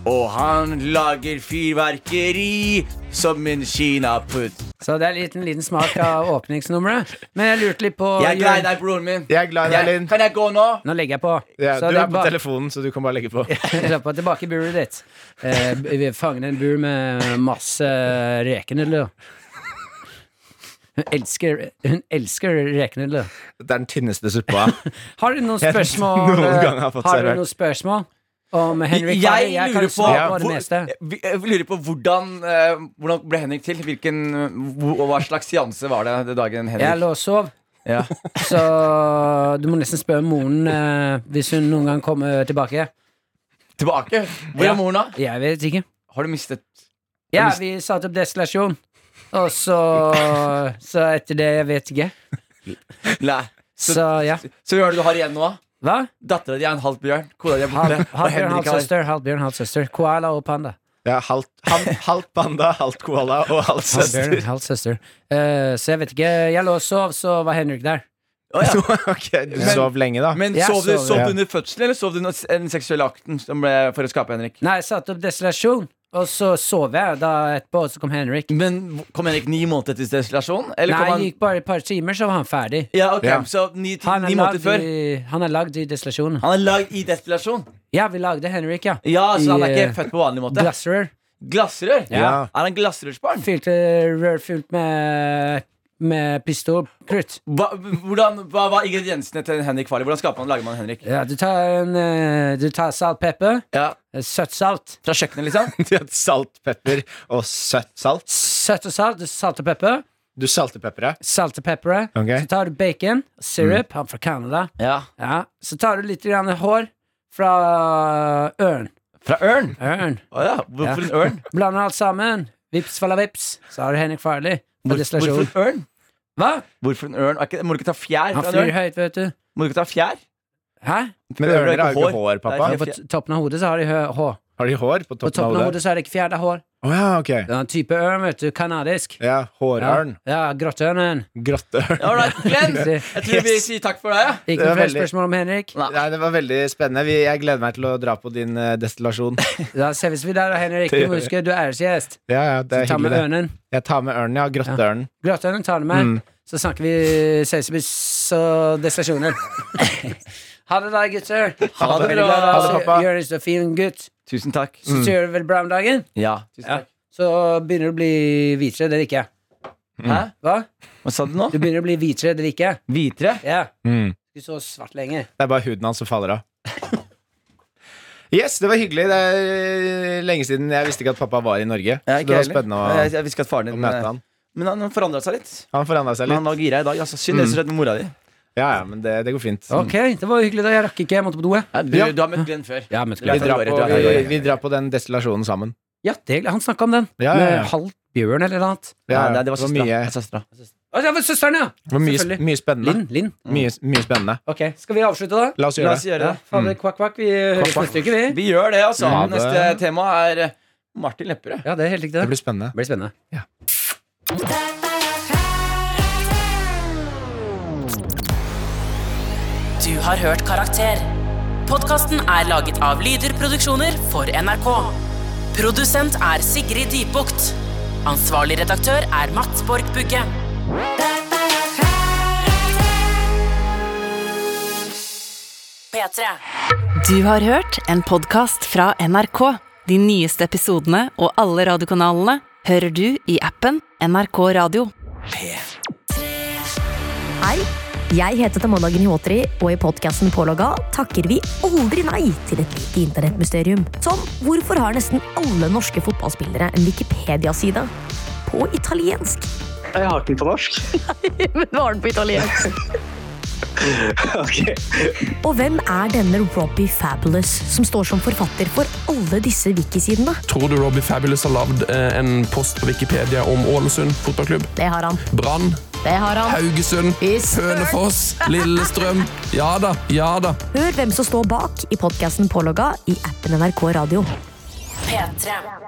[SPEAKER 2] Og han lager fyrverkeri som en kinaputt.
[SPEAKER 4] Så det er en liten, liten smak av åpningsnummeret. Men jeg lurte litt på
[SPEAKER 2] Jeg er glad i deg, broren min.
[SPEAKER 5] Jeg er glad i deg, Linn.
[SPEAKER 2] Kan jeg gå nå?
[SPEAKER 4] Nå legger jeg på.
[SPEAKER 5] Ja,
[SPEAKER 4] Så
[SPEAKER 5] du
[SPEAKER 4] det
[SPEAKER 5] er på
[SPEAKER 4] ba- *laughs*
[SPEAKER 5] telefonen, så du kan bare legge på.
[SPEAKER 4] Slapp av, tilbake i buret ditt. Eh, vi er fanget i en bur med masse rekenudler. Hun elsker, hun elsker rekenudler.
[SPEAKER 5] Det er den tynneste suppa.
[SPEAKER 4] Har du noen
[SPEAKER 5] Jeg
[SPEAKER 4] spørsmål?
[SPEAKER 5] noen
[SPEAKER 4] eh,
[SPEAKER 5] gang har fått
[SPEAKER 4] har du
[SPEAKER 5] servert.
[SPEAKER 4] noen spørsmål om Henrik
[SPEAKER 2] Jeg,
[SPEAKER 4] Farley? Jeg kan
[SPEAKER 2] lurer
[SPEAKER 4] jo
[SPEAKER 2] på,
[SPEAKER 4] svare på det
[SPEAKER 2] hvor-
[SPEAKER 4] meste.
[SPEAKER 2] vi- jeg lurer på hvordan, eh, hvordan ble Henrik til? Hvilken, eh, hvor- og hva slags seanse var det den dagen
[SPEAKER 4] Jeg
[SPEAKER 2] Henrik
[SPEAKER 4] lå og sov,
[SPEAKER 2] ja.
[SPEAKER 4] så du må nesten spørre moren eh, hvis hun noen gang kommer tilbake.
[SPEAKER 2] Tilbake? Hvor
[SPEAKER 4] Ja.
[SPEAKER 2] er mor nå?
[SPEAKER 4] Jeg vet ikke.
[SPEAKER 2] Har du mistet
[SPEAKER 4] Ja, vi satte opp destillasjon. Og så Så etter det, jeg vet ikke.
[SPEAKER 2] Nei. Så,
[SPEAKER 4] Så ja.
[SPEAKER 2] så hva er det du har igjen nå?
[SPEAKER 4] Hva?
[SPEAKER 2] Dattera di er en halv bjørn. Kona di er borte.
[SPEAKER 4] Halv-
[SPEAKER 2] og
[SPEAKER 4] Halvbjørn,
[SPEAKER 2] Henrik har
[SPEAKER 4] halvsøster, halvbjørn, halvsøster. Koala og panda.
[SPEAKER 5] Ja, halvt, halvt, halvt panda, halvt koala og halvt søster.
[SPEAKER 4] Halvbjørn, halvsøster. Eh, så jeg vet ikke. Jeg lå og sov, så var Henrik der. *laughs*
[SPEAKER 2] Å, ja.
[SPEAKER 5] ok, du sov lenge, da.
[SPEAKER 2] Men
[SPEAKER 4] Jeg
[SPEAKER 2] sov du,
[SPEAKER 4] sover.
[SPEAKER 2] sov
[SPEAKER 5] Ja.
[SPEAKER 2] du under fødselen, eller sov du under den seksuelle akten som ble for å skape Henrik?
[SPEAKER 4] Nei, jeg satte opp destillasjon, og så sov jeg da etterpå, og så kom Henrik.
[SPEAKER 2] Men kom Henrik ni måneder til destillasjon? Eller
[SPEAKER 4] Nei,
[SPEAKER 2] kom
[SPEAKER 4] det
[SPEAKER 2] han
[SPEAKER 4] gikk bare et par timer, så var han ferdig.
[SPEAKER 2] Ja, ok,
[SPEAKER 5] Ja.
[SPEAKER 2] så ni,
[SPEAKER 4] Han
[SPEAKER 2] ni
[SPEAKER 4] er
[SPEAKER 2] måneder
[SPEAKER 4] lagd
[SPEAKER 2] før.
[SPEAKER 4] i, han er lagd i destillasjonen.
[SPEAKER 2] Han er lagd i destillasjon.
[SPEAKER 4] Ja, vi lagde Henrik, ja.
[SPEAKER 2] Ja, så han er
[SPEAKER 4] I,
[SPEAKER 2] ikke
[SPEAKER 4] eh,
[SPEAKER 2] født på vanlig måte.
[SPEAKER 4] Glassrør.
[SPEAKER 2] Glassrør?
[SPEAKER 5] Ja.
[SPEAKER 2] Er han glassrørsbarn?
[SPEAKER 4] Fylte rør fullt med, med pistolkrutt.
[SPEAKER 2] Hva, hvordan, hva var ingrediensene til Henrik Farley? Hvordan skaper man, lager man Henrik?
[SPEAKER 4] Ja, du tar, en, eh, du tar salt, pepper,
[SPEAKER 2] Ja,
[SPEAKER 4] eh, søtt salt.
[SPEAKER 2] Fra kjøkkenet, liksom?
[SPEAKER 5] De hadde salt, pepper og søtt salt.
[SPEAKER 4] Søtt og salt, salt og pepper.
[SPEAKER 5] Du salte pepperet.
[SPEAKER 4] Salt og pepper.
[SPEAKER 5] Ok.
[SPEAKER 4] Så tar du bacon,
[SPEAKER 2] Mm.
[SPEAKER 4] syrup, han fra Canada.
[SPEAKER 2] *laughs* Ja.
[SPEAKER 4] Ja. Så tar du litt grann hår fra ørn.
[SPEAKER 2] Fra ørn?
[SPEAKER 4] ørn.
[SPEAKER 2] Å ja. Hvorfor en *laughs* ørn?
[SPEAKER 4] Blander alt sammen. Vips falla vips, så har du Henrik Farley. På
[SPEAKER 2] Hvor, hvorfor
[SPEAKER 4] destillasjon.
[SPEAKER 2] en ørn?
[SPEAKER 4] Hva?
[SPEAKER 2] Hvorfor en ørn? Er ikke, må du ikke ta fjær?
[SPEAKER 4] Han
[SPEAKER 2] Fra en
[SPEAKER 4] flyr
[SPEAKER 2] ørn?
[SPEAKER 4] høyt, vet du.
[SPEAKER 2] Må du ikke ta fjær?
[SPEAKER 4] Hæ?
[SPEAKER 5] Men
[SPEAKER 2] Ørner
[SPEAKER 5] ørner har jo
[SPEAKER 2] har
[SPEAKER 5] ikke hår, pappa.
[SPEAKER 2] Det er
[SPEAKER 4] På t- toppen av hodet så har de hø- hår.
[SPEAKER 5] Har de hår på
[SPEAKER 4] På
[SPEAKER 5] toppen
[SPEAKER 4] toppen av
[SPEAKER 5] av hodet?
[SPEAKER 4] hodet så er det ikke fjerde hår.
[SPEAKER 5] Å ja, ok.
[SPEAKER 4] Det er en type ørn, vet du. Kanadisk.
[SPEAKER 5] Ja, hårørn.
[SPEAKER 4] Ja, grottørnen.
[SPEAKER 5] Grotteørn.
[SPEAKER 2] All right, *laughs* Glenn.
[SPEAKER 4] Riktig.
[SPEAKER 2] Jeg tror vi sier takk for deg. Ja.
[SPEAKER 4] Ikke
[SPEAKER 5] Det
[SPEAKER 4] noe
[SPEAKER 5] er
[SPEAKER 4] flere
[SPEAKER 5] veldig-
[SPEAKER 4] spørsmål om Henrik.
[SPEAKER 5] Nei, det var veldig spennende. Vi- Jeg gleder meg til å dra på din eh, destillasjon.
[SPEAKER 4] Da ses vi der, da, Henrik.
[SPEAKER 5] Det gjør
[SPEAKER 4] Du må
[SPEAKER 5] vi.
[SPEAKER 4] huske, du er æresgjest.
[SPEAKER 5] Ja, ja, det er
[SPEAKER 4] Ta med
[SPEAKER 5] hyggelig. det. Mm.
[SPEAKER 4] ørnen.
[SPEAKER 5] Jeg tar med ørnen, ja. Grotteørnen.
[SPEAKER 4] Grøtøyene tar det med. Så snakker vi Saisebuss og
[SPEAKER 5] *laughs*
[SPEAKER 4] destasjoner. ha det da, gutter. Ha
[SPEAKER 2] det
[SPEAKER 4] Veldig
[SPEAKER 2] bra.
[SPEAKER 4] glad i
[SPEAKER 5] Ha
[SPEAKER 4] deg.
[SPEAKER 5] det, pappa. Mm.
[SPEAKER 4] Gjør det så fin gutt.
[SPEAKER 2] Tusen takk.
[SPEAKER 4] Så gjør du det veldig bra om dagen.
[SPEAKER 2] Ja. Tusen takk.
[SPEAKER 4] Så begynner du å bli hvitere. Det liker jeg.
[SPEAKER 2] Mm. Hæ?
[SPEAKER 4] Hva?
[SPEAKER 2] Hva sa du nå?
[SPEAKER 4] Du begynner å bli hvitere. Det liker jeg.
[SPEAKER 2] Hvitere?
[SPEAKER 4] Ja.
[SPEAKER 5] Mm.
[SPEAKER 4] Ikke så svart lenger.
[SPEAKER 5] Det er bare huden hans som faller av. Yes, det var hyggelig. Det er eh, lenge siden jeg visste ikke at pappa var i Norge.
[SPEAKER 2] Ja,
[SPEAKER 5] Så
[SPEAKER 2] ikke
[SPEAKER 5] det var
[SPEAKER 2] heller.
[SPEAKER 5] spennende
[SPEAKER 2] jeg,
[SPEAKER 5] å,
[SPEAKER 2] jeg visste ikke at faren
[SPEAKER 5] å
[SPEAKER 2] din eh,
[SPEAKER 5] møte han.
[SPEAKER 2] Men han han forandret seg litt.
[SPEAKER 5] Han forandra seg
[SPEAKER 2] Men han
[SPEAKER 5] litt.
[SPEAKER 2] var gira i dag. Altså, synd det er så redd med mora di.
[SPEAKER 5] Ja, ja, men det, det går fint.
[SPEAKER 4] Ok, det var hyggelig. da Jeg rakk ikke. Jeg måtte på do. jeg.
[SPEAKER 2] Ja, du,
[SPEAKER 5] Ja.
[SPEAKER 2] du har møtt Glenn før.
[SPEAKER 4] Ja, men skulle
[SPEAKER 5] Vi
[SPEAKER 4] jeg ta-
[SPEAKER 2] Ja,
[SPEAKER 5] drar på,
[SPEAKER 2] Ja, ja, ja, ja.
[SPEAKER 5] vi, vi drar på den destillasjonen sammen.
[SPEAKER 4] ja, det, han snakka om den.
[SPEAKER 5] Ja, ja, ja.
[SPEAKER 4] Med halv bjørn eller noe annet.
[SPEAKER 5] Ja,
[SPEAKER 2] Nei, nei, det var søstera.
[SPEAKER 5] mye,
[SPEAKER 2] Det var søstera.
[SPEAKER 4] Å, det var søsteren, ja!
[SPEAKER 5] det var mye,
[SPEAKER 4] Selvfølgelig.
[SPEAKER 5] mye spennende.
[SPEAKER 4] Linn. Linn.
[SPEAKER 5] Mye, mye spennende.
[SPEAKER 4] Ok, Skal vi avslutte, da?
[SPEAKER 5] La oss
[SPEAKER 2] La
[SPEAKER 5] gjøre
[SPEAKER 2] oss
[SPEAKER 5] det.
[SPEAKER 2] gjøre det.
[SPEAKER 4] Fader, kvakk, kvakk. Vi høres
[SPEAKER 5] kvakk.
[SPEAKER 4] neste uke, vi.
[SPEAKER 2] Vi gjør det, altså.
[SPEAKER 5] Ja, det-
[SPEAKER 2] Neste tema er Martin Lepperød.
[SPEAKER 4] Ja, det er helt riktig.
[SPEAKER 5] Det
[SPEAKER 4] Det
[SPEAKER 5] blir spennende.
[SPEAKER 4] blir spennende.
[SPEAKER 8] Du har hørt Karakter. Podkasten er laget av Lyder Produksjoner for NRK. Produsent er Sigrid Dybukt. Ansvarlig redaktør er Mats Borg Bugge. P3.
[SPEAKER 1] Du har hørt en podkast fra NRK. De nyeste episodene og alle radiokanalene hører du i appen NRK Radio.
[SPEAKER 9] Hei, jeg heter Tamona Gniotri, og i podcasten Pålogga takker vi aldri nei til et lite internettmysterium. Som hvorfor har nesten alle norske fotballspillere en Wikipedia-side på italiensk?
[SPEAKER 10] Jeg har den på norsk.
[SPEAKER 9] *laughs* Men var den på italiensk?
[SPEAKER 10] *laughs* ok.
[SPEAKER 9] Og hvem er denne Robbie Fabulous, som står som forfatter for alle disse wikisidene?
[SPEAKER 11] Tror du Robbie Fabulous har lagd eh, en post på Wikipedia om Ålesund fotballklubb?
[SPEAKER 9] Det har han.
[SPEAKER 11] Brann,
[SPEAKER 9] Det har han.
[SPEAKER 11] Haugesund,
[SPEAKER 9] I søren!
[SPEAKER 11] Hønefoss, Lillestrøm. Ja da, ja da.
[SPEAKER 9] Hør hvem som står bak i podcasten Pålogga i appen NRK Radio.
[SPEAKER 8] P3.